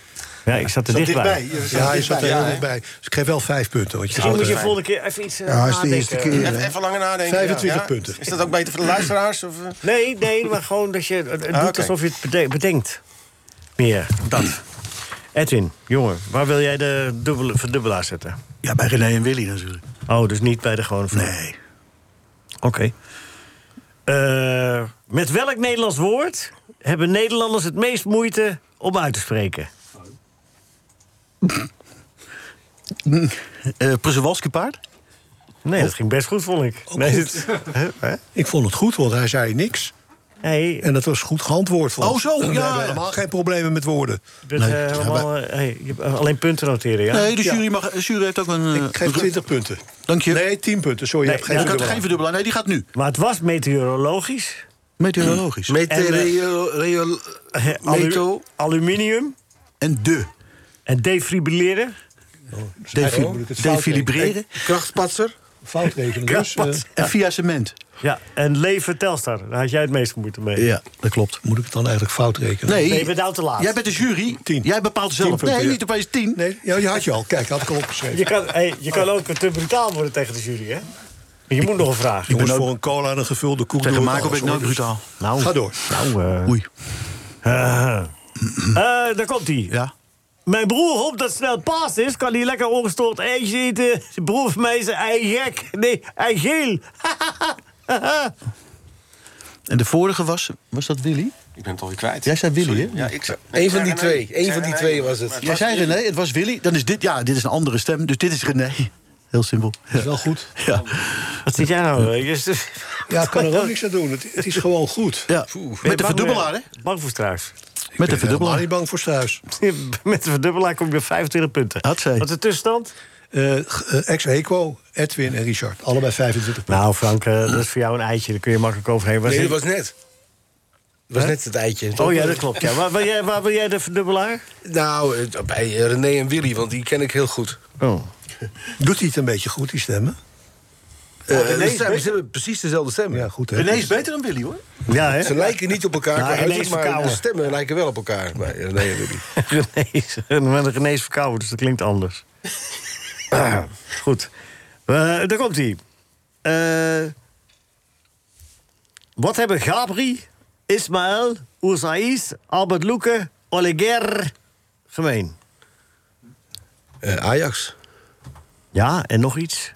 S4: Ja, ik zat er Zat dichtbij. dichtbij. Je zat
S8: Ja,
S4: er
S8: je zat er
S4: dichtbij.
S8: heel
S4: Ja,
S8: dichtbij. Dus ik geef wel vijf punten. Want je
S4: Misschien
S8: zat
S4: moet je
S8: er-
S4: volgende keer even iets eh,
S8: Ja, is de
S4: nadenken.
S8: eerste keer,
S13: Even, even langer nadenken. ja.
S8: 25
S13: Ja?
S8: punten.
S13: Is dat ook beter voor de luisteraars? Of, eh?
S4: Nee, nee, maar gewoon dat je eh, het doet
S13: Ah, oké.
S4: alsof je het bede- bedenkt. Meer, dat. Edwin, jongen, waar wil jij de dubbele, verdubbelaar zetten?
S6: Ja, bij René en Willy natuurlijk.
S4: Oh, dus niet bij de gewone vrouw.
S6: Nee.
S4: Oké. Eh, met welk Nederlands woord hebben Nederlanders het meest moeite om uit te spreken?
S6: Eh Przewalski paard?
S4: Nee, dat ging best goed, vond ik.
S6: Nee,
S8: goed.
S6: dit-
S8: Ik vond het goed, want hij zei niks.
S4: Hey.
S8: En dat was goed geantwoord.
S6: Oh, zo,
S8: We
S6: ja,
S8: hebben
S6: ja.
S8: helemaal geen problemen met woorden.
S4: Dus, eh, helemaal, eh, hey, je hebt, eh, alleen punten noteren, ja?
S6: Nee, dus de jury, mag, de jury heeft ook een... eh,
S8: Ik geef
S6: een-
S8: 20 punten.
S6: Dank je.
S8: Nee, 10 punten. Sorry,
S4: Nee,
S8: je hebt geen
S4: ja,
S6: Ik
S8: verdubbelaar.
S6: had geen verdubbelaar. Nee, die gaat nu.
S4: Maar het was meteorologisch. eh,
S6: Meteorologisch.
S4: Meteoreo-
S6: Meteoreo...
S4: Eh, alu- aluminium.
S6: En de.
S4: En defibrilleren.
S6: Defi- Defibrilleren.
S7: Krachtpatser.
S8: Foutrekenen dus. eh,
S6: En via cement.
S4: Ja, en leven Telstar. Daar had jij het meest moeite mee.
S6: Ja,
S8: dat klopt. Moet ik het dan eigenlijk fout rekenen?
S6: Nee,
S4: Nee, we nou te laat.
S6: jij bent de jury. Jij bepaalt
S8: Tien
S6: zelf.
S8: punten,
S6: Nee,
S8: ja.
S6: niet opeens tien.
S8: Nee, ja, die had je al. Kijk, had ik al opgeschreven. Oh.
S4: Je kan, hey, je kan ook te brutaal worden tegen de jury, hè? Je moet nog een vraag.
S8: Jongens, voor een cola en een gevulde koek
S6: Tegen
S8: doe ik
S6: Marco ben ik
S8: alles,
S6: nooit
S8: hoor.
S6: brutaal.
S8: Dus Ga door.
S4: Nou, eh,
S6: Oei.
S4: eh, eh, daar komt hij.
S6: Ja.
S4: Mijn broer hoopt dat het snel paas is. Kan hij lekker ongestoord eitjes eten? Zijn broer van mij is een ei gek. Nee, ei geel.
S6: En de vorige was, was dat Willy?
S13: Ik ben het alweer kwijt.
S6: Jij zei Willy,
S13: Sorry.
S6: hè?
S13: Ja, ik zei...
S7: Eén van die
S13: Ik zei René.
S7: twee. Eén
S13: Ik zei
S7: van die
S13: René,
S7: twee was het.
S13: maar
S6: Jij zei René, het was Willy. Dan is dit, ja, dit is een andere stem. Dus dit is René. Heel simpel.
S8: Dat is wel goed.
S6: Ja.
S4: Wat zit jij nou? eh, je-
S8: Ja, ik kan er ook niks aan doen. Het, het is gewoon goed.
S6: ja.
S4: Ben je
S6: Met de
S4: bang-
S6: verdubbelaar, hè?
S4: Bang voor
S8: Ik
S4: struis.
S6: Met
S8: ben
S6: de
S8: helemaal
S6: verdubbelaar.
S8: niet bang voor struis.
S4: Met de verdubbelaar kom je op 25 punten.
S6: Had zij.
S4: Wat is de tussenstand?
S8: Eh, g- eh, Ex-Equo, Edwin en Richard. Allebei 25 punten.
S4: Nou, Frank, eh, dat is voor jou een eitje. Daar kun je makkelijk overheen. Waar
S7: Nee, dat
S4: zit-
S7: was net. Dat was net het eitje.
S4: Oh ja, dat klopt. Ja. Waar, wil jij, waar wil jij de verdubbelaar?
S7: Nou, eh, bij eh, René en Willy, want die ken ik heel goed.
S4: Oh.
S8: Doet hij het een beetje goed, die stemmen?
S7: Eh,
S4: Oh, René
S7: we
S4: is
S7: stemmen-
S4: beter.
S7: ze hebben precies dezelfde stemmen.
S8: Ja, goed. Hè?
S6: René is beter dan Willy, hoor.
S4: Ja, hè?
S7: Ze lijken niet op elkaar,
S4: Nou,
S7: qua
S4: René
S7: uiterlijk,
S4: is
S7: maar de
S4: verkouden.
S7: stemmen lijken wel op elkaar. bij René en Willy.
S4: René is, met een René is verkouden, dus dat klinkt anders. Ah, goed. Eh, daar komt hij. Eh, wat hebben Gabri, Ismaël, Ouzais, Albert Loeken, Oleguer gemeen?
S7: Eh, Ajax.
S4: Ja, en nog iets?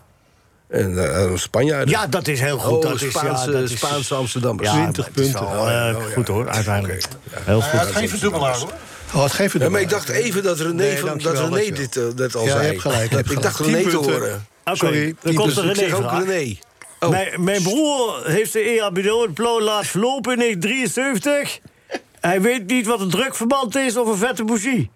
S7: En eh, Spanjaarden.
S4: Ja, dat is heel goed.
S7: Oh,
S4: dat is, ja,
S7: Spaanse-
S4: dat is-
S7: Spaanse Amsterdammers.
S4: Ja,
S7: 20
S4: dat is wel,
S7: punten.
S4: eh,
S7: Oh, ja. Eh,
S4: Goed hoor, uiteindelijk. Heel goed.
S6: Geen verdubbelaar, hoor.
S8: Oh, had geen
S7: Ja, maar
S8: verdubbelaar.
S7: ik dacht even dat René,
S8: Nee,
S7: van, dat
S8: dankjewel,
S7: René
S8: dankjewel.
S7: dit eh, net al
S8: Ja, je
S7: zei.
S8: hebt gelijk, je hebt
S7: ik dacht
S8: gelijk.
S7: René
S8: Tien
S7: te
S8: punten.
S7: horen.
S4: Oké,
S8: Sorry,
S4: dan komt er
S7: ik zeg
S4: René
S7: ook
S4: vraag.
S7: René. Oh.
S4: Mijn, mijn broer heeft de E EHBO in Plo laat verlopen in 1973. Hij weet niet wat een drukverband is of een vette bougie.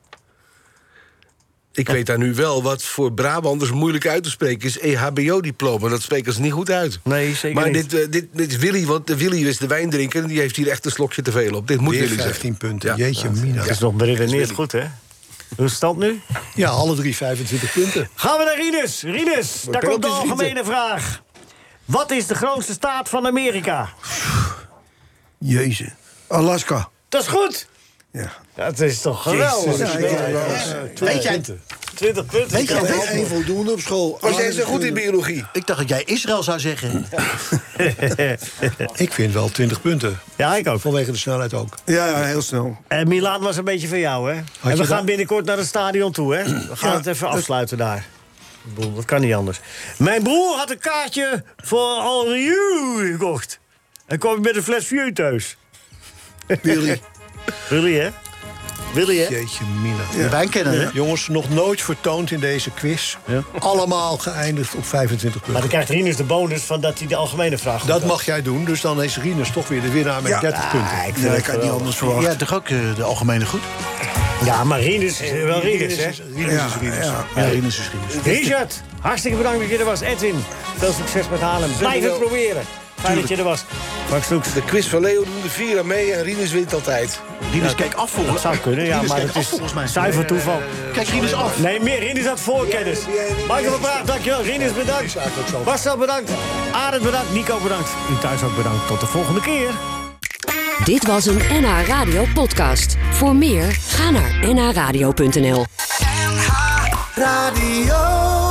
S7: Ik weet daar nu wel wat voor Brabanders moeilijk uit te spreken is. E EHBO-diploma, dat spreken ze niet goed uit.
S4: Nee, zeker
S7: maar
S4: niet.
S7: Dit, eh, dit, dit is Willy, want eh, Willy is de wijndrinker... en die heeft hier echt een slokje te veel op. Dit moet
S8: Weer
S7: Willy
S8: 15
S7: zeggen.
S8: punten.
S7: Ja.
S8: Jeetje, mina.
S4: Dat is nog beredeneerd goed, hè? Hoe is de stand nu?
S8: Ja, alle drie 25 punten.
S4: Gaan we naar Rinus. Rinus, daar komt de
S7: penalties
S4: algemene vraag. Wat is de grootste staat van Amerika?
S5: Jezus. Alaska.
S4: Dat is goed.
S5: Ja.
S4: Dat is toch geweldig.
S5: Jezus, ja, ja, ja.
S4: Weet jij- 20 punten.
S5: eh, Weet je,
S4: Ja,
S5: dat
S4: wel.
S5: is één voldoende op school.
S4: Was jij zo goed in
S5: biologie?
S6: Ik dacht dat jij Israël zou zeggen.
S8: ik vind wel 20 punten.
S4: Ja, ik ook.
S8: Vanwege de snelheid ook.
S5: Ja, heel snel.
S4: Eh, Milaan was een beetje van jou, hè? en we
S8: je
S4: gaan
S8: dat-
S4: binnenkort naar het stadion toe, hè? We gaan het even afsluiten daar. Ik bedoel, Dat kan niet anders. Mijn broer had een kaartje voor Alriu gekocht. En kwam met een fles vuur thuis.
S5: Willy.
S4: Willy, hè? Willy, hè?
S8: Jeetje mina.
S4: Ja. Wij kennen het.
S8: Jongens, nog nooit vertoond in deze quiz. Allemaal geëindigd op 25 punten.
S4: Maar dan krijgt Rinus de bonus van dat hij de algemene vraag goed
S8: Dat
S4: had.
S8: mag jij doen, dus dan is Rinus toch weer de winnaar met
S4: Ja.
S8: 30 punten.
S4: Ah, ik vind Nee, het ik had niet geweldig. anders verwacht.
S6: Ja, toch ook eh, de algemene goed?
S4: Ja, Ah, maar Rinus is eh, wel Rinus, hè?
S6: Rinus is Rinus. Ja, Rinus is Rinus.
S4: Richard, hartstikke bedankt dat je er was. Edwin, veel succes met Haarlem. Blijf het
S7: Dankjewel.
S4: proberen. Fijn dat je er was. Max Loeks.
S7: De quiz van Leo doen de vier aan mee en Rinus wint altijd.
S6: Rinus kijkt af volgens
S4: Dat zou kunnen, ja,
S7: Rinus
S4: maar
S7: kijkt
S4: het
S7: af,
S4: is
S7: volgens mij.
S4: zuiver toeval.
S6: Kijk, Rinus af.
S4: Nee, meer Rinus had voorkennis. Michael van Praag, dankjewel. Rinus, bedankt. Marcel, bedankt. Arend, bedankt. Nico, bedankt. U thuis ook bedankt. Tot de volgende keer.
S1: Dit was een NH Radio podcast. Voor meer, ga naar nhradio.nl.
S18: Radio.